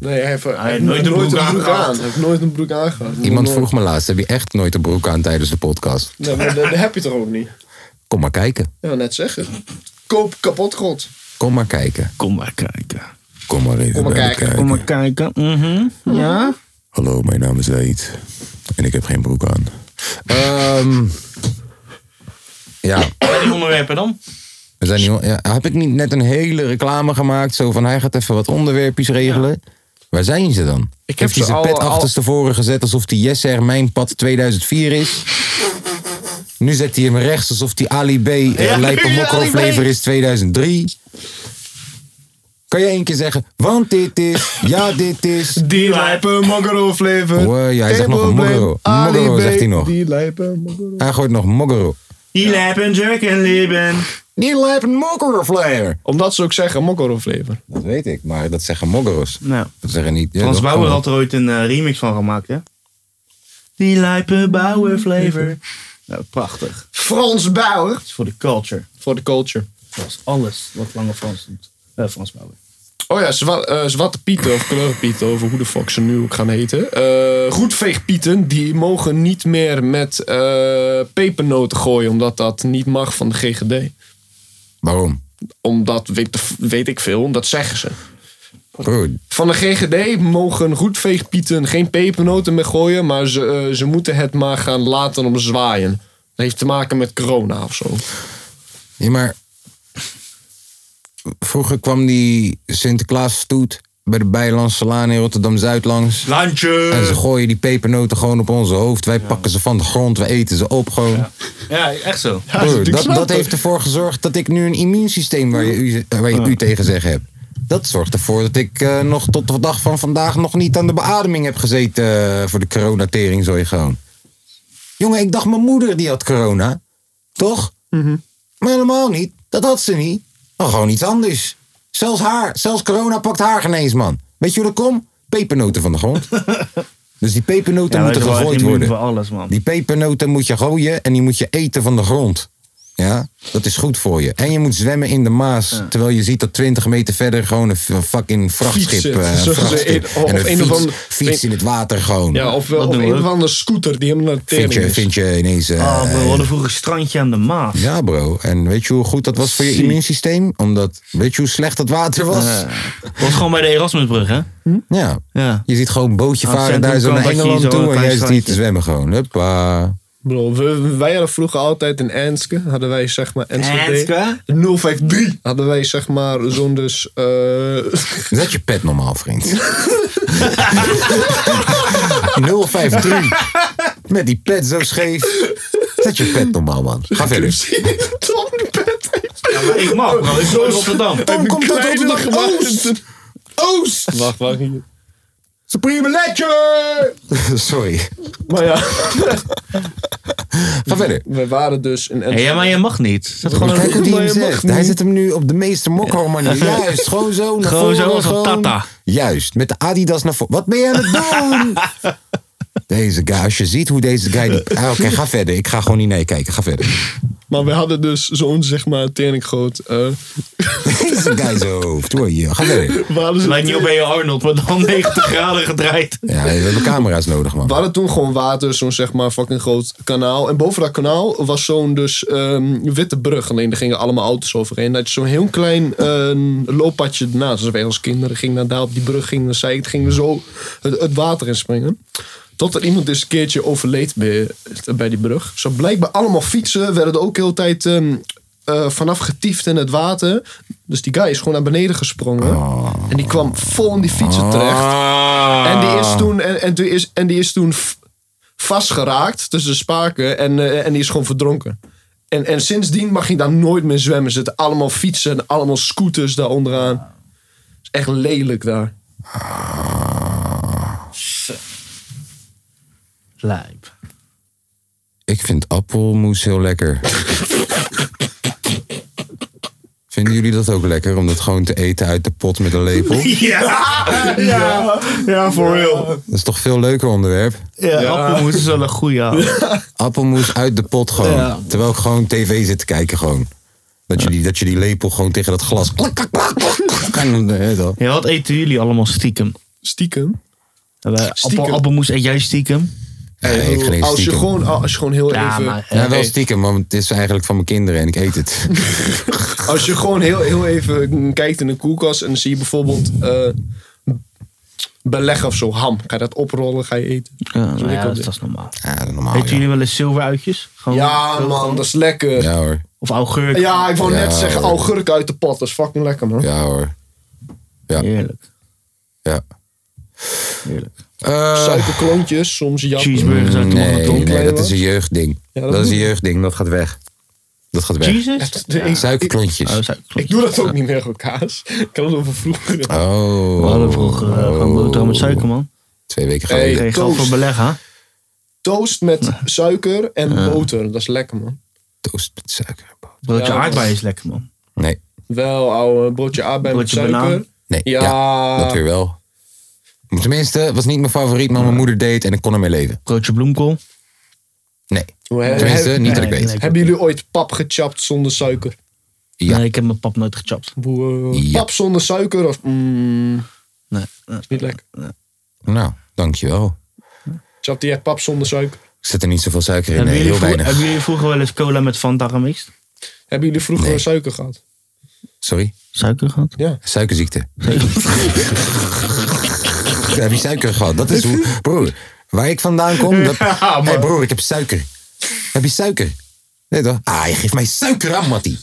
S3: Nee, hij heeft, hij
S2: nooit
S3: heeft
S2: een
S3: nooit, een
S2: broek
S3: broek,
S2: aangehad.
S3: aan. Hij heeft nooit een broek aangehad.
S1: Iemand
S3: Nooit.
S1: vroeg me laatst, heb je echt nooit een broek aan tijdens de podcast?
S3: Nee, maar dat, dat heb je toch ook niet?
S1: Kom maar kijken.
S3: Ja, net zeggen. Koop kapot god.
S1: Kom maar kijken.
S2: Kom maar kijken.
S1: Kom maar even
S3: Kom maar
S1: bij me
S3: kijken.
S2: Kom maar kijken. Mhm. Ja?
S1: Hallo, mijn naam is Leid. En ik heb geen broek aan. Ehm ja.
S2: Bij die onderwerpen dan?
S1: We zijn niet, ja, heb ik niet net een hele reclame gemaakt? Zo van hij gaat even wat onderwerpjes regelen. Waar zijn ze dan?
S3: heb
S1: Heeft hij
S3: ze
S1: zijn
S3: al-
S1: pet
S3: al-
S1: achterstevoren gezet alsof die Yes er mijn pad 2004 is? Nu zet hij hem rechts alsof die Ali B eh,
S2: Ja,
S1: Lijpe
S2: ja,
S1: Mokro
S2: Ali B.
S1: flavor is 2003. Kan je één keer zeggen, want dit is, ja dit is.
S3: Die lijpe mokro flavor.
S1: Oh, ja, hij zegt nog een mokro. Mokro zegt hij nog. Hij gooit nog mokro.
S2: Die lijpen, jerken, lippen.
S1: Die lijpe mokro flavor.
S3: Omdat ze ook zeggen mokro flavor.
S1: Dat weet ik, maar dat zeggen mokro's.
S2: Nou,
S1: Dat zeggen niet. Ja, Oh,
S2: Frans
S1: dat
S2: Bauer
S1: kan
S2: had er ooit een eh, remix van gemaakt, hè? Die lijpen Bauer flavor. Nou, prachtig. Het
S3: Frans Bauer.
S2: is voor de culture.
S3: Voor de culture.
S2: Dat is alles wat Lange Frans doet. Eh, Frans Bauer.
S3: Oh ja, zwa eh, Zwarte Pieten of Kleurenpieten, over hoe de fuck ze nu ook gaan heten. Eh roetveegpieten, die mogen niet meer met eh, pepernoten gooien, omdat dat niet mag van de GGD.
S1: Waarom?
S3: Omdat, weet, de f- weet ik veel, dat zeggen ze.
S1: Bro,
S3: Van de GGD mogen roetveegpieten geen pepernoten meer gooien, maar ze, eh, ze moeten het maar gaan laten om zwaaien. Dat heeft te maken met corona of zo.
S1: ja, maar vroeger kwam die Sinterklaas stoet bij de Bijlandse Laan in Rotterdam-Zuid langs. En
S2: Landje!
S1: ze gooien die pepernoten gewoon op onze hoofd. Wij pakken ze van de grond, we eten ze op gewoon.
S2: Ja, echt zo.
S1: Broer,
S3: natuurlijk
S1: dat,
S3: snap
S1: dat
S3: ik.
S1: heeft ervoor gezorgd dat ik nu een immuunsysteem waar je, u, waar
S3: Ah.
S1: je u tegen zeggen hebt. Dat zorgt ervoor dat ik eh, nog tot de dag van vandaag nog niet aan de beademing heb gezeten eh, voor de coronatering, zo je gewoon. Jongen, ik dacht mijn moeder die had corona. Toch?
S3: Mhm.
S1: Maar helemaal niet. Dat had ze niet. Maar gewoon iets anders. Zelfs haar, zelfs corona pakt haar genees, man. Weet je hoe dat komt? Pepernoten van de grond. dus die pepernoten moeten gegooid worden.
S2: voor alles, man.
S1: Die pepernoten moet je gooien en die moet je eten van de grond. Ja, dat is goed voor je. En je moet zwemmen in de Maas. Terwijl je ziet dat 20 meter verder gewoon een f- een fucking
S3: Fiets
S1: vrachtschip.
S3: zit.
S1: eh, een
S3: Zo- zo-
S1: vrachtschip
S3: een- of
S1: en een
S3: een of
S1: fiets,
S3: ander-
S1: fiets in het water gewoon.
S3: Ja, of, wel-
S2: Wat
S3: of
S2: doen we?
S3: een of andere scooter die helemaal naar de tering
S1: vind, je,
S3: is.
S1: vind je ineens. eh,
S2: Ah, bro, we hadden vroeger een strandje aan de Maas.
S1: ja, bro. En weet je hoe goed dat was voor je
S2: Zie.
S1: immuunsysteem? Omdat, weet je hoe slecht dat water was?
S2: Eh, Dat was gewoon bij de Erasmusbrug, hè?
S1: Ja.
S2: Ja.
S1: Je ziet gewoon een bootje
S2: Aan het
S1: varen daar zo
S2: centrum
S1: naar
S2: kan dat je
S1: Engeland
S2: zo
S1: toe.
S2: een
S1: En
S2: klein
S1: jij zit hier te
S2: strandje.
S1: zwemmen gewoon. Huppa.
S3: Bro, we- wij hadden vroeger altijd in Enske, hadden wij zeg maar Enschede.
S2: Enske?
S3: 053 hadden wij zeg maar zo'n dus... eh,
S1: Zet je pet normaal, vriend. 053. Met die pet zo scheef. Zet je pet normaal, man. Ga verder.
S3: Tom de Pet.
S2: Ik mag, bro. Ik ben in Rotterdam.
S3: Een
S1: komt uit
S3: kleine
S1: Rotterdam
S3: gemaakt.
S1: Oost!
S3: Wacht, wacht. hier.
S1: Supreme Ledger! Sorry.
S3: Maar ja,
S1: Ga verder.
S3: we waren dus in Enschede.
S2: Ja, maar je mag niet. Zet gewoon
S1: Kijk
S2: een...
S1: hoe die hem
S3: Maar je mag
S1: zegt.
S3: niet.
S1: Hij zet hem nu op de meeste mokro manier. Juist, gewoon zo naar
S2: Gewoon zo
S1: voren,
S2: als een
S1: gewoon.
S2: tata.
S1: Juist, met de Adidas naar voren. Wat ben je aan het doen? Deze guy, als je ziet hoe deze guy... die- Ah, Oké, ga verder. Ik ga gewoon niet meekijken. Ga verder.
S3: Maar we hadden dus zo'n zeg maar tering groot... eh,
S1: Deze guy zo hoofd. Hoor hier, ga verder.
S3: we hadden
S2: Het
S3: zo'n
S2: lijkt niet op
S3: tering-
S2: bij Arnold, maar dan 90 graden gedraaid.
S1: Ja, we hebben camera's nodig, man.
S3: we hadden toen gewoon water, zo'n zeg maar fucking groot kanaal. En boven dat kanaal was zo'n dus ehm, witte brug. Alleen daar gingen allemaal auto's overheen. Dat je zo'n heel klein ehm, looppadje ernaast. Dus wij als kinderen gingen naar daar op die brug, gingen naar zij, gingen we zo het, het water inspringen. Tot er iemand dus een keertje overleed bij, bij die brug. Zo blijkbaar allemaal fietsen werden er ook heel de tijd ehm, eh, vanaf getiefd in het water. Dus die guy is gewoon naar beneden gesprongen. En die kwam vol in die fietsen terecht. En die
S1: Ah.
S3: is toen, en, en, toen is, en die is toen v- vastgeraakt tussen de spaken en, eh, en die is gewoon verdronken. En, en sindsdien mag je daar nooit meer zwemmen. Er zitten allemaal fietsen en allemaal scooters daar onderaan. is echt lelijk daar.
S2: Lijp.
S1: Ik vind appelmoes heel lekker. Vinden jullie dat ook lekker? Om dat gewoon te eten uit de pot met een lepel?
S2: Ja, for real.
S1: Dat is toch veel leuker onderwerp?
S2: Ja, appelmoes is wel een goeie. ja.
S1: Appelmoes uit de pot gewoon. Terwijl ik gewoon tv zit te kijken gewoon. Dat je, die, dat je die lepel gewoon tegen dat glas... Klak, klak, klak, klak. En dan, eh, zo.
S2: Ja, wat eten jullie allemaal stiekem?
S3: Stiekem.
S2: Eh,
S3: Stiekem.
S2: Appel, appelmoes eet jij stiekem?
S1: Nee, ik geen
S3: als, je
S1: stiekem.
S3: gewoon, als je gewoon heel even...
S1: Ja, wel stiekem, want het is eigenlijk van mijn kinderen en ik eet het.
S3: Als je gewoon heel, heel even kijkt in de koelkast en dan zie je bijvoorbeeld eh, beleg of zo, ham. Ga je dat oprollen, ga je eten.
S2: Ja,
S3: Zo
S2: maar ja,
S3: lekker.
S2: dat is dat is normaal.
S1: Ja, dat is normaal.
S2: Eten
S1: ja.
S2: jullie wel eens zilveruitjes? Gewoon-
S3: Ja man, dat is lekker.
S1: Ja hoor,
S2: Of augurk?
S3: Ja, ik wou
S1: Ja,
S3: net zeggen,
S1: hoor.
S3: augurk uit de pot. Dat is fucking lekker, man.
S1: ja Eh, hoor.
S2: Heerlijk.
S1: Ja.
S3: Suikerklontjes, soms jappen.
S2: Eh, Cheeseburgers uit de
S1: Nee,
S2: marathon.
S1: nee, dat
S3: was.
S1: is een jeugdding.
S3: Ja,
S1: dat
S3: dat
S1: is
S3: moet.
S1: een jeugdding, dat gaat weg. Dat gaat weg.
S2: Jesus?
S3: Ik-
S1: Suikerklontjes.
S2: Oh, zou
S3: Ik doe dat ook niet meer gewoon kaas. Ik kan het over vroeger.
S1: Oh.
S2: We hadden vroeger eh, gewoon boterham met suiker, man.
S1: Twee weken
S3: Hey.
S1: geleden.
S2: Kreeg je geld voor
S3: toast.
S2: beleg, hè?
S3: Toast met suiker en boter. Dat is lekker, man.
S1: Toast met suiker.
S2: Broodje
S3: Ja,
S2: aardbeien is lekker, man.
S1: Nee.
S3: Wel, ouwe. Broodje aardbeien met
S2: Broodje
S3: suiker.
S2: banaan.
S1: Nee. Ja.
S3: Ja.
S1: dat weer wel. Tenminste, was niet mijn favoriet, maar mijn moeder deed en ik kon ermee leven.
S2: Broodje bloemkool.
S1: Nee.
S3: Hoe he-
S1: Tenminste,
S3: heb-
S1: niet dat ik
S2: nee,
S1: weet.
S2: nee.
S3: Hebben jullie ooit pap gechapt zonder suiker?
S1: Ja.
S2: Nee, ik heb mijn pap nooit gechapt.
S3: Boe, eh,
S1: Ja.
S3: Pap zonder suiker of... Mm,
S2: Nee. nee.
S3: niet lekker.
S1: Nou, dankjewel.
S3: Chapte jij pap zonder suiker?
S1: Ik zet er niet zoveel suiker in.
S2: hebben,
S1: Nee,
S2: jullie
S1: heel
S2: vroeger,
S1: weinig.
S2: hebben jullie vroeger wel eens cola met Fanta gemixt?
S3: Hebben jullie vroeger
S1: Nee.
S3: suiker gehad?
S1: Sorry?
S2: Suiker gehad?
S1: Suikerziekte. Ja, heb je suiker gehad? Dat is hoe. Broer, waar ik vandaan kom. Dat... hey broer, ik heb suiker. Heb je suiker? Nee toch? Ah, je geeft mij suiker aan, Mattie.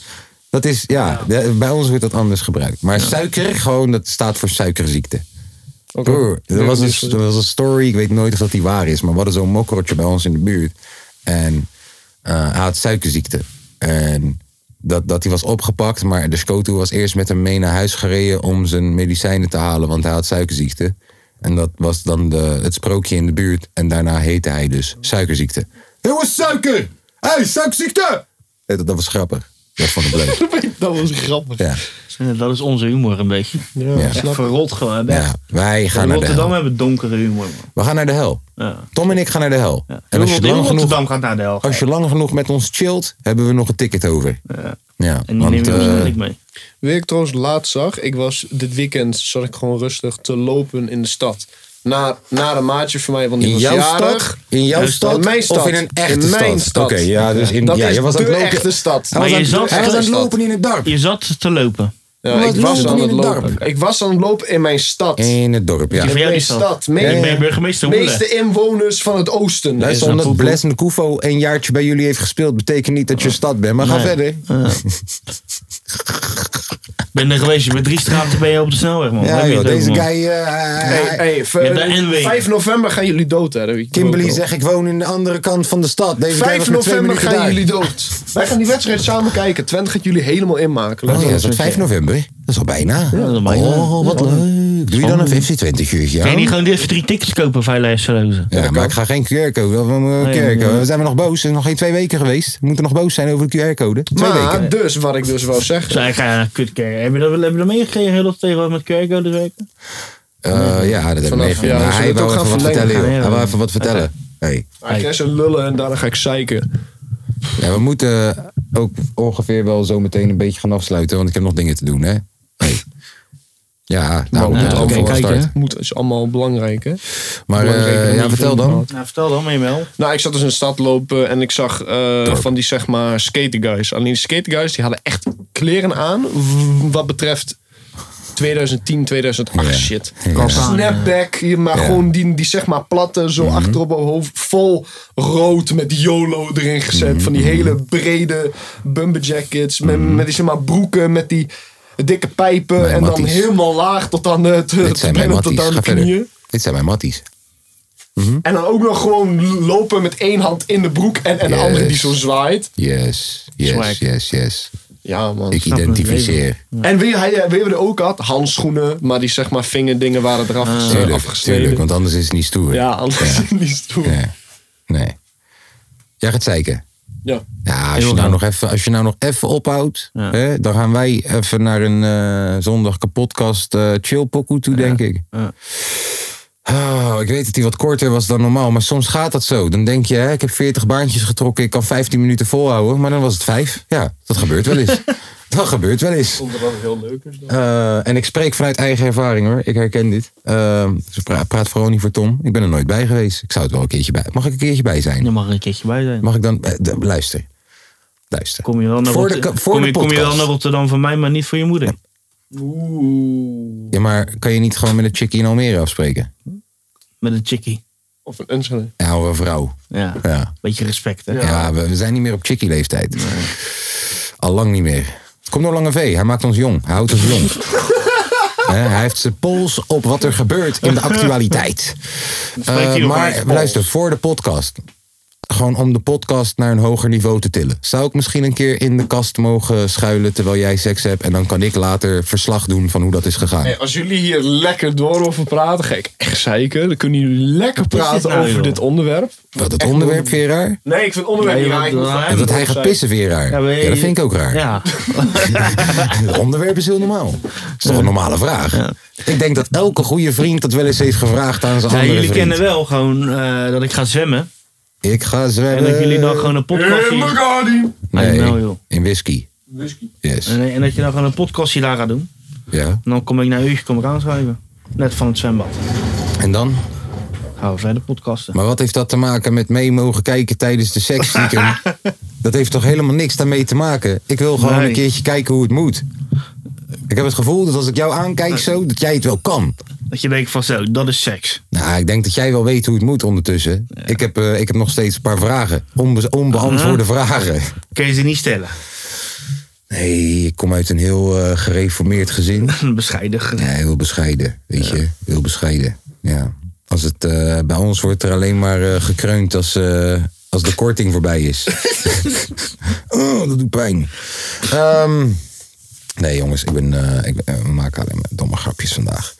S1: Dat is, ja, de- bij ons wordt dat anders gebruikt. Maar suiker, gewoon, dat staat voor suikerziekte.
S3: Oké.
S1: Broer, er
S3: Ja,
S1: was,
S3: dus,
S1: een, er was een story, ik weet nooit of dat die waar is, maar we hadden zo'n mokkerotje bij ons in de buurt. En eh, hij had suikerziekte. En dat, dat hij was opgepakt, maar de scoto was eerst met hem mee naar huis gereden om zijn medicijnen te halen, want hij had suikerziekte. En dat was dan de, het sprookje in de buurt. En daarna heette hij dus suikerziekte. Hé, was suiker! Hé, hey, suikerziekte! Ja, Dat, dat was grappig. Dat vond ik leuk.
S3: eh, dat was grappig.
S1: Ja,
S2: Dat is onze humor een beetje.
S3: Ja,
S1: Ja.
S3: snap-
S2: Verrot gewoon. hè?
S1: ja. Wij gaan naar
S2: In
S1: de
S2: Rotterdam
S1: hel.
S2: hebben donkere humor, man.
S1: We gaan naar de hel.
S2: Ja.
S1: Tom en ik gaan naar de hel.
S2: Ja.
S1: En als je
S2: Heel
S1: lang genoeg
S2: Rotterdam gaat naar de hel.
S1: Als je lang genoeg met ons chillt, hebben we nog een ticket over. Ja,
S2: En die
S1: want,
S2: neem je
S1: eh,
S2: waarschijnlijk mee.
S3: Wie ik trouwens laatst zag, ik was dit weekend zat ik gewoon rustig te lopen in de stad. Naar, naar een maatje van mij, want die
S1: in
S3: was
S1: jouw
S3: jarig.
S1: stad? In jouw stad?
S3: In mijn stad.
S1: Of in een echte
S3: In mijn
S1: stad?
S3: stad.
S1: Oké, ja, dus in
S3: Dat
S1: ja,
S3: is
S1: je was aan
S3: de
S1: het lopen.
S3: echte stad.
S1: Hij
S2: Maar
S1: was,
S2: je
S1: aan,
S2: zat-
S1: hij was aan het
S3: stad.
S1: lopen in het dorp.
S2: Je zat te lopen.
S3: Ja,
S1: Wat
S3: ik was
S1: lopen
S3: aan
S1: in
S3: het
S1: het dorp?
S3: lopen. Ik was aan het lopen in mijn stad.
S1: In het dorp, ja.
S3: In
S2: Van jou
S3: mijn
S2: die stad.
S3: stad.
S2: Ik
S3: Mee-
S2: ben burgemeester
S3: meeste
S2: Hoelen.
S3: inwoners van het oosten.
S1: Luister,
S2: een
S1: omdat
S2: poepoe.
S1: Bless Kuvo een jaartje bij jullie heeft gespeeld, betekent niet dat je stad bent. Maar ga
S2: Nee.
S1: verder.
S2: Ik ben er geweest. Je bent drie straten ben je op de snelweg, man. Heb
S1: Ja,
S2: je
S1: joh,
S2: het over,
S1: deze
S2: man?
S1: guy. eh,
S3: Hey, hey, ver-
S2: Je bent de NW.
S3: 5 november gaan jullie dood, hè? dat weet je ook
S1: Kimberly
S3: al.
S1: zegt: Ik woon in de andere kant van de stad. Deze guy
S3: 5
S1: was met twee
S3: november
S1: minuten
S3: gaan
S1: daar.
S3: jullie dood. Wij gaan die wedstrijd samen kijken. Twent gaat jullie helemaal inmaken. Let
S1: Oh ja,
S3: op.
S1: is dat 5 november? Dat is al bijna.
S2: dat is al bijna.
S1: Oh, wat
S2: Ja.
S1: leuk. Doe je dan een 50-20 uurtje
S2: Kan je
S1: aan?
S2: niet gewoon even drie tickets kopen van Leijers Verlozen?
S1: Ja, maar ik ga geen QR-code. We, eh, we-
S2: Nee,
S1: QR-code.
S2: nee.
S1: we zijn we nog boos. Het is nog geen twee weken geweest. We moeten nog boos zijn over de QR-code. Twee
S3: maar
S1: weken.
S3: dus, wat ik dus wou zeggen.
S2: Zij gaan naar kutkerk. Heb je dat, heb je dat meegekregen heel op tegenwoordig met Kerko dus werken?
S1: Eh, ja, dat heb ik
S3: Vanaf-
S1: meegemaakt.
S3: ja,
S1: Maar
S3: we zullen
S1: hij
S3: het
S1: wil
S3: ook
S1: even
S3: gaan
S1: wat
S3: verlengen.
S1: vertellen, joh.
S2: Ja, ja,
S1: Hij wil
S2: ja.
S1: even wat vertellen. Hey.
S3: Ik ga ze lullen en daarna ga ik zeiken.
S1: Ja, we moeten eh, ook ongeveer wel zo meteen een beetje gaan afsluiten. Want ik heb nog dingen te doen, hè. Hey. Ja, nou,
S3: moet
S1: dat is ook wel
S3: allemaal
S1: start.
S3: Moet, is allemaal belangrijk, hè?
S1: Maar
S3: Belangrijker
S1: eh,
S3: dan
S1: ja,
S3: die
S1: vertel
S3: vrienden
S1: dan.
S3: had.
S2: Nou, vertel dan mee wel.
S3: Nou, ik zat dus in de stad lopen en ik zag eh, van die, zeg maar, skater guys. Alleen die skater guys, die hadden echt kleren aan w- wat betreft 2010, 2008
S1: Ja.
S3: shit.
S1: Ja.
S3: Snapback, je- maar
S1: Ja. Mhm.
S3: gewoon die, die, zeg maar, platte, zo achter op haar hoofd. Vol rood met YOLO erin gezet.
S1: Mhm.
S3: Van die hele brede bumper jackets. Met, met die, zeg maar, broeken, met die dikke pijpen.
S1: Mijn
S3: en dan
S1: matties.
S3: helemaal laag tot aan de,
S1: Dit zijn mijn
S3: bijna tot
S1: matties.
S3: aan
S1: Ga
S3: de knieën.
S1: verder. Dit zijn mijn matties.
S3: En dan ook nog gewoon lopen met één hand in de broek en, en de
S1: Yes.
S3: andere die zo zwaait.
S1: Yes, yes,
S2: Swag.
S1: yes, yes.
S3: Ja, man.
S1: Ik
S2: snap het
S1: identificeer.
S3: En wie hij eh, wie hebben er ook had, handschoenen, maar die zeg maar vingerdingen waren eraf gese-
S1: Tuurlijk,
S3: afgesneden.
S1: tuurlijk, want anders is het niet stoer.
S3: Ja, anders
S1: Ja.
S3: niet stoer.
S1: Nee. nee. Jij gaat zeiken.
S3: Ja.
S1: Ja, als je,
S2: Heel
S1: nou
S2: graag.
S1: nog even, als je nou nog even ophoudt,
S2: Ja.
S1: hè, dan gaan wij even naar een eh, zondag kapotkast eh chill pokoe toe, denk ik.
S2: Ja.
S1: Oh, ik weet dat die wat korter was dan normaal, maar soms gaat dat zo. Dan denk je, hè, ik heb 40 baantjes getrokken, ik kan 15 minuten volhouden, maar dan was het 5. Ja, dat gebeurt wel eens. dat gebeurt wel eens.
S3: Vond dat wel heel leuk. is.
S1: Eh, en ik spreek vanuit eigen ervaring hoor. Ik herken dit. Eh, dus ik pra- praat vooral niet voor Tom. Ik ben er nooit bij geweest. Ik zou het wel een keertje bij. Mag ik een keertje bij zijn?
S2: Daar mag er een keertje bij zijn.
S1: Mag ik dan. eh, d- luister. Luister.
S2: Kom je wel naar,
S1: Voor de
S2: Rotter-
S1: ka- voor
S2: kom
S1: de
S2: je, kom je wel
S1: podcast.
S2: naar Rotterdam van mij, maar niet voor je moeder.
S3: Oeh.
S1: Ja, maar kan je niet gewoon met een chickie in Almere afspreken?
S2: Met een chickie.
S3: Of een Enschede.
S1: Ja, of een vrouw.
S2: Ja.
S1: Ja,
S2: Beetje respect, hè?
S1: ja. we, we zijn niet meer op chickie leeftijd. Al lang niet meer. Het komt door Lange V. Hij maakt ons jong. Hij houdt ons jong. Hè, hij heeft zijn pols op wat er gebeurt in de actualiteit.
S2: hij
S1: Eh,
S2: nog
S1: maar
S2: eens pols?
S1: luister, voor de podcast. Gewoon om de podcast naar een hoger niveau te tillen. Zou ik misschien een keer in de kast mogen schuilen terwijl jij seks hebt. En dan kan ik later verslag doen van hoe dat is gegaan.
S3: Hey, als jullie hier lekker door over praten, ga ik echt zeiken. Dan kunnen jullie lekker praten
S2: nou,
S3: over
S2: joh?
S3: dit onderwerp.
S1: Wat het onderwerp, Vera?
S3: Nee, ik vind het onderwerp
S2: Nee, want-
S3: niet raar. Ik moet daar
S1: En dat
S3: even
S1: hij
S3: op
S1: gaat
S3: zeiken.
S1: pissen weer raar. Ja,
S2: Ja, maar-
S1: dat vind ik ook raar.
S2: Ja,
S1: Het onderwerp is heel normaal. Dat is toch een normale vraag? Ik denk dat elke goede vriend dat wel eens heeft gevraagd aan zijn
S2: Ja,
S1: andere
S2: jullie
S1: vriend.
S2: kennen wel gewoon eh, dat ik ga zwemmen.
S1: Ik ga
S2: En
S1: zwemmen.
S2: dat jullie dan gewoon een podcast
S3: Eh,
S2: zien.
S3: Magadi.
S1: Nee,
S2: Nou, joh.
S1: in whisky.
S3: Whisky.
S1: Yes.
S2: En, en dat je dan gewoon een podcastje daar gaat doen.
S1: Ja.
S2: En dan kom ik naar u, kom ik aanschrijven. Net van het zwembad.
S1: En dan?
S2: Gaan we verder podcasten.
S1: Maar wat heeft dat te maken met mee mogen kijken tijdens de seks? stiekem? dat heeft toch helemaal niks daarmee te maken? Ik wil gewoon
S2: Nee.
S1: een keertje kijken hoe het moet. Ik heb het gevoel dat als ik jou aankijk zo, dat jij het wel kan.
S2: Dat je denkt van zo, dat is seks.
S1: Nou, ik denk dat jij wel weet hoe het moet ondertussen. Ik, heb, eh, ik heb nog steeds een paar vragen. Onbe- onbeantwoorde vragen.
S2: Kun je ze niet stellen.
S1: Nee, ik kom uit een heel eh, gereformeerd gezin.
S2: Bescheidig.
S1: Ja, heel bescheiden, weet je. Heel bescheiden, ja. Als het, eh, bij ons wordt er alleen maar eh, gekreund als, eh, als de korting voorbij is. oh, dat doet pijn. Ehm, nee, jongens, ik ben, eh, ik ben- eh, we maken alleen maar domme grapjes vandaag.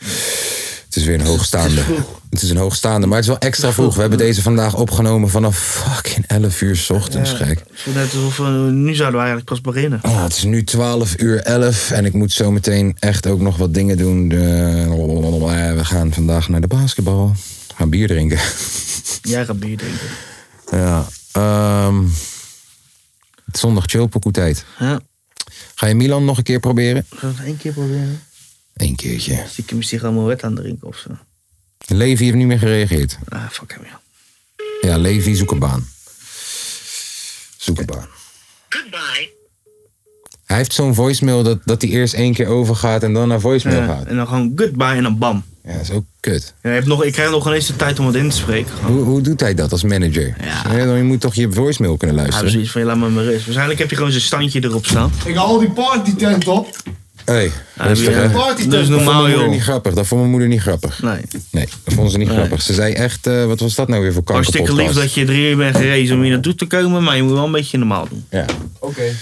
S1: Het is weer een hoogstaande. Het is een hoogstaande, maar het is wel extra vroeg. We hebben deze vandaag opgenomen vanaf fucking 11 uur 's ochtends, gek.
S2: Het is net alsof we, nu zouden we eigenlijk pas beginnen.
S1: Ah, het is nu 12 uur 11 en ik moet zo meteen echt ook nog wat dingen doen. Eh, we gaan vandaag naar de basketbal. We gaan bier drinken.
S2: Jij gaat bier drinken.
S1: Ja. ehm, het is zondag chillpokoe tijd.
S2: Ja,
S1: Ga je Milan nog een keer proberen?
S2: gaan we het één keer proberen?
S1: Eén keertje.
S2: Stiekem is die gewoon maar wet aan het drinken of zo.
S1: Levi heeft niet meer gereageerd.
S2: Ah, fuck hem, ja.
S1: Ja, Levi, zoek een baan. Zoek een baan.
S7: Goodbye.
S1: Hij heeft zo'n voicemail dat, dat hij eerst één keer overgaat en dan naar voicemail
S2: Ja,
S1: gaat.
S2: en dan gewoon goodbye en dan bam.
S1: Ja, dat is ook kut.
S2: Ja, je hebt nog, ik krijg nog ineens de tijd om het in te spreken. Gewoon.
S1: Hoe, hoe doet hij dat als manager? Ja, dan- Je moet toch je voicemail kunnen
S2: Hij heeft
S1: luisteren?
S2: zoiets van, ja, laat me maar rust. Waarschijnlijk heb je gewoon zijn standje erop staan.
S3: Ik haal die party tent op.
S1: Hey, rustig,
S2: Ja,
S1: hè?
S3: Party
S2: dat is
S3: tent.
S1: Dat vond
S2: normaal,
S1: mijn moeder niet
S2: joh.
S1: grappig. Dat vond mijn moeder niet grappig.
S2: Nee.
S1: Nee, dat vond ze niet grappig. Ze zei echt, eh, wat was dat nou weer voor kankerpodcast?
S2: Hartstikke lief dat je drie uur bent gerezen om hier naartoe te komen, maar je moet wel een beetje normaal doen.
S1: Ja.
S3: Oké.
S2: We hebben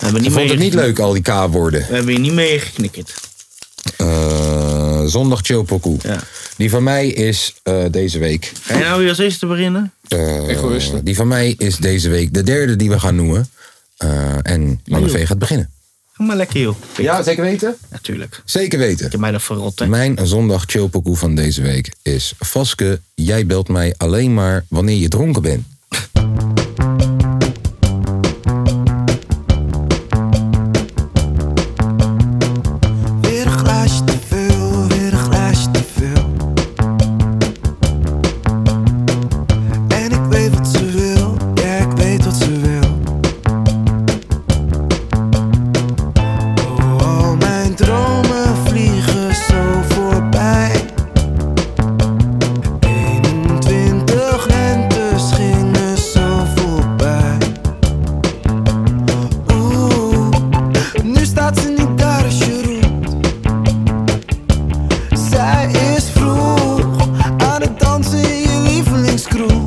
S1: Ze
S2: niet
S1: vond het niet
S2: meegeknikkerd.
S1: leuk, al die K-woorden.
S2: We hebben je niet meegeknikkerd.
S1: Eh, zondag chillpokoe.
S2: Ja.
S1: Die van mij is eh, deze week.
S2: Ga je nou weer als eerste beginnen?
S1: eh,
S3: Egoïsten.
S1: die van mij is deze week de derde die we gaan noemen. Eh, en Lange V gaat beginnen.
S2: Ga maar lekker, joh.
S1: Ja, zeker weten?
S2: Natuurlijk. Ik
S1: Zeker weten.
S2: heb mij dat verrot, hè.
S1: Mijn zondag chillpokoe van deze week is... Vaske, jij belt mij alleen maar wanneer je dronken bent.
S8: Weer een glaasje te veel, weer een glaasje te veel. En ik weet wat ze wil, ja, ik weet wat ze wil. Oh, al mijn dromen vliegen zo voorbij. 21 lentes gingen zo voorbij. Oeh, nu staat ze niet daar als je roept. Zij is vroeg aan het dansen in je lievelingskroeg.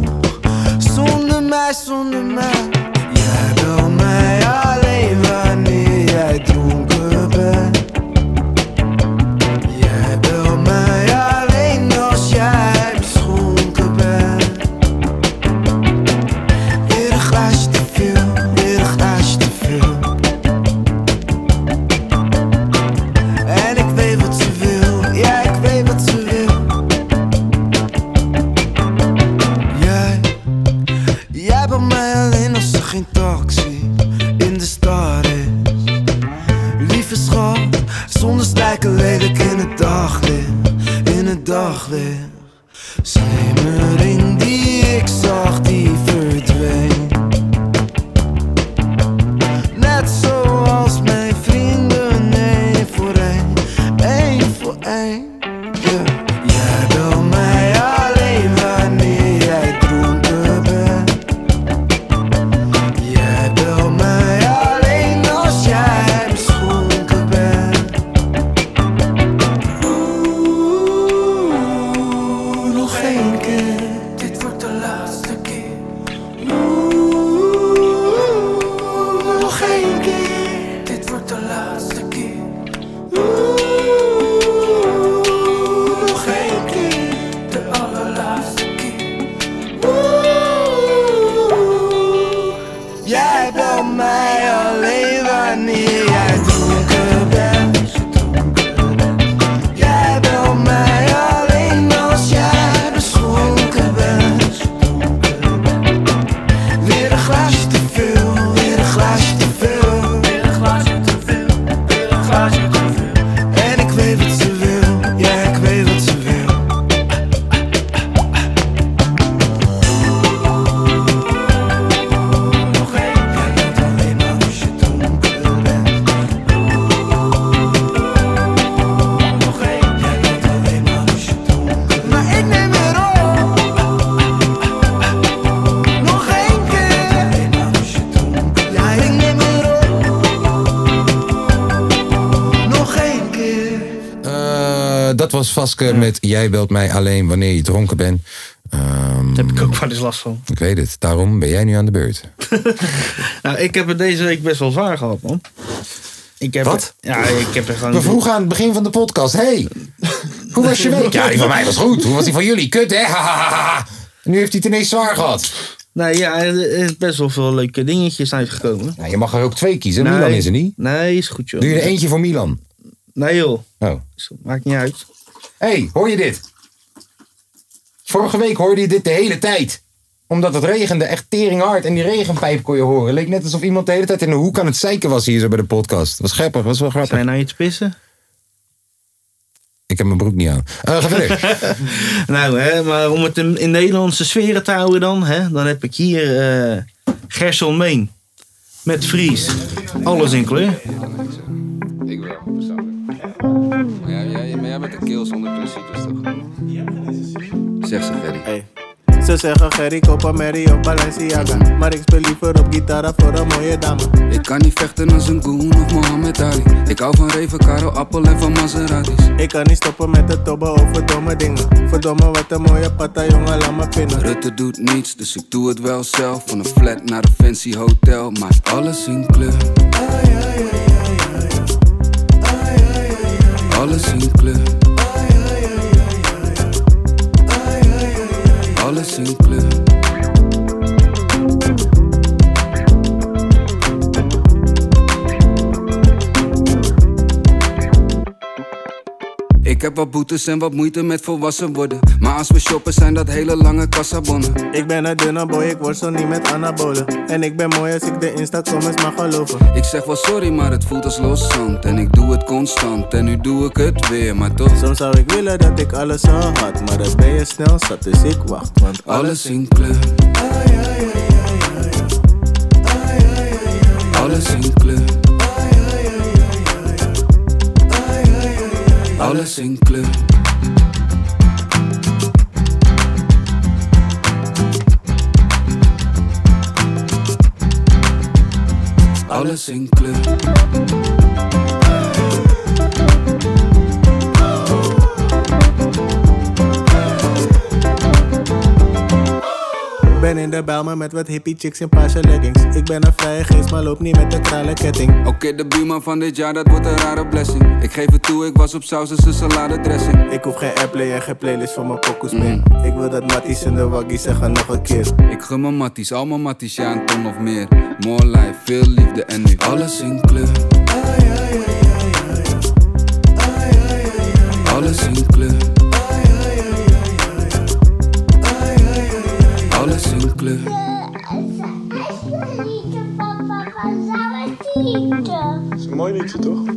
S8: Zonder mij, zonder mij. Jij wil mij alleen wanneer jij dronken bent. Jij wil mij alleen als jij beschonken bent. Weer een glaasje te veel, weer een glaasje te veel. En ik weet wat ze wil, ja ik weet wat ze wil. Jij, jij bent mij alleen als er geen taxi in de stad is. Lieve schat, zonder stijken lelijk in het daglicht, in het daglicht. Schemering die ik zag, die verdween. Net zoals mijn vrienden, nee, voor één, één voor één. ja. Jij wil mij alleen wanneer jij dronken bent. Jij wil mij alleen als jij beschonken bent. Oeh,
S1: Eh, dat was Vaske met Jij belt mij alleen wanneer je dronken bent. Ehm,
S2: Daar heb ik ook wel eens last van.
S1: ik weet het, daarom ben jij nu aan de beurt.
S2: Nou, ik heb het deze week best wel zwaar gehad, man. Ik heb
S1: Wat?
S2: ja, ik heb er gewoon...
S1: We vroegen aan het begin van de podcast, hey, hoe was je week? Ja, die van mij was goed. Hoe was die van jullie? Kut, hè? Ha, ha, ha, ha. En nu heeft hij het ineens zwaar gehad.
S2: Nou ja, er is best wel veel leuke dingetjes uitgekomen.
S1: Nou, je mag er ook twee kiezen.
S2: Nee.
S1: Milan is er niet.
S2: Nee, is goed, joh.
S1: Doe je er eentje voor Milan?
S2: Nee, joh.
S1: Oh.
S2: Maakt niet uit.
S1: hey, hoor je dit? Vorige week hoorde je dit de hele tijd. Omdat het regende, echt tering hard. En die regenpijp kon je horen. Leek net alsof iemand de hele tijd in de hoek aan het zeiken was hier zo bij de podcast. Was grappig, was wel grappig.
S2: Zijn je nou iets pissen?
S1: Ik heb mijn broek niet aan. Eh, ga verder.
S2: Nou, hè, maar om het in, in Nederlandse sferen te houden dan, hè, dan heb ik hier eh Gerson Meen. Met Fries. Alles in kleur.
S7: Ik wil hem persoonlijk. Maar ja, jij, maar jij bent een keel zonder principes toch? Zeg ze, Ferry.
S8: Ze zeggen Gerry, koop een Mary of Balenciaga Maar ik speel liever op gitara voor een mooie dame
S7: Ik kan niet vechten als een goon of Mohammed Ali. Ik hou van Reven, Karo, Appel en van Maseratis.
S8: Ik kan niet stoppen met het tobben over domme dingen Verdomme wat een mooie patta jongen, laat me pinnen
S7: Rutte doet niets, dus ik doe het wel zelf. Van een flat naar een fancy hotel, maar alles in kleur. Alles in kleur. Alles in kleur. Ik heb wat boetes en wat moeite met volwassen worden. Maar als we shoppen zijn dat hele lange kassabonnen.
S8: Ik ben een dunne boy, ik worstel niet met anabolen En ik ben mooi als ik de Insta-comments mag geloven
S7: Ik zeg wel sorry, maar het voelt als loszand. En ik doe het constant, en nu doe ik het weer, maar toch.
S8: Soms zou ik willen dat ik alles al had Maar dat ben je snel zat, dus ik wacht Want alles
S7: Alles in kleur. Alles in kleur. Alles in kleur. Alles in kleur.
S8: ben in de Bijlmer met wat hippie chicks in paarse leggings Ik ben een vrije geest, maar loop niet met de kralen ketting
S7: Oké, de buurman van dit jaar, dat wordt een rare blessing. Ik geef het toe, ik was op saus en salade dressing.
S8: Oh, Ik hoef geen airplay en geen playlist voor mijn pokoes meer
S7: Mm.
S8: Ik wil dat Matties en de Waggies zeggen nog een keer
S7: Ik gun mijn matties, al mijn matties, ja een ton of meer More life, veel liefde en nu alles in kleur Alles in kleur Alles in kleur
S9: Dat is een mooi liedje, toch?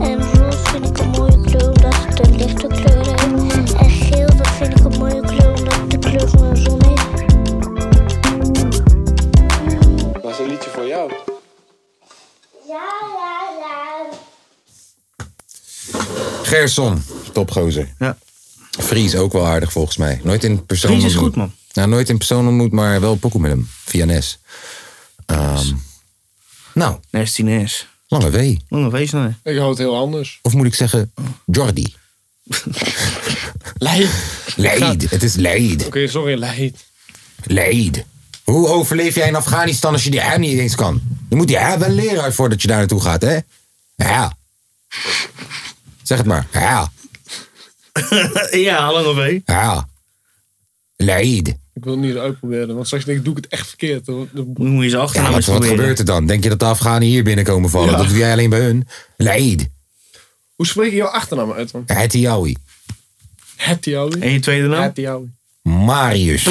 S9: En roze vind ik een mooie kleur omdat het een lichte kleur heeft. En geel, dat vind ik een mooie kleur omdat het de kleur van de zon is.
S8: Dat is een liedje voor jou
S9: Ja, ja, ja.
S1: Gerson, topgozer.
S2: Ja.
S1: Fries ook wel aardig volgens mij. Nooit in persoon
S2: Fries is
S1: ontmoet.
S2: goed, man.
S1: Nou, nooit in persoon ontmoet, maar wel pokoe met hem. Via NES. Ehm, nou,
S2: Nestines.
S1: lange W.
S2: Lange wees nou.
S3: Ik hou het heel anders.
S1: Of moet ik zeggen, Jordi.
S3: Leid.
S1: Leid, het is Leid.
S3: Oké, sorry, leid.
S1: Leid. Hoe overleef jij in Afghanistan als je die hem niet eens kan? Je moet die hem wel leren uit voordat je daar naartoe gaat, hè? Ja. Zeg het maar. Ja.
S2: Ja, lange wee.
S1: Ja. Leid.
S3: Ik wil het niet uitproberen, want straks denk ik, doe ik het echt verkeerd. Dan- dan-
S2: Dan moet je ze
S1: Ja,
S2: achternaam
S1: wat,
S2: eens
S1: wat
S2: proberen.
S1: gebeurt er dan? Denk je dat de Afghanen hier binnenkomen vallen? Dat doe jij alleen bij hun. Leid.
S3: Hoe spreek je jouw achternaam uit dan?
S1: Hetiawi.
S3: Hetiawi.
S2: En je tweede
S3: nou?
S2: naam?
S3: Hetiawi.
S1: Marius.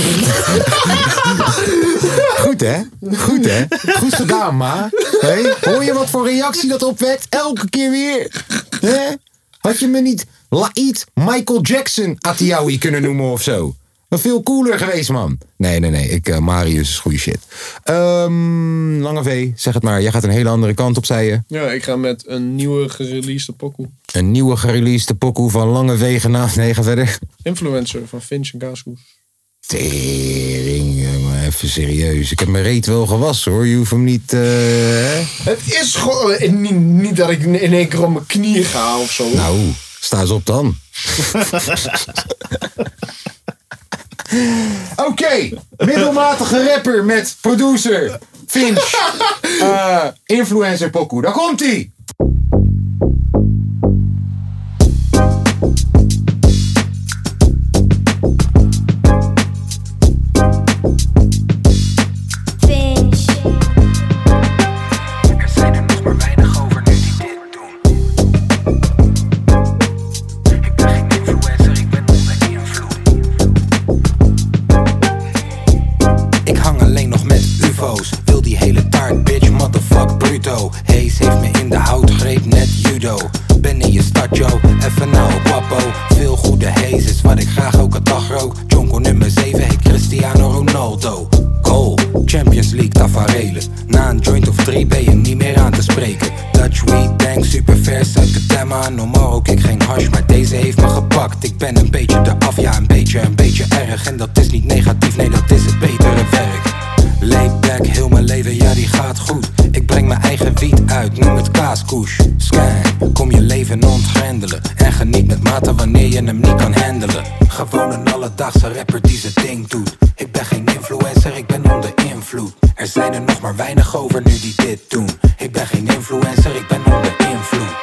S1: Goed hè? Goed hè? Goed gedaan, ma. Hé, Hoor je wat voor reactie dat opwekt? Elke keer weer. Hè? Had je me niet Laid Michael Jackson Atiawi kunnen noemen of zo? Maar Veel cooler geweest, man. Nee, nee, nee. Ik, eh, Marius is goede shit. Ehm, Lange V, zeg het maar. Jij gaat een hele andere kant op, zei je.
S3: Ja, ik ga met een nieuwe gereleased pokoe.
S1: Een nieuwe gereleasde pokoe van Lange V genaamd. Nee, ga verder.
S3: Influencer van Vince en Gaashoes.
S1: Tering, jongen, even serieus. Ik heb mijn reet wel gewassen hoor. Je hoeft hem niet. eh, hè?
S3: Het is gewoon... eh, Niet, niet dat ik in één keer op mijn knieën ga of zo.
S1: Nou, sta eens op dan. Oké, middelmatige rapper met producer Finch. eh, influencer Poku, daar komt ie.
S10: Finch.
S11: Ik hang alleen nog met ufo's Wil die hele taart, bitch, motherfuck bruto Hayes heeft me in de houtgreep, net judo Ben in je stad, yo, even nou papo Veel goede Hayes is wat ik graag elke dag rook Jonko nummer 7 heet Cristiano Ronaldo Goal, Champions League tafereelen Na een joint of drie ben je niet meer aan te spreken Dutch weed, dank, super vers uit de thema Normaal rook ik geen hash, maar deze heeft me gepakt Ik ben een beetje eraf, ja een beetje, een beetje erg En dat is niet negatief, nee dat is het betere werk Laid back, heel mijn leven, ja die gaat goed Ik breng mijn eigen wiet uit, noem het kaaskoes Scan, kom je leven ontgrendelen En geniet met mate wanneer je hem niet kan handelen Gewoon een alledaagse rapper die zijn ding doet Ik ben geen influencer, ik ben onder invloed Er zijn er nog maar weinig over nu die dit doen Ik ben geen influencer, ik ben onder invloed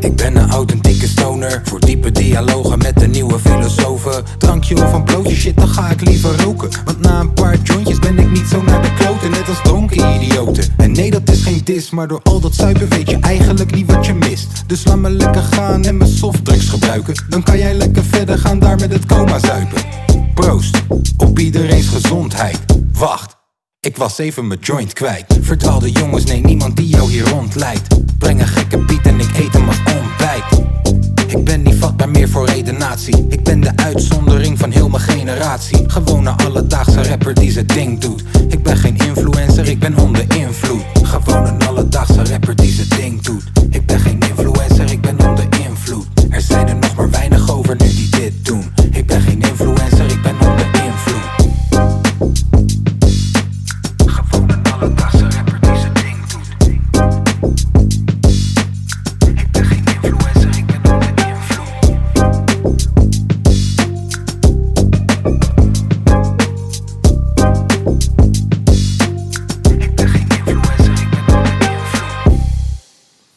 S11: ik ben een authentieke stoner Voor diepe dialogen met de nieuwe filosofen Drankje of een blootje shit, dan ga ik liever roken Want na een paar jointjes ben ik niet zo naar de kloten Net als dronken idioten En nee, dat is geen dis Maar door al dat zuipen weet je eigenlijk niet wat je mist Dus laat me lekker gaan en mijn softdrugs gebruiken Dan kan jij lekker verder gaan daar met het coma zuipen Proost, op iedereen's gezondheid Wacht, ik was even mijn joint kwijt. Verdwaalde jongens, nee, niemand die jou hier rondleidt. Breng een gekke piet en ik eet hem als ontbijt. Ik ben niet vatbaar meer voor redenatie. Ik ben de uitzondering van heel mijn generatie. Gewoon een alledaagse rapper die zijn ding doet. Ik ben geen influencer, ik ben onder invloed. Gewoon een alledaagse rapper die zijn ding doet. Ik ben geen influencer, ik ben onder invloed. Er zijn er nog maar weinig over nu die dit doen. Ik ben geen influencer, ik ben onder invloed.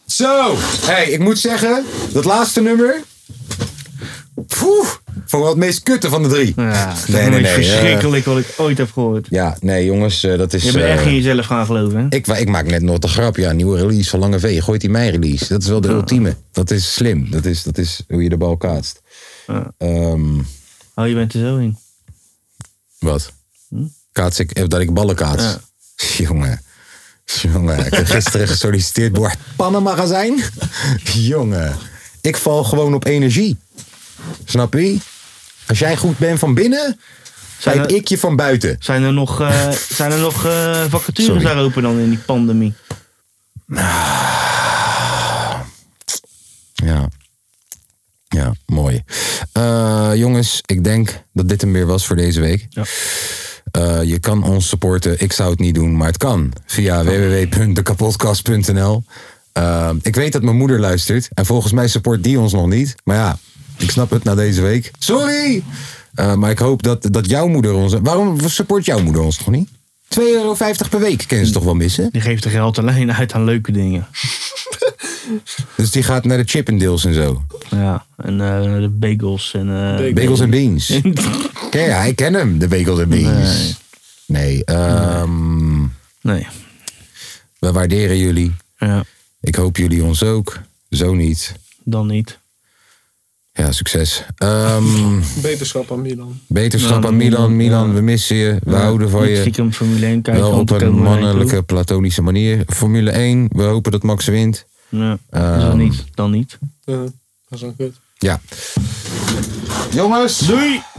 S1: Zo, Oh, hey, ik moet zeggen, dat laatste nummer. Poef, vond ik wel het meest kutte van de drie. Ja,
S2: nee, nee, verschrikkelijk wat ik ooit heb gehoord.
S1: Ja, nee jongens, eh, dat is...
S2: Je bent echt in
S1: jezelf gaan geloven, hè? Ik, wa- ik maak net nog de grap. Ja, nieuwe release van Lange V. Gooit die mijn release. Dat is wel de ultieme. Dat is slim. Dat is, dat is hoe je de bal kaatst. Ehm,
S2: Oh, je bent er zo in.
S1: wat? Hm? Kaats ik, eh, dat ik ballen kaats? Jongen. Jongen, ik heb gisteren gesolliciteerd door het pannenmagazijn. Jongen, ik val gewoon op energie. Snap je? Als jij goed bent van binnen,
S2: Zijn
S1: kijk
S2: er-
S1: ik je van buiten.
S2: Zijn er nog, eh, zijn er nog eh, vacatures
S1: Sorry.
S2: daar open dan in die pandemie?
S1: Ja. Ja, mooi. Eh, jongens, ik denk dat dit hem weer was voor deze week. Eh, je kan ons supporten. Ik zou het niet doen, maar het kan. Via www.dekapotkast.nl Eh, Ik weet dat mijn moeder luistert. En volgens mij support die ons nog niet. Maar ja, ik snap het na deze week. Sorry! Eh, maar ik hoop dat, dat jouw moeder ons... Waarom support jouw moeder ons nog niet? 2,50 euro per week kennen ze toch wel missen?
S2: Die geeft er geld alleen uit aan leuke dingen.
S1: Dus die gaat naar de Chippendales en zo.
S2: Ja, en eh, de bagels en... eh,
S1: Bagels en beans. Ken je? Hij kent hem, de bagels en beans. Nee. ehm, We waarderen jullie. Ik hoop jullie ons ook. Zo niet.
S2: Dan niet.
S1: Ja, succes. Ehm,
S3: Beterschap aan Milan.
S1: beterschap aan Milan. Milan, we missen je. We houden van
S2: Niet
S1: je.
S2: stiekem Formule 1 kijken.
S1: Wel
S2: want
S1: op
S2: er
S1: een
S2: komen maar één
S1: mannelijke, platonische manier. Formule 1, we hopen dat Max wint.
S2: ploeg. Ja, Dus
S1: Ehm,
S2: dan niet. Dan niet.
S3: Eh, dat is een kut.
S1: Ja. Jongens.
S2: Doei.